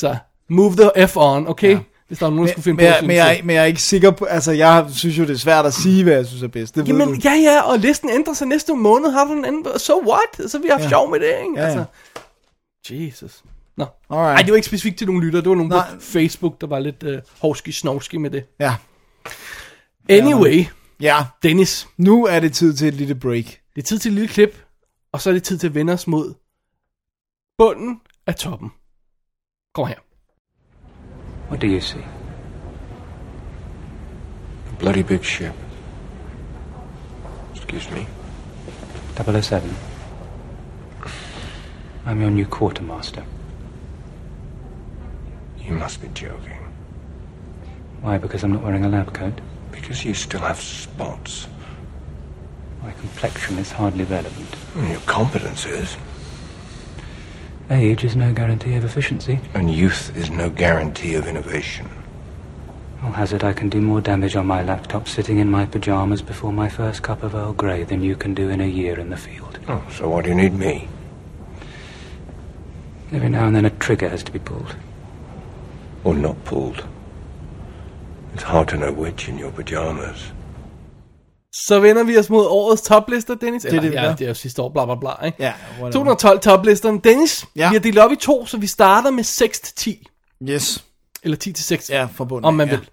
[SPEAKER 5] Så move the F on, okay? Ja. Hvis der er nogen, der skulle
[SPEAKER 4] Men, men,
[SPEAKER 5] finde på at
[SPEAKER 4] jeg,
[SPEAKER 5] synes
[SPEAKER 4] men, jeg,
[SPEAKER 5] det.
[SPEAKER 4] men jeg er ikke sikker på, altså jeg synes jo, det er svært at sige, hvad jeg synes er bedst. Det ved
[SPEAKER 5] Jamen,
[SPEAKER 4] du.
[SPEAKER 5] ja, ja, og listen ændrer sig næste måned, har du en anden, so what? Så vi har haft ja. sjov med det, ikke?
[SPEAKER 4] ja.
[SPEAKER 5] Altså, Jesus. Nå.
[SPEAKER 4] Alright.
[SPEAKER 5] Nej, det var ikke specifikt til nogle lytter, det var nogen på
[SPEAKER 4] Nej.
[SPEAKER 5] Facebook, der var lidt øh, hovski-snovski med det.
[SPEAKER 4] Ja.
[SPEAKER 5] Anyway,
[SPEAKER 4] ja,
[SPEAKER 5] Dennis,
[SPEAKER 4] nu er det tid til et lille break.
[SPEAKER 5] det er tid til et lille klip, og så er det tid til at vende os mod bunden af toppen. Kom her.
[SPEAKER 8] What do you see?
[SPEAKER 6] A bloody big ship. Excuse me.
[SPEAKER 8] 007. I'm your new quartermaster.
[SPEAKER 6] You must be joking.
[SPEAKER 8] Why? Because I'm not wearing a lab coat?
[SPEAKER 6] Because you still have spots.
[SPEAKER 8] My complexion is hardly relevant.
[SPEAKER 6] And your competence is.
[SPEAKER 8] Age is no guarantee of efficiency.
[SPEAKER 6] And youth is no guarantee of innovation.
[SPEAKER 8] I'll hazard I can do more damage on my laptop sitting in my pajamas before my first cup of Earl Grey than you can do in a year in the field.
[SPEAKER 6] Oh, so why do you need me?
[SPEAKER 8] Every now and then a trigger has to be pulled.
[SPEAKER 6] Or not pulled? It's hard to know which in your pajamas.
[SPEAKER 5] Så vender vi os mod årets toplister, Dennis. Eller,
[SPEAKER 4] det, vi
[SPEAKER 5] ja,
[SPEAKER 4] gør.
[SPEAKER 5] det er jo sidste år, bla bla bla. Ikke?
[SPEAKER 4] Ja, whatever.
[SPEAKER 5] 212 toplisterne. Dennis,
[SPEAKER 4] Ja.
[SPEAKER 5] ja. vi har delt op i to, så vi starter med 6 til 10.
[SPEAKER 4] Yes.
[SPEAKER 5] Eller 10 til 6,
[SPEAKER 4] Ja, forbundet.
[SPEAKER 5] om man
[SPEAKER 4] ja.
[SPEAKER 5] vil.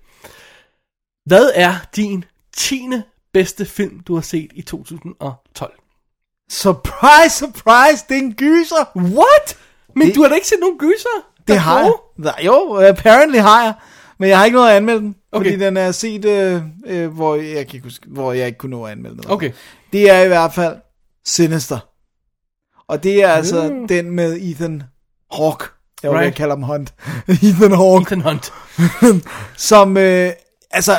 [SPEAKER 5] Hvad er din 10. bedste film, du har set i 2012?
[SPEAKER 4] Surprise, surprise, det er en gyser.
[SPEAKER 5] What? Men
[SPEAKER 4] Det-
[SPEAKER 5] det, du har da ikke set nogen gyser? der
[SPEAKER 4] Det
[SPEAKER 5] er
[SPEAKER 4] har jeg.
[SPEAKER 5] gode?
[SPEAKER 4] Nej, Jo, apparently har jeg. Men jeg har ikke noget at anmelde den. Okay.
[SPEAKER 5] Okay.
[SPEAKER 4] Fordi den er set, øh, øh, hvor, jeg kan ikke huske, hvor jeg ikke kunne nå at anmelde den.
[SPEAKER 5] Okay.
[SPEAKER 4] Det er i hvert fald Sinister. Og det er altså den med Ethan Hawke. Jeg right.
[SPEAKER 5] Mm. Right.
[SPEAKER 4] kalder ham Hunt. <laughs> Ethan Hawke.
[SPEAKER 5] Ethan Hunt.
[SPEAKER 4] <laughs> som, øh, altså,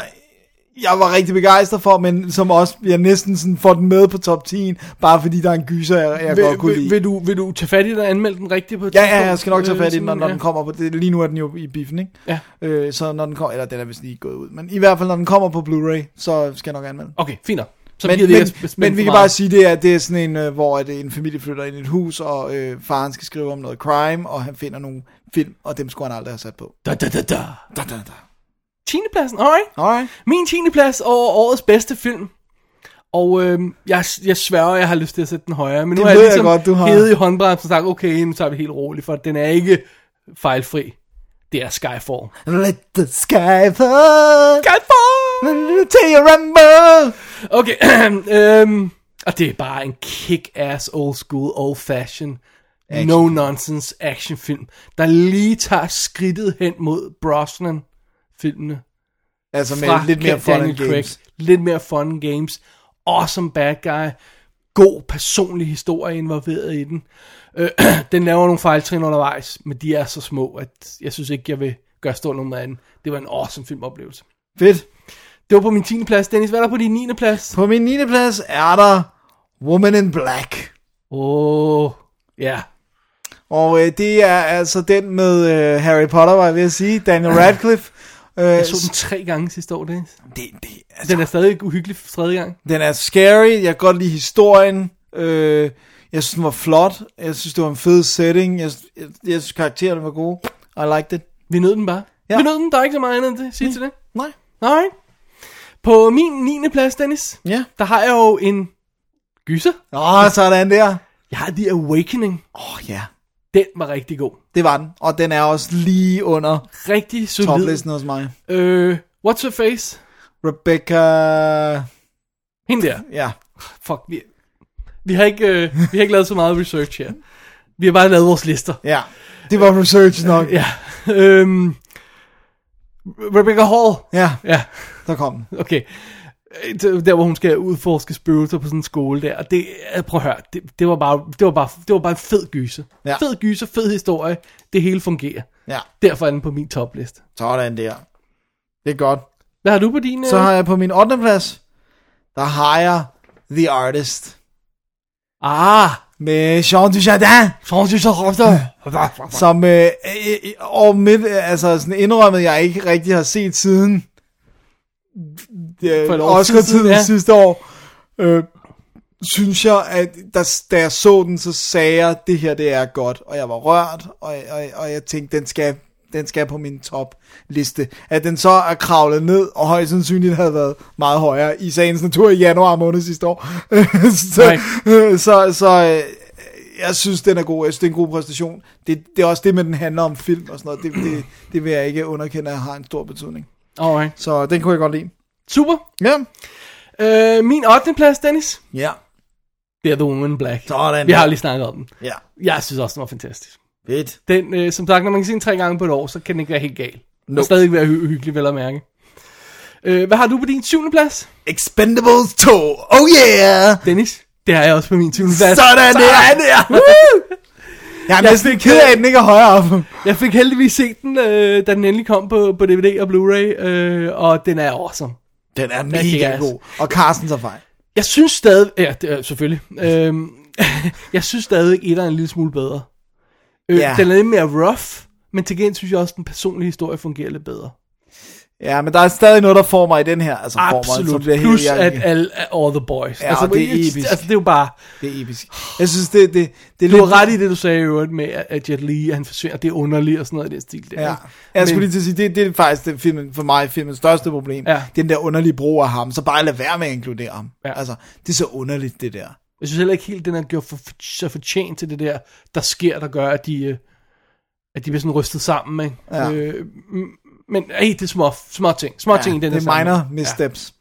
[SPEAKER 4] jeg var rigtig begejstret for, men som også, jeg næsten sådan får den med på top 10, bare fordi der er en gyser, jeg, jeg godt kunne
[SPEAKER 5] Vil,
[SPEAKER 4] lide.
[SPEAKER 5] vil, vil, du, vil du tage fat i den og anmelde den rigtigt på et
[SPEAKER 4] Ja, ja,
[SPEAKER 5] tidspunkt?
[SPEAKER 4] jeg skal nok tage
[SPEAKER 5] Øh,
[SPEAKER 4] fat i den, når,
[SPEAKER 5] sådan,
[SPEAKER 4] når
[SPEAKER 5] ja.
[SPEAKER 4] den kommer på, det, lige nu er den jo i biffen, ikke?
[SPEAKER 5] Ja.
[SPEAKER 4] Øh, så når den kommer, eller den er vist lige gået ud, men i hvert fald, når den kommer på Blu-ray, så skal jeg nok anmelde den.
[SPEAKER 5] Okay, fint nok. Så
[SPEAKER 4] Men,
[SPEAKER 5] gider
[SPEAKER 4] men,
[SPEAKER 5] ikke at spænde
[SPEAKER 4] men vi
[SPEAKER 5] for
[SPEAKER 4] kan
[SPEAKER 5] meget.
[SPEAKER 4] bare sige, det er, det er sådan en, øh, hvor at øh, en familie flytter ind i et hus, og øh, faren skal skrive om noget crime, og han finder nogle film, og dem skulle han aldrig have sat på.
[SPEAKER 5] Da, da, da, da.
[SPEAKER 4] Da, da, da.
[SPEAKER 5] 10. pladsen, alright.
[SPEAKER 4] Alright.
[SPEAKER 5] Min 10. plads over årets bedste film. Og øhm, jeg, jeg sværger, jeg har lyst til at sætte den højere. Men
[SPEAKER 4] Det
[SPEAKER 5] nu har jeg
[SPEAKER 4] ved jeg
[SPEAKER 5] ligesom
[SPEAKER 4] godt, du har.
[SPEAKER 5] hævet i håndbremsen og sagt, okay, nu tager vi helt roligt, for den er ikke fejlfri. Det er
[SPEAKER 4] <laughs>
[SPEAKER 5] Skyfall.
[SPEAKER 4] Let the sky fall.
[SPEAKER 5] Skyfall!
[SPEAKER 4] Til your rumble.
[SPEAKER 5] Okay, <clears throat> øhm, og det er bare en kick-ass old school, old fashion, no nonsense actionfilm, der lige tager skridtet hen mod Brosnan filmene.
[SPEAKER 4] Altså med
[SPEAKER 5] fra
[SPEAKER 4] lidt mere fun
[SPEAKER 5] Daniel
[SPEAKER 4] and games.
[SPEAKER 5] Craig. Lidt mere fun and games. Awesome bad guy. God personlig historie involveret i den. Øh, <clears throat> den laver nogle fejltrin undervejs, men de er så små, at jeg synes ikke, jeg vil gøre stor nummer af den. Det var en awesome filmoplevelse.
[SPEAKER 4] Fedt.
[SPEAKER 5] Det var på min 10. plads. Dennis, hvad er der på din 9. plads?
[SPEAKER 4] På min 9. plads er der Woman in Black.
[SPEAKER 5] Åh, oh, ja. Yeah.
[SPEAKER 4] Og øh, det er altså den med øh, Harry Potter, var jeg ved at sige. Daniel Radcliffe. Øh,
[SPEAKER 5] Jeg så den tre gange sidste år, Dennis.
[SPEAKER 4] det, det, altså,
[SPEAKER 5] Den er stadig uhyggelig for tredje gang.
[SPEAKER 4] den er scary. Jeg kan godt lide historien. Øh, jeg synes, den var flot. Jeg synes, det var en fed setting. Jeg, jeg, jeg synes, karaktererne var gode. I liked it.
[SPEAKER 5] Vi nød den bare.
[SPEAKER 4] Ja.
[SPEAKER 5] Ja. Vi nød den, der er ikke så meget andet end det. Sige til det.
[SPEAKER 4] Nej.
[SPEAKER 5] Nej. På min 9. plads, Dennis,
[SPEAKER 4] Ja.
[SPEAKER 5] der har jeg jo en gyser.
[SPEAKER 4] Åh, sådan der.
[SPEAKER 5] Jeg har The Awakening.
[SPEAKER 4] Åh, oh, ja. Yeah.
[SPEAKER 5] Den var rigtig god.
[SPEAKER 4] Det var den. Og den er også lige under
[SPEAKER 5] Rigtig solid.
[SPEAKER 4] toplisten hos mig.
[SPEAKER 5] Øh, what's her face?
[SPEAKER 4] Rebecca...
[SPEAKER 5] Hende der.
[SPEAKER 4] Ja.
[SPEAKER 5] Fuck, vi, vi, har ikke, øh, vi har ikke lavet så meget research her. Vi har bare lavet vores lister.
[SPEAKER 4] Ja. Det var research nok.
[SPEAKER 5] Ja. Øhm, Rebecca Hall.
[SPEAKER 4] Ja,
[SPEAKER 5] Ja.
[SPEAKER 4] der kom den.
[SPEAKER 5] <laughs> Okay. Øh, Der, hvor hun skal udforske spøgelser på sådan en skole der. Og det, øh, prøv at høre, det, det, var bare, det, var bare, det var bare en fed gyse.
[SPEAKER 4] Ja.
[SPEAKER 5] Fed gyse, fed historie. Det hele fungerer.
[SPEAKER 4] Ja.
[SPEAKER 5] Derfor er den på min topliste.
[SPEAKER 4] Sådan der. Det er godt.
[SPEAKER 5] Hvad har du på din?
[SPEAKER 4] Så
[SPEAKER 5] øh,
[SPEAKER 4] har jeg på min 8. plads, der har jeg The Artist.
[SPEAKER 5] Ah,
[SPEAKER 4] Med Jean Dujardin,
[SPEAKER 5] Francis og Hofstad.
[SPEAKER 4] som øh, øh, øh, og midt, øh, altså sådan indrømmet, jeg ikke rigtig har set siden øh,
[SPEAKER 5] For et år
[SPEAKER 4] Oscar-tiden
[SPEAKER 5] siden,
[SPEAKER 4] ja.
[SPEAKER 5] ja.
[SPEAKER 4] sidste år. Øh, synes jeg, at der, da jeg så den, så sagde jeg, det her det er godt, og jeg var rørt, og, og, og jeg tænkte, den skal, den skal på min topliste. At den så er kravlet ned, og højst sandsynligt havde været meget højere i sagens natur i januar måned sidste år. <laughs> så,
[SPEAKER 5] Nej.
[SPEAKER 4] øh, så, så øh, jeg synes, den er god. Jeg synes, det er en god præstation. Det, det er også det med, den handler om film og sådan noget. Det, det, det vil jeg ikke underkende, at har en stor betydning.
[SPEAKER 5] Alright.
[SPEAKER 4] Så den kunne jeg godt lide.
[SPEAKER 5] Super.
[SPEAKER 4] Ja.
[SPEAKER 5] Øh, min 8. plads, Dennis.
[SPEAKER 4] Ja.
[SPEAKER 5] Det er The Woman in Black.
[SPEAKER 4] Sådan.
[SPEAKER 5] Vi har lige snakket om den.
[SPEAKER 4] Ja.
[SPEAKER 5] Jeg synes også, den var fantastisk.
[SPEAKER 4] Fedt.
[SPEAKER 5] Den, øh, som sagt, når man kan se den tre gange på et år, så kan den ikke være helt gal. Den
[SPEAKER 4] Nope.
[SPEAKER 5] kan stadig være hy- hyggelig, vel at mærke. Øh, hvad har du på din syvende plads?
[SPEAKER 4] Expendables 2. Oh yeah!
[SPEAKER 5] Dennis, det har jeg også på min 20. plads.
[SPEAKER 4] Sådan der! Jeg er næsten ked af, at den ikke er højere op.
[SPEAKER 5] Jeg fik heldigvis set den, øh, da den endelig kom på, på DVD og Blu-ray, øh, og den er awesome.
[SPEAKER 4] Den er
[SPEAKER 5] kan
[SPEAKER 4] mega
[SPEAKER 5] jeg
[SPEAKER 4] god. Og Carsten tager fejl.
[SPEAKER 5] Jeg synes stadig... Ja, det er, selvfølgelig. Øhm, <laughs> jeg synes stadig, at er en lille smule bedre. Øh,
[SPEAKER 4] Ja.
[SPEAKER 5] Den er lidt mere rough, men til gengæld synes jeg også, at den personlige historie fungerer lidt bedre.
[SPEAKER 4] Ja, men der er stadig noget, der får mig i den her. Altså, Får mig,
[SPEAKER 5] Absolut.
[SPEAKER 4] som bliver
[SPEAKER 5] Plus
[SPEAKER 4] helt,
[SPEAKER 5] at all, all the boys.
[SPEAKER 4] Ja, og det er
[SPEAKER 5] it's-
[SPEAKER 4] episk.
[SPEAKER 5] Altså, det er jo bare...
[SPEAKER 4] Det er episk. Jeg synes, det, det, det er
[SPEAKER 5] Du
[SPEAKER 4] lidt...
[SPEAKER 5] har ret i det, du sagde i øvrigt med, at- at Jet Li, han forsvinder, det er underligt og sådan noget i den stil der.
[SPEAKER 4] Ja.
[SPEAKER 5] ikke?
[SPEAKER 4] Jeg skulle
[SPEAKER 5] Men-
[SPEAKER 4] lige til at sige, det, det er faktisk det filmen, for mig filmens største problem.
[SPEAKER 5] Ja.
[SPEAKER 4] Det er den der underlige brug af ham, så bare lad være med at inkludere ham.
[SPEAKER 5] Ja.
[SPEAKER 4] Altså, det er så underligt, det der.
[SPEAKER 5] Jeg synes heller ikke helt, den er gjort for, så fortjent til det der, der sker, der gør, at de, øh, at de bliver sådan rystet sammen. Ikke?
[SPEAKER 4] Ja.
[SPEAKER 5] Øh, m- men hey, det er små, små ting. Små ting i den
[SPEAKER 4] det
[SPEAKER 5] her
[SPEAKER 4] er minor
[SPEAKER 5] sammenhæng.
[SPEAKER 4] missteps.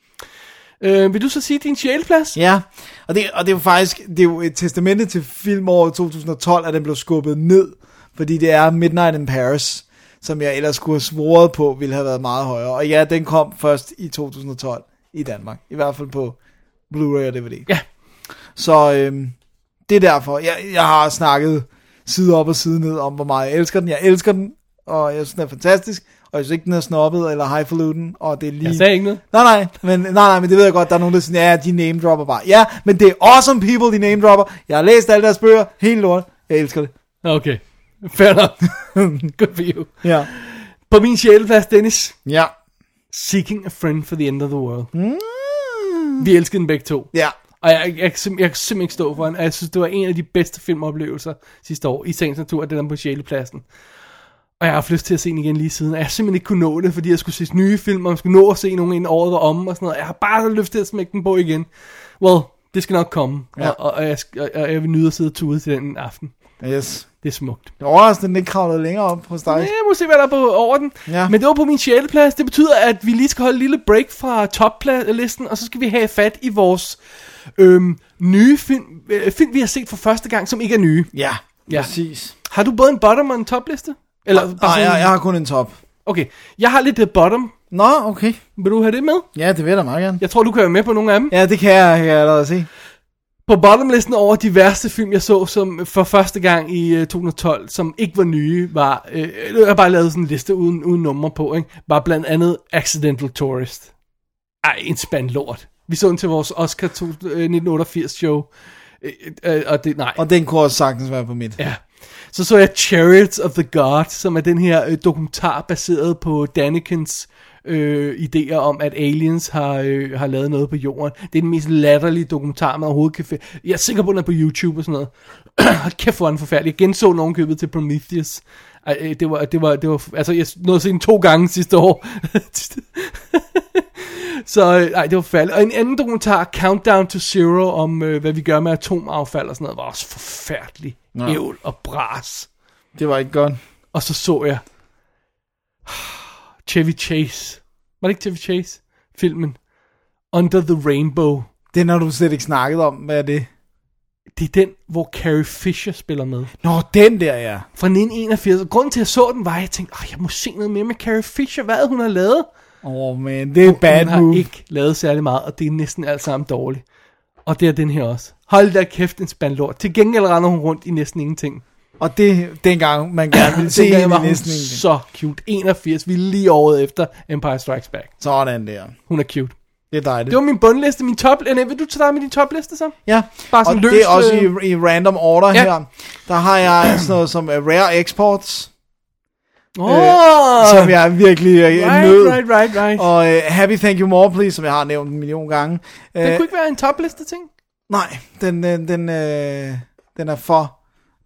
[SPEAKER 5] Ja. Øh, vil du så sige din sjæleplads?
[SPEAKER 4] Ja, ja. Og, det, og det er jo faktisk det er jo et testamente til filmåret 2012, at den blev skubbet ned, fordi det er Midnight in Paris, som jeg ellers skulle have svoret på, ville have været meget højere. Og ja, den kom først i 2012 i Danmark. I hvert fald på Blu-ray og DVD.
[SPEAKER 5] Ja.
[SPEAKER 4] Så øhm, det er derfor. Jeg, jeg har snakket side op og side ned om, hvor meget jeg elsker den. Jeg elsker den, og jeg synes, den er fantastisk. Og jeg synes ikke, den er snobbet eller highfalutin, og det er lige...
[SPEAKER 5] Jeg sagde ikke noget.
[SPEAKER 4] Nej, nej, men, nej, nej, men det ved jeg godt, der er nogen, der siger, ja, de name dropper bare. Ja, men det er awesome people, de name dropper. Jeg har læst alle deres bøger, helt lort. Jeg elsker det.
[SPEAKER 5] Okay, fair nok. <laughs> Good for you.
[SPEAKER 4] Ja.
[SPEAKER 5] På min sjæleplads, Dennis.
[SPEAKER 4] Ja.
[SPEAKER 5] Seeking a friend for the end of the world. Mm. Vi elskede den begge to.
[SPEAKER 4] Ja.
[SPEAKER 5] Og jeg, jeg, jeg, kan sim, jeg kan simpelthen ikke stå for den. Og jeg synes, det var en af de bedste filmoplevelser sidste år. I sagens natur, at den er på sjælepladsen. Og jeg har haft lyst til at se den igen lige siden. Og jeg har simpelthen ikke kunne nå det, fordi jeg skulle se nye film, og man skulle nå at se nogen inden året var omme og sådan noget. Jeg har bare lyst til at smække den på igen. Well, det skal nok komme. Ja.
[SPEAKER 4] Ja.
[SPEAKER 5] Og, og, og, jeg, sk- og, og jeg vil nyde at sidde og tude til den aften.
[SPEAKER 4] Yes.
[SPEAKER 5] Det er smukt.
[SPEAKER 4] Det er overraskende, at den ikke kravlede længere op hos dig.
[SPEAKER 5] Ja, jeg må se, hvad der er på over den.
[SPEAKER 4] Ja.
[SPEAKER 5] Men det var på min sjæleplads. Det betyder, at vi lige skal holde en lille break fra toplisten, og så skal vi have fat i vores øhm, nye film, øh, film, vi har set for første gang, som ikke er nye.
[SPEAKER 4] Ja,
[SPEAKER 5] Ja.
[SPEAKER 4] præcis.
[SPEAKER 5] Har du både en bottom og en topliste? Eller
[SPEAKER 4] Nej,
[SPEAKER 5] sådan-
[SPEAKER 4] jeg, jeg har kun en top.
[SPEAKER 5] Okay, jeg har lidt øh, bottom.
[SPEAKER 4] Nå, okay.
[SPEAKER 5] Vil du have det med?
[SPEAKER 4] Ja, det vil jeg da meget gerne.
[SPEAKER 5] Jeg tror, du kan være med på nogle af dem.
[SPEAKER 4] Ja, det kan jeg, kan jeg allerede se.
[SPEAKER 5] På bottomlisten over de værste film, jeg så som for første gang i øh, 2012, som ikke var nye, var... Øh, jeg har bare lavet sådan en liste uden, uden numre på, ikke? Var blandt andet Accidental Tourist. Ej, en spand lort. Vi så den til vores Oscar to- øh, 1988-show. Øh, øh, og det... Nej.
[SPEAKER 4] Og den kunne også sagtens være på mit.
[SPEAKER 5] Ja. Så så jeg Chariots of the God, som er den her øh, dokumentar baseret på Danikens øh, idéer om, at aliens har, øh, har lavet noget på jorden. Det er den mest latterlige dokumentar, man overhovedet kan finde. Jeg er sikker på, at den er på YouTube og sådan noget. <clears throat> Hold kæft, hvor er den forfærdelig. Jeg genså nogen købet til Prometheus. Ej, øh, det var, det var, det var, altså jeg nåede at se den to gange sidste år. <laughs> så øh, ej, det var forfærdeligt. Og en anden dokumentar, Countdown to Zero, om øh, hvad vi gør med atomaffald og sådan noget, var også forfærdelig. Ævl og bras.
[SPEAKER 4] Det var ikke godt.
[SPEAKER 5] Og så så jeg Chevy Chase. Var det ikke Chevy Chase? Filmen. Under the Rainbow.
[SPEAKER 4] Den har du slet ikke snakket om. Hvad er det?
[SPEAKER 5] Det er den, hvor Carrie Fisher spiller med.
[SPEAKER 4] Nå, den der, ja.
[SPEAKER 5] Fra 1981. Og Grunden til, at jeg så den, var, at jeg tænkte, "Åh, jeg må se noget mere med Carrie Fisher. Hvad er det, hun har lavet?
[SPEAKER 4] Åh, oh, man, det er et bad
[SPEAKER 5] hun har
[SPEAKER 4] move.
[SPEAKER 5] ikke lavet særlig meget, og det er næsten alt sammen dårligt. Og det er den her også. Hold da kæft, en spand lort. Til gengæld render hun rundt i næsten ingenting.
[SPEAKER 4] Og det, dengang
[SPEAKER 5] <coughs>
[SPEAKER 4] man gerne ville se
[SPEAKER 5] Til gengæld
[SPEAKER 4] hende
[SPEAKER 5] var
[SPEAKER 4] i
[SPEAKER 5] hun
[SPEAKER 4] næsten ingenting.
[SPEAKER 5] så cute. 81, vi er lige året efter Empire Strikes Back.
[SPEAKER 4] Sådan der.
[SPEAKER 5] Hun er cute.
[SPEAKER 4] Det er dejligt.
[SPEAKER 5] Det var min bundliste, min top... Nej, vil du tage med din topliste så?
[SPEAKER 4] Ja,
[SPEAKER 5] Bare sådan
[SPEAKER 4] og
[SPEAKER 5] løst,
[SPEAKER 4] det er også
[SPEAKER 5] øh,
[SPEAKER 4] i, i random order
[SPEAKER 5] Ja.
[SPEAKER 4] ja. her. Der har
[SPEAKER 5] <coughs>
[SPEAKER 4] jeg sådan noget som øh, Rare Exports,
[SPEAKER 5] Åh!
[SPEAKER 4] som jeg virkelig øh, nød.
[SPEAKER 5] right, right, right, right.
[SPEAKER 4] Og øh, Happy Thank You More Please, som jeg har nævnt en million gange.
[SPEAKER 5] det
[SPEAKER 4] Øh,
[SPEAKER 5] kunne ikke være en topliste ting.
[SPEAKER 4] Nej, den, øh, den, øh, den er for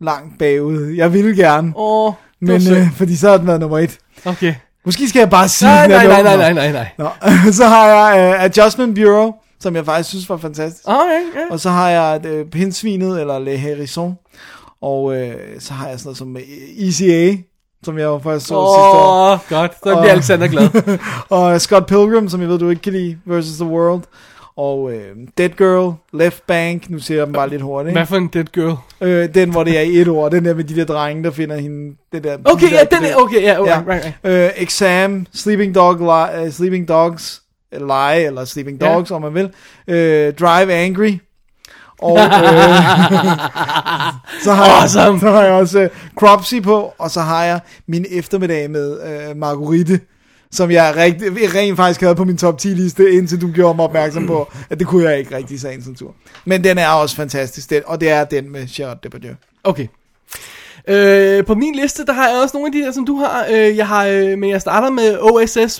[SPEAKER 4] langt bagud. Jeg ville gerne,
[SPEAKER 5] Åh, oh,
[SPEAKER 4] men øh, fordi så har den været nummer et.
[SPEAKER 5] Okay.
[SPEAKER 4] Måske skal jeg bare sige,
[SPEAKER 5] Nej,
[SPEAKER 4] den er
[SPEAKER 5] nej, nej,
[SPEAKER 4] nummer-
[SPEAKER 5] nej, nej, nej, nej.
[SPEAKER 4] Nå, <laughs> så har jeg øh, Adjustment Bureau, som jeg faktisk synes var fantastisk.
[SPEAKER 5] Okay, ja.
[SPEAKER 4] Og så har jeg øh, pindsvinet, eller Le Harrison. Og øh, så har jeg sådan noget som øh, ECA, som jeg jo først så oh. sidste år.
[SPEAKER 5] Åh, godt. Så bliver
[SPEAKER 4] Og-
[SPEAKER 5] Alexander
[SPEAKER 4] <laughs>
[SPEAKER 5] glad.
[SPEAKER 4] Og Scott Pilgrim, som jeg ved, du ikke kan lide, versus The World. Og øh, Dead Girl, Left Bank, nu ser jeg dem bare lidt hurtigt.
[SPEAKER 5] Hvad
[SPEAKER 4] Ikke?
[SPEAKER 5] for en dead girl?
[SPEAKER 4] Øh, den, hvor det er i et ord, den der med de der drenge, der finder hende. Det der,
[SPEAKER 5] Okay,
[SPEAKER 4] de
[SPEAKER 5] ja,
[SPEAKER 4] der-
[SPEAKER 5] den er... Okay, ja,
[SPEAKER 4] Ja.
[SPEAKER 5] right, right, right.
[SPEAKER 4] Øh, exam, Sleeping, dog, li- uh, sleeping Dogs, uh, Lie, eller Sleeping
[SPEAKER 5] Ja.
[SPEAKER 4] Dogs, om man vil. Øh, Drive Angry. Og
[SPEAKER 5] <laughs>
[SPEAKER 4] øh, så, har
[SPEAKER 5] Awesome.
[SPEAKER 4] jeg, så har jeg også øh, Cropsy på, og så har jeg min eftermiddag med øh, Marguerite, som jeg rigt, rent faktisk havde på min top 10 liste, indtil du gjorde mig opmærksom på, at det kunne jeg ikke rigtig i sagens natur. Men den er også fantastisk, den, og det er den med Gerard Depardieu.
[SPEAKER 5] Okay. Øh, på min liste, der har jeg også nogle af de der, som du har. Øh, jeg har øh, men jeg starter med OSS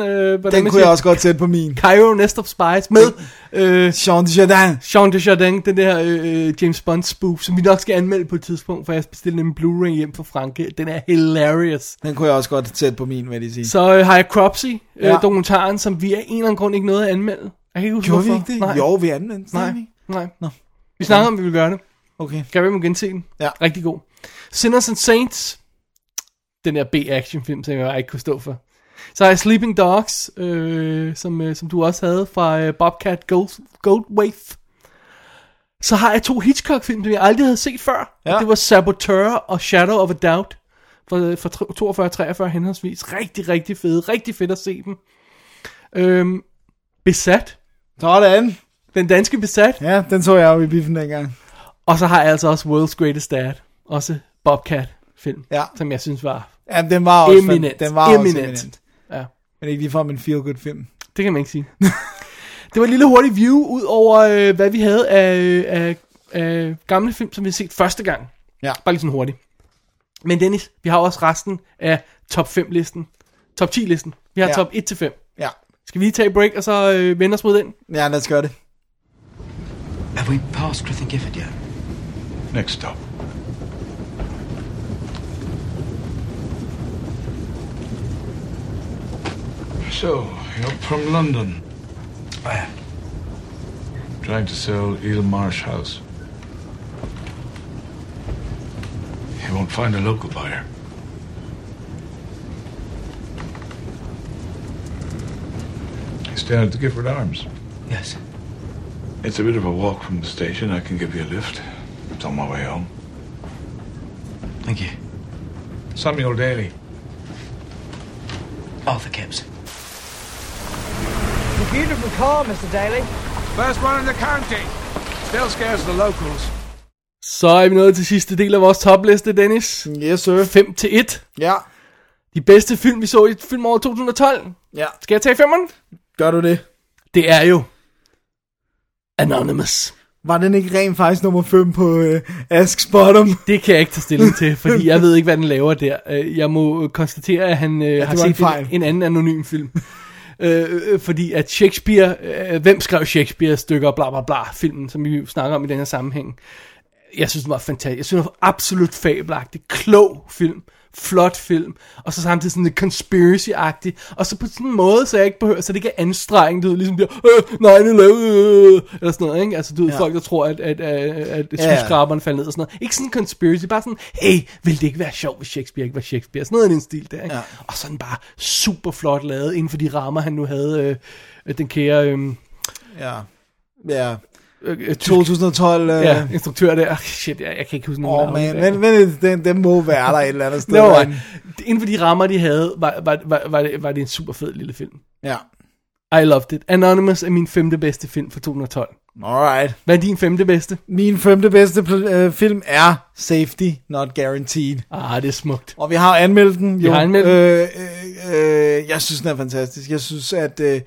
[SPEAKER 4] Den
[SPEAKER 5] Øh, hvordan man
[SPEAKER 4] kunne jeg
[SPEAKER 5] siger-
[SPEAKER 4] også godt sætte på min.
[SPEAKER 5] Cairo Nest of Spies med øh,
[SPEAKER 4] Jean Dujardin.
[SPEAKER 5] Jean Desjardins, den der øh, James Bond spoof, som vi nok skal anmelde på et tidspunkt, for jeg bestilte en Blu-ray hjem fra Franke. Den er hilarious.
[SPEAKER 4] Den kunne jeg også godt sætte på min, vil jeg sige.
[SPEAKER 5] Så øh, har jeg Cropsy, øh, ja.
[SPEAKER 4] Ja.
[SPEAKER 5] dokumentaren, som vi af en eller anden grund ikke nåede at anmelde. Jeg kan ikke huske,
[SPEAKER 4] Gjorde vi
[SPEAKER 5] hvorfor.
[SPEAKER 4] ikke det?
[SPEAKER 5] Nej.
[SPEAKER 4] Jo, vi anvendte den.
[SPEAKER 5] Nej,
[SPEAKER 4] Nej.
[SPEAKER 5] nej.
[SPEAKER 4] Nå.
[SPEAKER 5] Vi snakker om, at vi vil gøre det.
[SPEAKER 4] Okay.
[SPEAKER 5] Kan vi må gense den?
[SPEAKER 4] Ja.
[SPEAKER 5] Rigtig god. Sinners and Saints. Den der B-actionfilm, som jeg ikke kunne stå for. Så har jeg Sleeping Dogs, øh, som, øh, som du også havde fra øh, Bobcat Gold, Goldwave. Så har jeg to Hitchcock-film, som jeg aldrig havde set før.
[SPEAKER 4] Ja.
[SPEAKER 5] Og det var Saboteur og Shadow of a Doubt. øh, Fra, fra 42 og 43 henholdsvis. Rigtig, rigtig fede. Rigtig fedt at se dem. Øhm, besat.
[SPEAKER 4] Sådan.
[SPEAKER 5] Den danske besat.
[SPEAKER 4] Ja, den så jeg jo i biffen dengang.
[SPEAKER 5] Og så har jeg altså også World's Greatest Dad. Også Bobcat-film,
[SPEAKER 4] Ja.
[SPEAKER 5] som jeg synes var...
[SPEAKER 4] Ja, den var også
[SPEAKER 5] Eminent.
[SPEAKER 4] Den var også
[SPEAKER 5] Eminent.
[SPEAKER 4] eminent.
[SPEAKER 5] Ja.
[SPEAKER 4] Men ikke ligefrem en feel-good film.
[SPEAKER 5] Det kan man ikke sige. <laughs> det var et lille hurtigt view ud over, øh, hvad vi havde af, af, af gamle film, som vi har set første gang.
[SPEAKER 4] Ja.
[SPEAKER 5] Bare lige sådan hurtigt. Men Dennis, vi har også resten af top 5-listen. Top 10-listen. Vi har ja.
[SPEAKER 4] Ja.
[SPEAKER 5] top 1-5.
[SPEAKER 4] Ja.
[SPEAKER 5] Skal vi lige tage et break, og så øh, vende os mod den?
[SPEAKER 4] Ja, lad os gøre det.
[SPEAKER 9] Have we passed Griffin Gifford yet?
[SPEAKER 3] Next stop.
[SPEAKER 10] So, you're from London. I am. Trying to sell Eel Marsh House. You won't find a local buyer. He's down at the Gifford Arms.
[SPEAKER 9] Yes.
[SPEAKER 10] It's a bit of a walk from the station. I can give you a lift. It's on my way home.
[SPEAKER 9] Thank you.
[SPEAKER 10] Samuel Daly.
[SPEAKER 9] Arthur Kipps.
[SPEAKER 11] Beautiful car, Mr. Daly.
[SPEAKER 10] First one in the county. Still scares the locals.
[SPEAKER 5] Så er vi nået til sidste del af vores topliste, Dennis.
[SPEAKER 4] Yes, sir.
[SPEAKER 5] 5 til 1.
[SPEAKER 4] Ja.
[SPEAKER 5] De bedste film, vi så i filmåret 2012.
[SPEAKER 4] Ja.
[SPEAKER 5] Skal jeg tage femmeren?
[SPEAKER 4] Gør du det?
[SPEAKER 5] Det er jo Anonymous.
[SPEAKER 4] Var den ikke rent faktisk nummer 5 på øh, Ask Bottom?
[SPEAKER 5] Det kan jeg ikke tage stilling
[SPEAKER 4] <laughs>
[SPEAKER 5] til, fordi jeg ved ikke, hvad den laver der. Øh, Jeg må øh, konstatere, at han øh, har
[SPEAKER 4] var en
[SPEAKER 5] set en,
[SPEAKER 4] fejl.
[SPEAKER 5] en anden anonym film. Øh, øh, fordi at Shakespeare, øh, hvem skrev Shakespeare stykker, bla bla bla, filmen, som vi jo snakker om i den her sammenhæng. Jeg synes, den var fantastisk. Jeg synes, den var absolut fabelagtig. Klog film. Flot film. Og så samtidig sådan lidt conspiracy-agtig. Og så på sådan en måde, så jeg ikke behøver, så det ikke er anstrengende, du ved, ligesom bliver, øh, nej, det øh, eller sådan noget, ikke? Altså, du ved, ja. folk, der tror, at, at, at, at, at
[SPEAKER 4] Ja, ja.
[SPEAKER 5] skyskraberen falder ned og sådan noget. Ikke sådan en conspiracy, bare sådan, hey, ville det ikke være sjovt, hvis Shakespeare ikke var Shakespeare? Sådan noget i den stil der, ikke? Ja.
[SPEAKER 4] Ja.
[SPEAKER 5] Og sådan bare super flot lavet, inden for de rammer, han nu havde, øh, øh, den kære øh,
[SPEAKER 4] Ja. <laughs> Ja.
[SPEAKER 5] øh, tysk,
[SPEAKER 4] 2012. Øh,
[SPEAKER 5] ja, instruktør der. Shit, jeg, jeg kan ikke huske nogen
[SPEAKER 4] Åh, oh,
[SPEAKER 5] navne.
[SPEAKER 4] man. Men, men den, den må være der et eller andet sted.
[SPEAKER 5] <laughs> Det var,
[SPEAKER 4] derinde.
[SPEAKER 5] inden for de rammer, de havde, var, var, var, var, det, var det en super fed lille film.
[SPEAKER 4] Ja.
[SPEAKER 5] I loved it. Anonymous er min femte bedste film fra 2012.
[SPEAKER 4] Alright.
[SPEAKER 5] Hvad er din femte bedste?
[SPEAKER 4] Min femte bedste pl- øh, film er Safety Not Guaranteed.
[SPEAKER 5] Ah, det er smukt.
[SPEAKER 4] Og vi har anmeldt den. Jo.
[SPEAKER 5] har anmeldt den.
[SPEAKER 4] Øh, øh, øh, jeg synes, den er fantastisk. Jeg synes, at øh,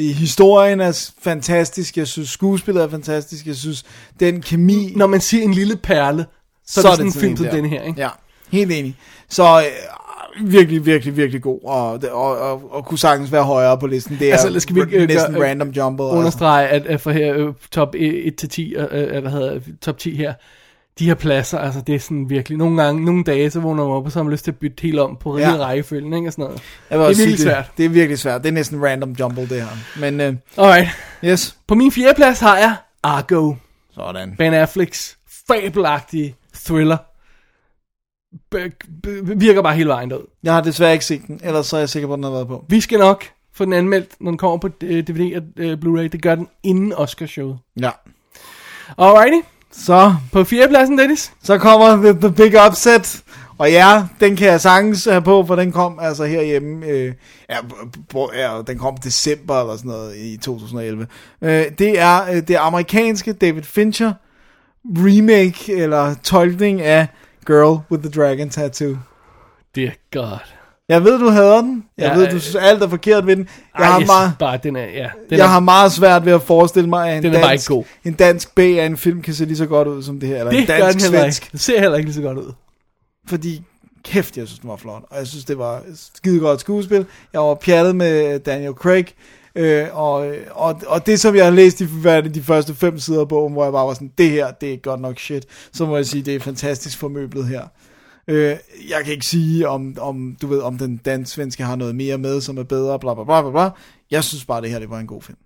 [SPEAKER 4] historien er s- fantastisk. Jeg synes, skuespillet er fantastisk. Jeg synes, den kemi...
[SPEAKER 5] Når man siger en lille perle, så, så er det sådan en film som den her, ikke?
[SPEAKER 4] Ja, helt enig. Så øh, virkelig, virkelig, virkelig god. Og, og, og, og kunne sagtens være højere på listen. Det er
[SPEAKER 5] Altså, skal vi ikke, øh,
[SPEAKER 4] næsten
[SPEAKER 5] gøre, øh,
[SPEAKER 4] random jumble. Altså.
[SPEAKER 5] understrege, at, at for her øh, top 1 til 10, øh, øh, hvad hedder det, top 10 her, de her pladser, altså det er sådan virkelig, nogle gange, nogle dage, så vågner man op, og så har man lyst til at bytte helt om på
[SPEAKER 4] Ja.
[SPEAKER 5] ja. rækkefølgen, ikke, og sådan noget.
[SPEAKER 4] Jeg vil
[SPEAKER 5] det er
[SPEAKER 4] også sige,
[SPEAKER 5] virkelig svært.
[SPEAKER 4] Det, det er virkelig svært. Det er næsten random jumble, det her. Men øh,
[SPEAKER 5] Alright,
[SPEAKER 4] yes.
[SPEAKER 5] på min fjerde plads har jeg Argo,
[SPEAKER 4] Sådan.
[SPEAKER 5] Ben Afflecks fabelagtige thriller. B- b- virker bare hele vejen derud.
[SPEAKER 4] Jeg har desværre ikke set den, ellers så er jeg sikker på, at den har været på.
[SPEAKER 5] Vi skal nok få den anmeldt, når den kommer på øh, DVD og øh, Blu-ray. Det gør den inden Oscarshowet.
[SPEAKER 4] Ja.
[SPEAKER 5] Alrighty,
[SPEAKER 4] Så,
[SPEAKER 5] på fjerdepladsen, Dennis.
[SPEAKER 4] så kommer the, the big upset, Og ja, den kan jeg sagtens have på, for den kom altså herhjemme, øh, ja, b- b- ja, den kom december eller sådan noget i 2011. Øh, det er øh, det amerikanske David Fincher remake eller tolkning af Girl with the Dragon Tattoo.
[SPEAKER 5] Dear God.
[SPEAKER 4] Jeg ved, du hader den. Jeg
[SPEAKER 5] Ja, øh,
[SPEAKER 4] ved, du synes alt er forkert ved den. Jeg
[SPEAKER 5] Ej,
[SPEAKER 4] har
[SPEAKER 5] jeg
[SPEAKER 4] meget...
[SPEAKER 5] synes bare, den er, ja. Den
[SPEAKER 4] Den jeg
[SPEAKER 5] er,
[SPEAKER 4] har meget svært ved at forestille mig, at en
[SPEAKER 5] Den er bare
[SPEAKER 4] dansk,
[SPEAKER 5] ikke god.
[SPEAKER 4] en dansk B af en film kan se lige så godt ud som det her. Eller en
[SPEAKER 5] det gør den
[SPEAKER 4] dansk
[SPEAKER 5] heller
[SPEAKER 4] svensk.
[SPEAKER 5] ikke. Den ser heller ikke lige så godt ud.
[SPEAKER 4] Fordi kæft, jeg synes, den var flot. Og jeg synes, det var skide godt skuespil. Jeg var pjattet med Daniel Craig. Øh, og, og, og det, som jeg har læst i hvad er det, de første fem sider af bogen, hvor jeg bare var sådan, det her, det er godt nok shit. Så må jeg sige, det er fantastisk formøblet her. Øh, jeg kan ikke sige, om, om, du ved, om den dansk-svenske har noget mere med, som er bedre, bla bla bla bla. bla. Jeg synes bare, det her det var en god film.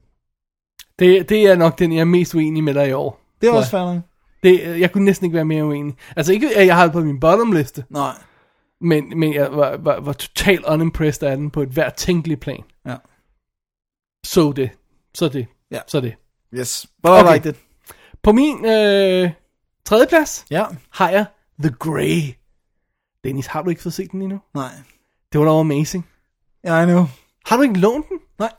[SPEAKER 5] Det, det er nok den, jeg er mest uenig med dig i år.
[SPEAKER 4] Det er
[SPEAKER 5] tror
[SPEAKER 4] også
[SPEAKER 5] jeg.
[SPEAKER 4] fair nok.
[SPEAKER 5] det, Jeg kunne næsten ikke være mere uenig. Altså ikke, at jeg har det på min bottom-liste.
[SPEAKER 4] Nej.
[SPEAKER 5] Men, men jeg var, var, var totalt unimpressed af den på et hvert tænkeligt plan.
[SPEAKER 4] Ja.
[SPEAKER 5] Så det. Så det.
[SPEAKER 4] Ja.
[SPEAKER 5] Så det.
[SPEAKER 4] Yes, but okay. I
[SPEAKER 5] Okay.
[SPEAKER 4] liked it.
[SPEAKER 5] På min øh, tredje plads
[SPEAKER 4] Ja.
[SPEAKER 5] har jeg The Grey. Dennis, har du ikke fået set den endnu?
[SPEAKER 4] Nej.
[SPEAKER 5] Det var da amazing.
[SPEAKER 4] Ja, I know.
[SPEAKER 5] Har du ikke lånt den?
[SPEAKER 4] Nej.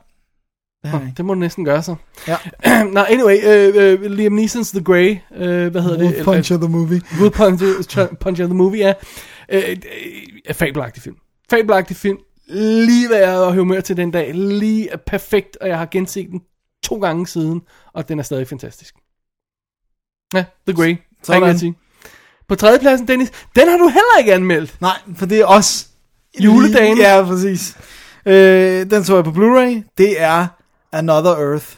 [SPEAKER 5] Det, det må du næsten gøre så. <clears throat>
[SPEAKER 4] Ja.
[SPEAKER 5] Nå, anyway, øh, øh, Liam Neeson's The Grey, øh, hvad hedder det?
[SPEAKER 4] Wolf Puncher the Movie.
[SPEAKER 5] Good Puncher, Puncher the Movie, ja. Øh, øh, øh, fabelagtig film. Fabelagtig film. Lige hvad jeg har humør til den dag. Lige er perfekt, og jeg har genset den to gange siden, og den er stadig fantastisk. Ja, The Grey.
[SPEAKER 4] Sådan.
[SPEAKER 5] Sådan. Sige. På tredjepladsen, Dennis, den har du heller ikke anmeldt.
[SPEAKER 4] Nej, for det er også...
[SPEAKER 5] Juledagen.
[SPEAKER 4] Lige- Ja, præcis. Øh, den så jeg på Blu-ray. Det er Another Earth.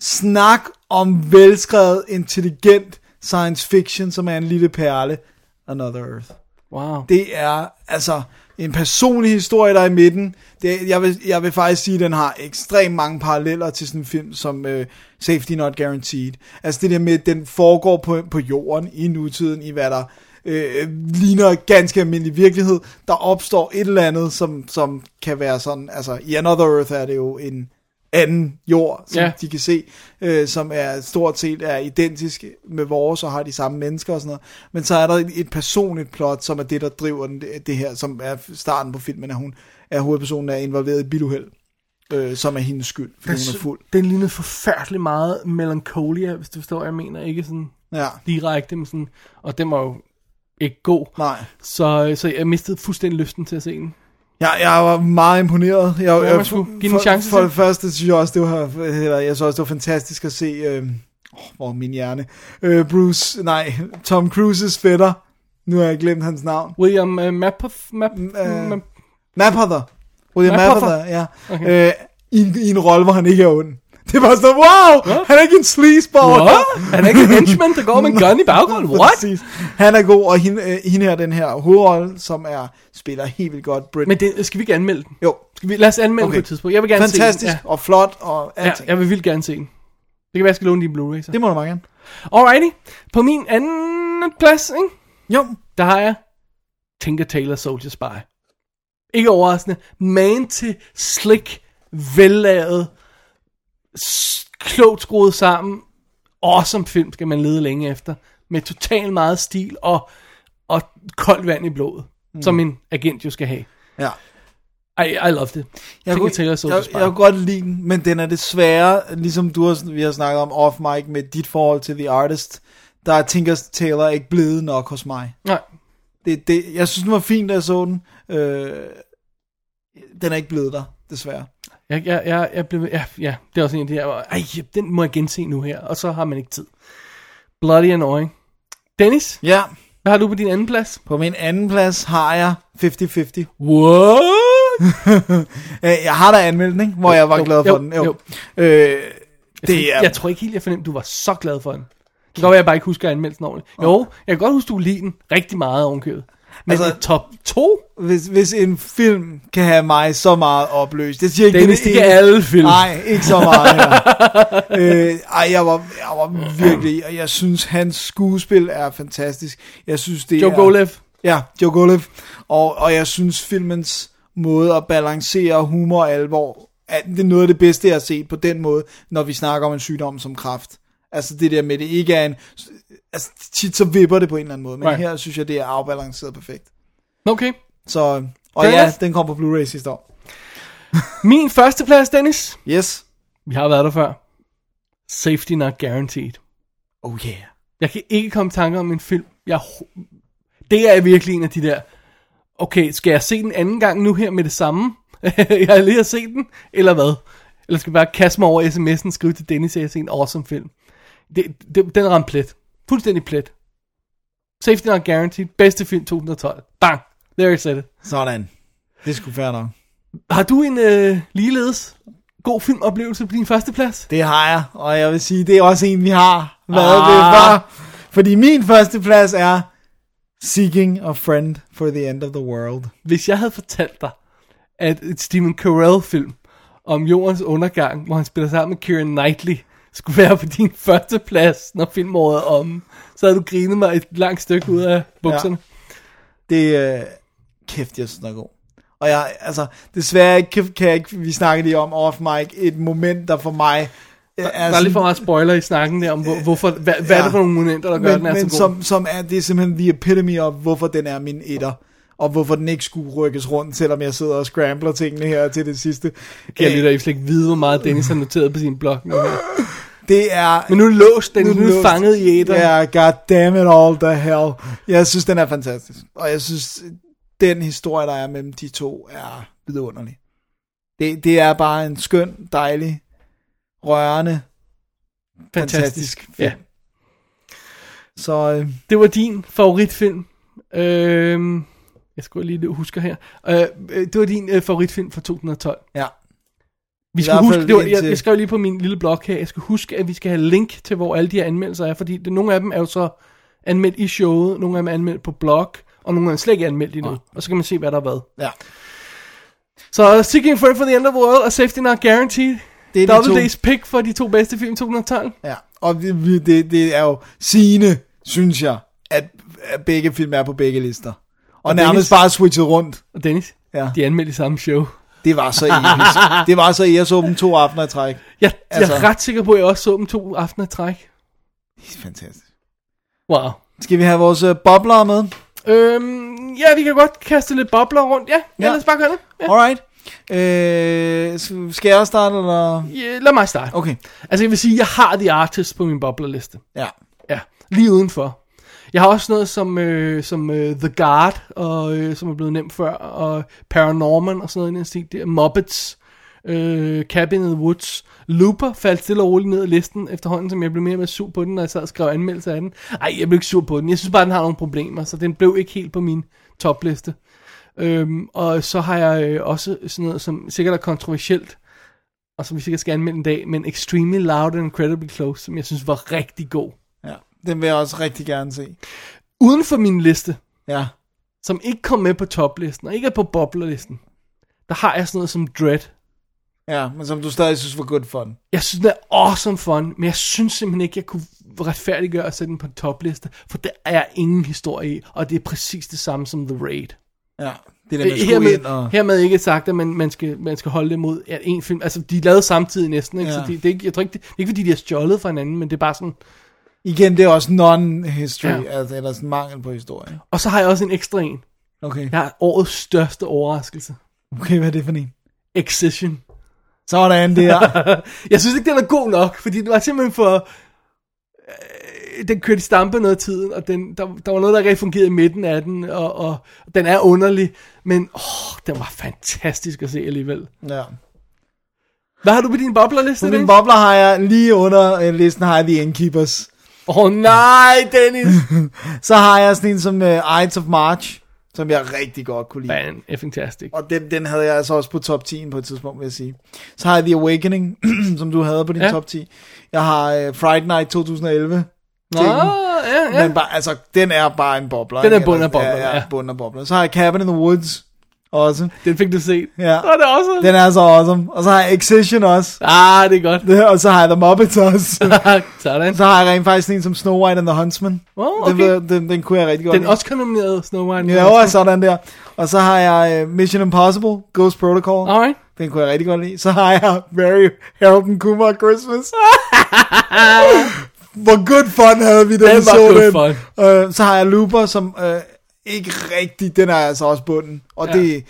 [SPEAKER 4] Snak om velskrevet, intelligent science fiction, som er en lille perle. Another Earth.
[SPEAKER 5] Wow.
[SPEAKER 4] Det er altså en personlig historie, der er i midten. Det, jeg, vil, jeg vil faktisk sige, at den har ekstremt mange paralleller til sådan en film som øh, Safety Not Guaranteed. Altså det der med, at den foregår på, på jorden i nutiden, i hvad der øh, ligner ganske almindelig virkelighed. Der opstår et eller andet, som, som kan være sådan, altså i Another Earth er det jo en anden jord, som
[SPEAKER 5] Ja.
[SPEAKER 4] de kan se, øh, som er stort set er identisk med vores, og har de samme mennesker og sådan noget. Men så er der et, et personligt plot, som er det, der driver den, det, det her, som er starten på filmen, at hun er hovedpersonen, der er involveret i et biluheld, øh, som er hendes skyld, fordi hun er fuld.
[SPEAKER 5] Den lignede forfærdelig meget Melancholia, hvis du forstår, hvad jeg mener. Ikke sådan
[SPEAKER 4] Ja.
[SPEAKER 5] direkte, men sådan, og den var jo ikke god.
[SPEAKER 4] Nej.
[SPEAKER 5] Så, så jeg mistede fuldstændig lysten til at se den.
[SPEAKER 4] Jeg, jeg var meget imponeret. Jeg,
[SPEAKER 5] man
[SPEAKER 4] jeg,
[SPEAKER 5] skulle give den en
[SPEAKER 4] for,
[SPEAKER 5] chance
[SPEAKER 4] For
[SPEAKER 5] til.
[SPEAKER 4] det første synes jeg også, det var, eller, jeg synes også, det var fantastisk at se, øh, oh, hvor er min hjerne, øh, Bruce, nej, Tom Cruises fætter, nu har jeg glemt hans navn,
[SPEAKER 5] William uh, Mappoth, Map,
[SPEAKER 4] øh,
[SPEAKER 5] Map,
[SPEAKER 4] Mapother. William
[SPEAKER 5] Mapother?
[SPEAKER 4] Mapother, ja.
[SPEAKER 5] Okay.
[SPEAKER 4] Okay. Øh, i, en, I en rolle, hvor han ikke er ond. Det er bare sådan, wow, han er ikke en sleazeball.
[SPEAKER 5] What? Han er ikke en henchman, der
[SPEAKER 4] <laughs>
[SPEAKER 5] går med en gun i baggrunden. What?
[SPEAKER 4] Præcis. Han er god, og hende, øh, hende her, den her hovedrolle, som er spiller helt vildt godt. Brit.
[SPEAKER 5] Men det, skal vi ikke anmelde den?
[SPEAKER 4] Jo.
[SPEAKER 5] Skal vi, lad os anmelde okay.
[SPEAKER 4] Okay.
[SPEAKER 5] den på et tidspunkt. Jeg vil gerne se
[SPEAKER 4] Fantastisk
[SPEAKER 5] den.
[SPEAKER 4] og flot og
[SPEAKER 5] Ja.
[SPEAKER 4] alting.
[SPEAKER 5] ja, jeg vil vildt gerne se den. Det kan være, jeg skal låne din Blu-ray. Så.
[SPEAKER 4] Det må du meget gerne.
[SPEAKER 5] Alrighty. På min anden plads, ikke?
[SPEAKER 4] Jo.
[SPEAKER 5] der har jeg Tinker Tailor Soldier Spy. Ikke overraskende. Man til slik, vellavet, s- klogt skruet sammen. Awesome film skal man lede længe efter. Med total meget stil og, og koldt vand i blodet. Mm. Som en agent jo skal have.
[SPEAKER 4] Ja.
[SPEAKER 5] I, I loved it. Jeg Tinker Tailor
[SPEAKER 4] jeg,
[SPEAKER 5] Soldier
[SPEAKER 4] jeg,
[SPEAKER 5] Spy.
[SPEAKER 4] jeg kunne godt lide den, men den er desværre, ligesom du har, vi har snakket om off mic med dit forhold til The Artist, der er Tinker Taylor ikke blevet nok hos mig.
[SPEAKER 5] Nej.
[SPEAKER 4] det, det, jeg synes, den var fin, da jeg så den. Øh, den er ikke blevet der, desværre.
[SPEAKER 5] Jeg, jeg, jeg, jeg blev, ja, ja, det er også en af de her, hvor, ej, den må jeg gense nu her, og så har man ikke tid. Bloody annoying. Dennis,
[SPEAKER 4] Ja,
[SPEAKER 5] hvad har du på din anden plads?
[SPEAKER 4] på min anden plads har jeg 50-50.
[SPEAKER 5] What?
[SPEAKER 4] Øh, <laughs> jeg har da anmeldt den, ikke? hvor jeg var
[SPEAKER 5] jo,
[SPEAKER 4] glad for
[SPEAKER 5] jo,
[SPEAKER 4] den. Jo.
[SPEAKER 5] jo.
[SPEAKER 4] Øh, det
[SPEAKER 5] Det
[SPEAKER 4] er,
[SPEAKER 5] er... Jeg tror ikke helt, jeg fornemte, du var så glad for den. Det kan godt være, jeg bare ikke husker at anmelde den ordentligt. Jo, jeg kan godt huske, du lide den rigtig meget ovenkøbet. Men
[SPEAKER 4] Altså-
[SPEAKER 5] altså, top 2?
[SPEAKER 4] hvis, hvis en film kan have mig så meget opløst. Det siger ikke,
[SPEAKER 5] Dennis,
[SPEAKER 4] det er
[SPEAKER 5] ikke alle film.
[SPEAKER 4] Nej, ikke så meget her. <laughs> øh, ej, jeg var, jeg var virkelig, og jeg synes, hans skuespil er fantastisk. Jeg synes, det
[SPEAKER 5] Joe
[SPEAKER 4] er...
[SPEAKER 5] Golev.
[SPEAKER 4] Ja, Joe Golev. Og, og jeg synes, filmens måde at balancere humor og alvor, at det er noget af det bedste, jeg har set på den måde, når vi snakker om en sygdom som kræft. Altså det der med, det ikke er en... Altså tit så vipper det på en eller anden måde, men
[SPEAKER 5] Right.
[SPEAKER 4] her synes jeg, det er afbalanceret perfekt.
[SPEAKER 5] Okay.
[SPEAKER 4] Så, og
[SPEAKER 5] Fair
[SPEAKER 4] ja,
[SPEAKER 5] enough.
[SPEAKER 4] den kom på Blu-ray sidste år.
[SPEAKER 5] Min første plads, Dennis.
[SPEAKER 4] Yes.
[SPEAKER 5] Vi har været der før. Safety not guaranteed.
[SPEAKER 4] Oh yeah.
[SPEAKER 5] Jeg kan ikke komme i tanke om en film. Jeg, det er virkelig en af de der, okay, skal jeg se den anden gang nu her med det samme? <laughs> jeg har lige har set den, eller hvad? Eller skal jeg bare kaste mig over sms'en og skrive til Dennis, at jeg har set en awesome film? Det, det, den ramte plet. Fuldstændig plet. Safety not guaranteed. Bedste film 2012. Bang. There I said it.
[SPEAKER 4] Sådan. Det skulle fair nok.
[SPEAKER 5] Har du en øh, ligeledes god filmoplevelse på din første plads?
[SPEAKER 4] Det har jeg, og jeg vil sige, det er også en, vi har været ah.
[SPEAKER 5] Ah.
[SPEAKER 4] ved før. Fordi min første plads er Seeking a Friend for the End of the World.
[SPEAKER 5] Hvis jeg havde fortalt dig, at et Stephen Carell-film om jordens undergang, hvor han spiller sammen med Keira Knightley, skulle være på din første plads, når filmåret er omme, så havde du grinet mig et langt stykke ud af bukserne.
[SPEAKER 4] Det er... Øh, kæft, jeg synes, den er god. Og jeg, altså, desværre ikke- kan jeg ikke, vi snakkede lige om off mic, et moment, der for mig... øh,
[SPEAKER 5] Ja, der er lidt for meget spoiler i snakken der, om hvor, hvorfor, hvad, hvad er det for nogle momenter, der gør,
[SPEAKER 4] men,
[SPEAKER 5] at den er
[SPEAKER 4] men
[SPEAKER 5] så god?
[SPEAKER 4] som, som er, det er simpelthen the epitome of, hvorfor den er min etter, og hvorfor den ikke skulle rykkes rundt, selvom jeg sidder og scrambler tingene her til det sidste.
[SPEAKER 5] Kan jeg
[SPEAKER 4] Øh,
[SPEAKER 5] lytter, I slet ikke vide, hvor meget Dennis har noteret på sin blog nu her.
[SPEAKER 4] Det er...
[SPEAKER 5] Men nu er det låst, den. Nu er det
[SPEAKER 4] låst.
[SPEAKER 5] fanget i æteren.
[SPEAKER 4] Ja, yeah, god damn it all the hell. Jeg synes, den er fantastisk. Og jeg synes, den historie, der er mellem de to, er vidunderlig. Det, det er bare en skøn, dejlig, rørende, fantastisk,
[SPEAKER 5] Fantastisk.
[SPEAKER 4] fantastisk film.
[SPEAKER 5] Ja.
[SPEAKER 4] Ja. Så øh,
[SPEAKER 5] Det var din favoritfilm. Øhm, jeg skulle lige huske her. Øh, øh, det var din øh, favoritfilm fra 2012.
[SPEAKER 4] ja,
[SPEAKER 5] Vi
[SPEAKER 4] I
[SPEAKER 5] skal
[SPEAKER 4] hvert
[SPEAKER 5] huske,
[SPEAKER 4] fald
[SPEAKER 5] det var, jeg,
[SPEAKER 4] indtil-
[SPEAKER 5] jeg skrev lige på min lille blog her, jeg skal huske, at vi skal have link til, hvor alle de her anmeldelser er, fordi det, nogle af dem er jo så anmeldt i showet, nogle af dem er anmeldt på blog, og nogle af dem er slet ikke anmeldt
[SPEAKER 4] Ah.
[SPEAKER 5] endnu. Og så kan man se, hvad der er hvad.
[SPEAKER 4] ja.
[SPEAKER 5] Så uh, Seeking Friend for the End of the World og Safety Not Guaranteed.
[SPEAKER 4] Det er de
[SPEAKER 5] Double
[SPEAKER 4] to.
[SPEAKER 5] Days pick for de to bedste film i 2012.
[SPEAKER 4] ja. Og vi- vi- det, det er jo sigende, synes jeg, at, at begge film er på begge lister. Og,
[SPEAKER 5] Og
[SPEAKER 4] og nærmest
[SPEAKER 5] Dennis-
[SPEAKER 4] bare switchet rundt.
[SPEAKER 5] Og Dennis,
[SPEAKER 4] Ja.
[SPEAKER 5] de er anmeldt i samme show.
[SPEAKER 4] Det var så <laughs> episk. det var så, jeg så dem to aftener i træk.
[SPEAKER 5] Jeg, altså.
[SPEAKER 4] Altså.
[SPEAKER 5] jeg er ret sikker på, at jeg også så dem to aftener i træk.
[SPEAKER 4] Det er fantastisk.
[SPEAKER 5] Wow.
[SPEAKER 4] Skal vi have vores øh, bobler med?
[SPEAKER 5] Øhm, ja, vi kan godt kaste lidt bobler rundt. Ja, ja.
[SPEAKER 4] Ja.
[SPEAKER 5] lad os bare gøre det. Ja.
[SPEAKER 4] Alright. Øh, s- skal jeg starte, eller?
[SPEAKER 5] Ja, lad mig starte.
[SPEAKER 4] Okay.
[SPEAKER 5] Altså, jeg vil sige, jeg har The Artist på min boblerliste.
[SPEAKER 4] Ja.
[SPEAKER 5] Ja, lige udenfor. Jeg har også noget som, øh, som øh, The Guard, og, øh, som er blevet nævnt før, og Paranorman og sådan noget i den stil der. Muppets, øh, Cabin in the Woods. Looper faldt stille og roligt ned i listen efterhånden, som jeg blev mere og mere sur på den, når jeg sad og skrev anmeldelser af den. Ej, jeg blev ikke sur på den. Jeg synes bare, den har nogle problemer, så den blev ikke helt på min topliste. Øhm, og så har jeg øh, også sådan noget, som sikkert er kontroversielt, og som vi sikkert skal anmelde en dag, men Extremely Loud and Incredibly Close, som jeg synes var rigtig god.
[SPEAKER 4] ja. Den vil jeg også rigtig gerne se.
[SPEAKER 5] Uden for min liste,
[SPEAKER 4] Ja.
[SPEAKER 5] som ikke kom med på toplisten, og ikke er på boblerlisten, der har jeg sådan noget som Dread.
[SPEAKER 4] Ja, men som du stadig synes var good fun.
[SPEAKER 5] Jeg synes, den er awesome fun, men jeg synes simpelthen ikke, jeg kunne retfærdiggøre at sætte den på en topliste, for der er ingen historie i, og det er præcis det samme som The Raid.
[SPEAKER 4] Ja. Det der med at skulle ind
[SPEAKER 5] hermed,
[SPEAKER 4] og...
[SPEAKER 5] hermed ikke sagt, at man, man, skal, man skal holde det mod at en film. Altså, de er lavet samtidig næsten, ikke? Ja. Så
[SPEAKER 4] Ja.
[SPEAKER 5] det, det, er ikke, jeg tror ikke, det, det er ikke, fordi de har stjålet fra hinanden, men det er bare sådan...
[SPEAKER 4] Igen, det er også non-history,
[SPEAKER 5] Ja.
[SPEAKER 4] ja. altså, eller sådan mangel på historie.
[SPEAKER 5] Og så har jeg også en ekstra en.
[SPEAKER 4] Okay.
[SPEAKER 5] Jeg har årets største overraskelse.
[SPEAKER 4] Okay, hvad er det for en?
[SPEAKER 5] Excision.
[SPEAKER 4] Sådan
[SPEAKER 5] <laughs>
[SPEAKER 4] der.
[SPEAKER 5] jeg synes ikke, den er god nok, fordi det var simpelthen for... Øh, den kørte i stampe noget af tiden, og den, der, der var noget, der ikke rigtig fungerede i midten af den, og, og den er underlig, men åh, den var fantastisk at se alligevel.
[SPEAKER 4] ja.
[SPEAKER 5] Hvad har du på din boblerliste?
[SPEAKER 4] På min
[SPEAKER 5] Dennis?
[SPEAKER 4] bobler har jeg lige under øh, listen har jeg The Innkeepers.
[SPEAKER 5] Åh oh, nej, Dennis!
[SPEAKER 4] <laughs> Så har jeg sådan en som uh, Ides of March, som jeg rigtig godt kunne lide.
[SPEAKER 5] Fan, fantastisk.
[SPEAKER 4] Og den, den havde jeg altså også på top 10 på et tidspunkt, vil jeg sige. Så har jeg The Awakening, <clears throat> som du havde på din
[SPEAKER 5] Ja.
[SPEAKER 4] ja. top 10. Jeg har uh, Friday Night 2011.
[SPEAKER 5] Nå, ja, ja.
[SPEAKER 4] Men bare, altså, den er bare en bobler.
[SPEAKER 5] Den er
[SPEAKER 4] ikke?
[SPEAKER 5] bund af
[SPEAKER 4] Eller-
[SPEAKER 5] bobler,
[SPEAKER 4] Ja,
[SPEAKER 5] ja.
[SPEAKER 4] ja, bund af bobler. Så har jeg Cabin in the Woods også.
[SPEAKER 5] Den fik du set.
[SPEAKER 4] Ja.
[SPEAKER 5] Var det også?
[SPEAKER 4] Den er så awesome. Og så har jeg Excision også. <laughs>
[SPEAKER 5] Ah, det er godt. <laughs>
[SPEAKER 4] Og så har jeg The Muppets også.
[SPEAKER 5] Sådan.
[SPEAKER 4] så har jeg rent faktisk sådan en som Snow White and the Huntsman.
[SPEAKER 5] Åh, okay.
[SPEAKER 4] den, ved- den, den kunne jeg rigtig godt
[SPEAKER 5] Den er
[SPEAKER 4] lide.
[SPEAKER 5] også nomineret Snow White. and the
[SPEAKER 4] Ja,
[SPEAKER 5] Huntsman.
[SPEAKER 4] og sådan der. Og så har jeg øh, Mission Impossible, Ghost Protocol.
[SPEAKER 5] Alright.
[SPEAKER 4] Den kunne jeg rigtig godt lide. Så har jeg Mary Harold and Kumar Christmas. <laughs> Hvor good fun havde vi, da
[SPEAKER 5] Den
[SPEAKER 4] vi
[SPEAKER 5] var
[SPEAKER 4] så
[SPEAKER 5] good
[SPEAKER 4] den.
[SPEAKER 5] fun.
[SPEAKER 4] Øh, så har jeg Looper, som øh, ikke rigtig, den er altså også bunden. Og ja. det,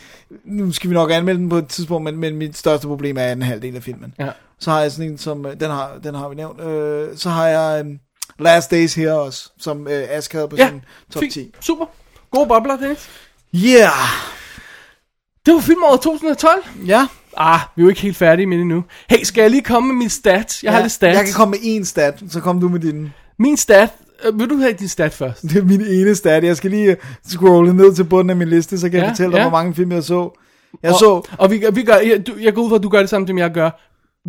[SPEAKER 4] nu skal vi nok anmelde den på et tidspunkt, men, men mit største problem er anden halvdel af filmen.
[SPEAKER 5] Ja.
[SPEAKER 4] Så har jeg sådan en, som, øh, den har, den har vi nævnt, øh, så har jeg øh, Last Days her også, som øh, Ask havde på ja.
[SPEAKER 5] Ja,
[SPEAKER 4] sin top
[SPEAKER 5] fint.
[SPEAKER 4] 10.
[SPEAKER 5] Super. Gode bobler, Dennis.
[SPEAKER 4] Yeah!
[SPEAKER 5] Det var filmåret 2012.
[SPEAKER 4] Ja.
[SPEAKER 5] Ah, vi er jo ikke helt færdige med det nu. Hey, skal jeg lige komme med min stat? Jeg har
[SPEAKER 4] ja,
[SPEAKER 5] lidt stat.
[SPEAKER 4] Jeg kan komme med en stat, så kom du med din.
[SPEAKER 5] Min stat. Øh, vil du have din stat først?
[SPEAKER 4] Det er min ene stat. Jeg skal lige scrolle ned til bunden af min liste, så kan ja,
[SPEAKER 5] Ja,
[SPEAKER 4] jeg fortælle dig,
[SPEAKER 5] ja.
[SPEAKER 4] hvor mange film jeg så. Jeg
[SPEAKER 5] og,
[SPEAKER 4] så,
[SPEAKER 5] Og vi, vi gør, jeg, du, jeg går ud fra, at du gør det samme, som jeg gør.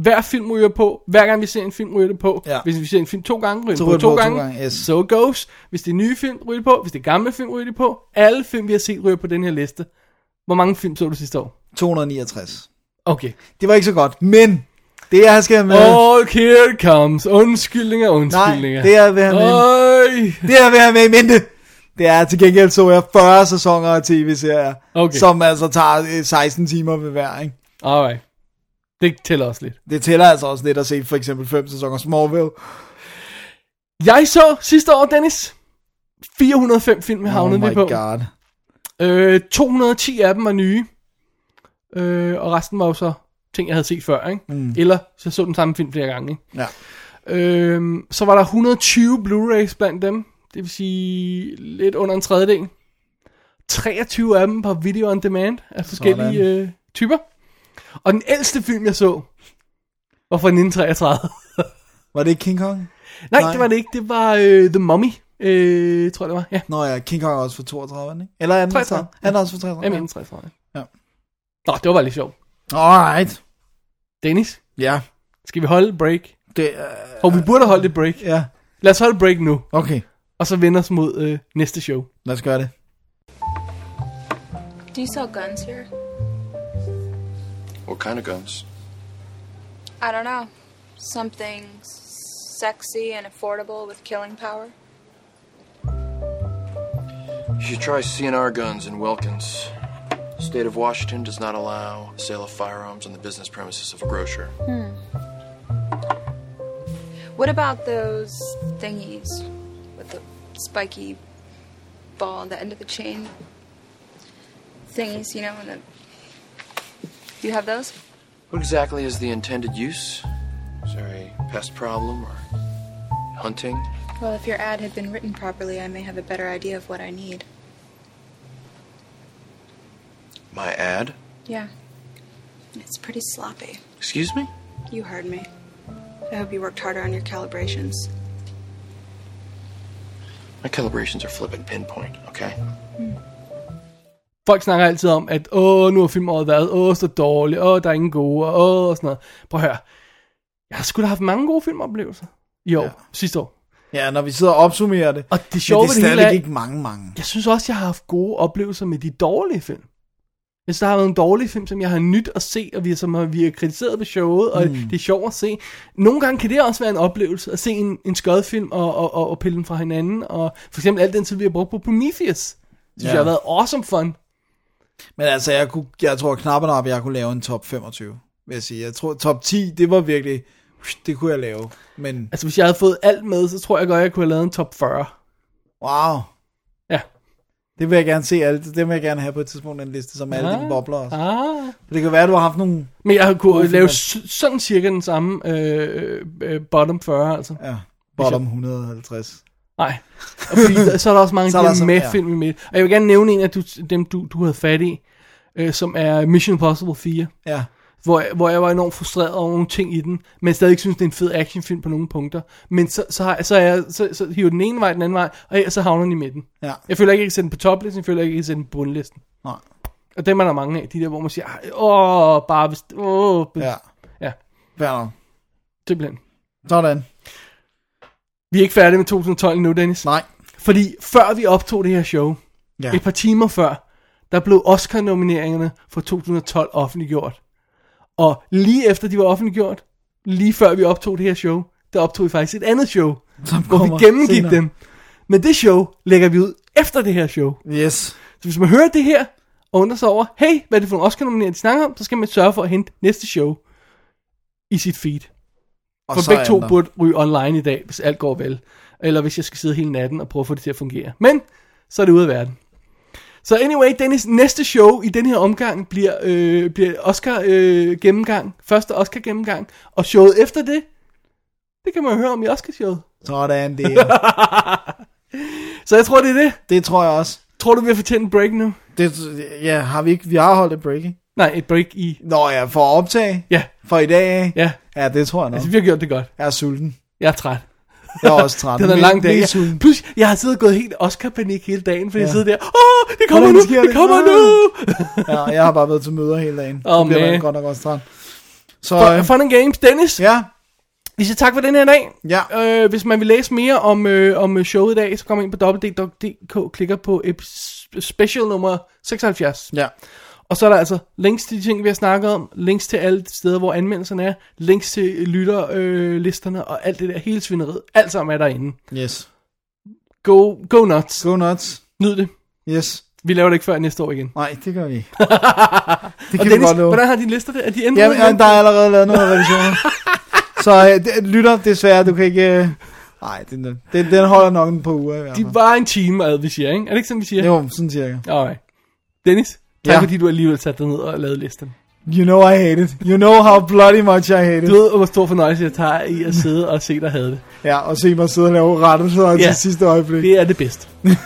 [SPEAKER 5] Hver film ryger på. Hver gang vi ser en film, ryger det på.
[SPEAKER 4] Ja.
[SPEAKER 5] Hvis vi ser en film to gange, ryger
[SPEAKER 4] Så
[SPEAKER 5] det på
[SPEAKER 4] ryger det
[SPEAKER 5] to,
[SPEAKER 4] på to
[SPEAKER 5] gange.
[SPEAKER 4] gange, yes.
[SPEAKER 5] So it goes. Hvis det er nye film, ryger det på. Hvis det er gamle film, ryger det på. Alle film, vi har set, ryger på den her liste. Hvor mange film så du sidste år?
[SPEAKER 4] 269.
[SPEAKER 5] Okay.
[SPEAKER 4] Det var ikke så godt, men det jeg skal have med...
[SPEAKER 5] All here it comes. Undskyldninger,
[SPEAKER 4] Nej,
[SPEAKER 5] undskyldninger.
[SPEAKER 4] det jeg vil have med,
[SPEAKER 5] Øj.
[SPEAKER 4] det jeg vil have med i mente, det er til gengæld så jeg 40 sæsoner af tv-serier,
[SPEAKER 5] Okay.
[SPEAKER 4] som altså tager øh, 16 timer ved hver, ikke?
[SPEAKER 5] Alright. Det tæller også lidt.
[SPEAKER 4] Det tæller altså også lidt at se for eksempel 5 sæsoner Smallville.
[SPEAKER 5] Jeg så sidste år, Dennis, 405 film havnede
[SPEAKER 4] oh
[SPEAKER 5] vi
[SPEAKER 4] my
[SPEAKER 5] på.
[SPEAKER 4] god.
[SPEAKER 5] Øh, 210 af dem var nye. Øh, og resten var jo så ting, jeg havde set før, ikke?
[SPEAKER 4] Mm.
[SPEAKER 5] Eller så så den samme film flere gange, ikke?
[SPEAKER 4] Ja.
[SPEAKER 5] Øhm, så var der 120 Blu-rays blandt dem. Det vil sige lidt under en tredjedel. 23 af dem på video on demand af forskellige øh, typer. Og den ældste film, jeg så, var fra 1933.
[SPEAKER 4] Var det ikke King Kong?
[SPEAKER 5] <laughs> Nej,
[SPEAKER 4] Nej.
[SPEAKER 5] Nej, det var det ikke. Det var øh, The Mummy, øh, tror jeg det var. Ja,
[SPEAKER 4] Nå ja, King Kong er også for 32, ikke? Eller er den
[SPEAKER 5] 33?
[SPEAKER 4] Er den også for 33?
[SPEAKER 5] jeg mener 33.
[SPEAKER 4] Ja.
[SPEAKER 5] Nå, det var bare lidt sjovt.
[SPEAKER 4] Alright.
[SPEAKER 5] Dennis,
[SPEAKER 4] Ja.
[SPEAKER 5] skal vi holde et break?
[SPEAKER 4] Det,
[SPEAKER 5] Og vi burde holde et break.
[SPEAKER 4] ja.
[SPEAKER 5] Lad os holde et break nu,
[SPEAKER 4] Okay,
[SPEAKER 5] og så vende os mod øh, næste show.
[SPEAKER 4] lad os gøre det.
[SPEAKER 12] Do you sell guns here?
[SPEAKER 13] What kind of guns?
[SPEAKER 12] I don't know. Something sexy and affordable with killing power.
[SPEAKER 13] You should try CNR guns in Wilkins. The state of Washington does not allow sale of firearms on the business premises of a grocer.
[SPEAKER 12] Hmm. What about those thingies with the spiky ball on the end of the chain? Thingies, you know, and the. Do you have those?
[SPEAKER 13] What exactly is the intended use? Is there a pest problem or hunting?
[SPEAKER 12] Well, if your ad had been written properly, I may have a better idea of what I need.
[SPEAKER 13] My ad?
[SPEAKER 12] Yeah. It's pretty sloppy.
[SPEAKER 13] Excuse me?
[SPEAKER 12] You heard me. I hope you worked harder on your calibrations.
[SPEAKER 13] My calibrations are flipping pinpoint, okay?
[SPEAKER 5] Folk snakker altid om, at åh, nu har filmåret været, åh, så dårligt, åh, der er ingen gode, åh, og sådan noget. Prøv at høre. Jeg har sgu da haft mange gode filmoplevelser i år, ja. sidste år.
[SPEAKER 4] Ja, når vi sidder og opsummerer det.
[SPEAKER 5] Og det
[SPEAKER 4] men
[SPEAKER 5] sjove
[SPEAKER 4] det er
[SPEAKER 5] ved det hele
[SPEAKER 4] stadigvæk
[SPEAKER 5] er-
[SPEAKER 4] ikke mange, mange.
[SPEAKER 5] Jeg synes også, jeg har haft gode oplevelser med de dårlige film. Jeg synes, der har været en dårlig film, som jeg har nyt at se, og vi har, som har- vi har kritiseret på showet, og
[SPEAKER 4] Mm.
[SPEAKER 5] mm. det er sjovt at se. Nogle gange kan det også være en oplevelse, at se en, en skød film og, og, og, og pille den fra hinanden. Og for eksempel al den tid, vi har brugt på Prometheus, synes
[SPEAKER 4] Ja.
[SPEAKER 5] ja. jeg har været awesome fun.
[SPEAKER 4] Men altså, jeg, kunne, jeg tror knap og nap, jeg kunne lave en top 25, vil jeg sige. Jeg tror, top 10, det var virkelig, det kunne jeg lave. Men
[SPEAKER 5] Altså, hvis jeg havde fået alt med, så tror jeg godt, jeg kunne have lavet en top 40.
[SPEAKER 4] wow,
[SPEAKER 5] Ja.
[SPEAKER 4] det vil jeg gerne se. Alle, det vil jeg gerne have på et tidspunkt, den liste, som alle
[SPEAKER 5] Ah,
[SPEAKER 4] dine bobler også.
[SPEAKER 5] Ah.
[SPEAKER 4] For det kan være, at du har haft nogle...
[SPEAKER 5] Men jeg har
[SPEAKER 4] Gode
[SPEAKER 5] kunnet lave
[SPEAKER 4] film.
[SPEAKER 5] s- sådan cirka den samme øh, øh, bottom 40, altså.
[SPEAKER 4] Ja, bottom 150.
[SPEAKER 5] Nej. <laughs> Og fordi, der- så er der også mange
[SPEAKER 4] Så
[SPEAKER 5] så
[SPEAKER 4] er
[SPEAKER 5] der
[SPEAKER 4] der så-
[SPEAKER 5] med
[SPEAKER 4] ja.
[SPEAKER 5] film i midt. Og jeg vil gerne nævne en af du, dem, du, du havde fat i, øh, som er Mission Impossible 4.
[SPEAKER 4] Ja.
[SPEAKER 5] Hvor, jeg- hvor jeg var enormt frustreret over nogle ting i den, men stadig ikke synes, det er en fed actionfilm på nogle punkter. Men så, så, har, så, er jeg, så, så hiver den ene vej, den anden vej, og ellers så havner den i midten.
[SPEAKER 4] Ja.
[SPEAKER 5] Jeg føler ikke, at jeg kan sætte den på toplisten, jeg føler ikke, at jeg kan sætte den på bundlisten.
[SPEAKER 4] Nej.
[SPEAKER 5] Og dem er der mange af, de der, hvor man siger, "Ej, åh, bare hvis... Åh, hvis.
[SPEAKER 4] Ja.
[SPEAKER 5] ja,
[SPEAKER 4] Værner.
[SPEAKER 5] simpelthen.
[SPEAKER 4] Sådan.
[SPEAKER 5] Vi er ikke færdige med 2012 nu, Dennis.
[SPEAKER 4] Nej.
[SPEAKER 5] Fordi før vi optog det her show,
[SPEAKER 4] Ja.
[SPEAKER 5] ja. et par timer før, der blev Oscar-nomineringerne for 2012 offentliggjort. Og lige efter de var offentliggjort, lige før vi optog det her show, der optog vi faktisk et andet show,
[SPEAKER 4] Som
[SPEAKER 5] hvor
[SPEAKER 4] kommer
[SPEAKER 5] vi gennemgik
[SPEAKER 4] senere.
[SPEAKER 5] dem. Men det show lægger vi ud efter det her show.
[SPEAKER 4] Yes.
[SPEAKER 5] Så hvis man hører det her, og undrer sig over, hey, hvad er det for en Oscar-nominering, de snakker om, så skal man sørge for at hente næste show i sit feed.
[SPEAKER 4] Og
[SPEAKER 5] Og for
[SPEAKER 4] så
[SPEAKER 5] begge
[SPEAKER 4] er
[SPEAKER 5] to
[SPEAKER 4] den der.
[SPEAKER 5] burde ryge online i dag, hvis alt går vel. Eller hvis jeg skal sidde hele natten og prøve at få det til at fungere. Men, så er det ude af verden. Så anyway, Dennis, næste show i den her omgang bliver, øh, bliver Oscar øh, gennemgang. Første Oscar gennemgang. Og showet efter det, det kan man høre om i Oscar-showet.
[SPEAKER 4] <laughs> Sådan det. er.
[SPEAKER 5] Så jeg tror, det er det.
[SPEAKER 4] Det tror jeg også.
[SPEAKER 5] Tror du, vi har fortjent en break nu?
[SPEAKER 4] Det, ja, har vi ikke. Vi har holdt et break, ikke?
[SPEAKER 5] Nej, et break i...
[SPEAKER 4] Nå ja, for at optage?
[SPEAKER 5] Ja.
[SPEAKER 4] For i dag?
[SPEAKER 5] Ja.
[SPEAKER 4] Ja, det tror jeg nok.
[SPEAKER 5] Altså, vi har gjort det godt.
[SPEAKER 4] Jeg er sulten.
[SPEAKER 5] Jeg er træt.
[SPEAKER 4] Jeg er også <laughs> træt.
[SPEAKER 5] Det er en
[SPEAKER 4] Men-
[SPEAKER 5] lang dag.
[SPEAKER 4] men
[SPEAKER 5] Jeg,
[SPEAKER 4] sulten.
[SPEAKER 5] plus, jeg har siddet og gået helt Oscar-panik hele dagen, fordi ja. jeg
[SPEAKER 4] Ja.
[SPEAKER 5] sidder der, åh, det kommer
[SPEAKER 4] Hvordan
[SPEAKER 5] nu,
[SPEAKER 4] sker
[SPEAKER 5] det kommer nu.
[SPEAKER 4] ja, jeg har bare været til møder hele dagen.
[SPEAKER 5] Åh,
[SPEAKER 4] det bliver
[SPEAKER 5] man.
[SPEAKER 4] man godt nok også træt. Så
[SPEAKER 5] Fun,
[SPEAKER 4] øh,
[SPEAKER 5] fun and Games, Dennis.
[SPEAKER 4] Ja.
[SPEAKER 5] Vi siger tak for den her dag.
[SPEAKER 4] Ja.
[SPEAKER 5] Øh, hvis man vil læse mere om, øh, om showet i dag, så kommer ind på www.dk, klikker på epi- special nummer 76.
[SPEAKER 4] Ja.
[SPEAKER 5] Og så er der altså links til de ting, vi har snakket om, links til alle de steder, hvor anmeldelserne er, links til lytterlisterne øh, listerne og alt det der hele svineriet. Alt sammen er derinde.
[SPEAKER 4] Yes.
[SPEAKER 5] Go, go nuts.
[SPEAKER 4] Go nuts.
[SPEAKER 5] Nyd det.
[SPEAKER 4] Yes.
[SPEAKER 5] Vi laver det ikke før næste år igen.
[SPEAKER 4] Nej, det gør vi <laughs> ikke.
[SPEAKER 5] Det
[SPEAKER 4] kan
[SPEAKER 5] og
[SPEAKER 4] vi
[SPEAKER 5] Dennis,
[SPEAKER 4] godt love.
[SPEAKER 5] hvordan har dine lister det? Er de ændret?
[SPEAKER 4] Jamen, ja, der er allerede lavet nogle <laughs> revisioner. Så øh, det- lytter, desværre, du kan ikke... Øh, nej, den, den, den holder nok en par uger i hvert fald.
[SPEAKER 5] De var en time ad, vi siger, ikke? Er det ikke sådan, vi siger?
[SPEAKER 4] Jo, sådan cirka.
[SPEAKER 5] Alright. Dennis, tak
[SPEAKER 4] Ja.
[SPEAKER 5] fordi du alligevel satte dig ned og lavede listen.
[SPEAKER 4] You know I hate it. You know how bloody much I hate it.
[SPEAKER 5] Du ved, hvor stor fornøjelse jeg tager i at sidde og se dig havde det.
[SPEAKER 4] Ja, og se mig sidde og lave rettelser yeah. til sidste øjeblik.
[SPEAKER 5] Det er det bedste. <laughs>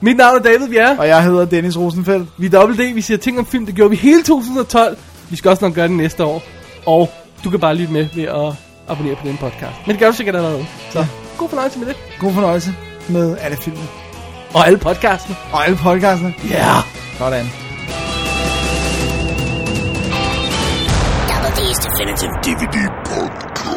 [SPEAKER 5] Mit navn er David Bjerre.
[SPEAKER 4] Og jeg hedder Dennis Rosenfeldt.
[SPEAKER 5] Vi er dobbelt D, vi siger ting om film, det gjorde vi hele 2012. Vi skal også nok gøre det næste år. Og du kan bare lytte med ved at abonnere på den podcast. Men det gør du sikkert allerede. Så god fornøjelse med det.
[SPEAKER 4] God fornøjelse med alle filmene.
[SPEAKER 5] Og alle podcastene.
[SPEAKER 4] Og alle podcastene.
[SPEAKER 5] Ja. Yeah.
[SPEAKER 4] Sådan.
[SPEAKER 1] Double D's Definitive DVD Podcast.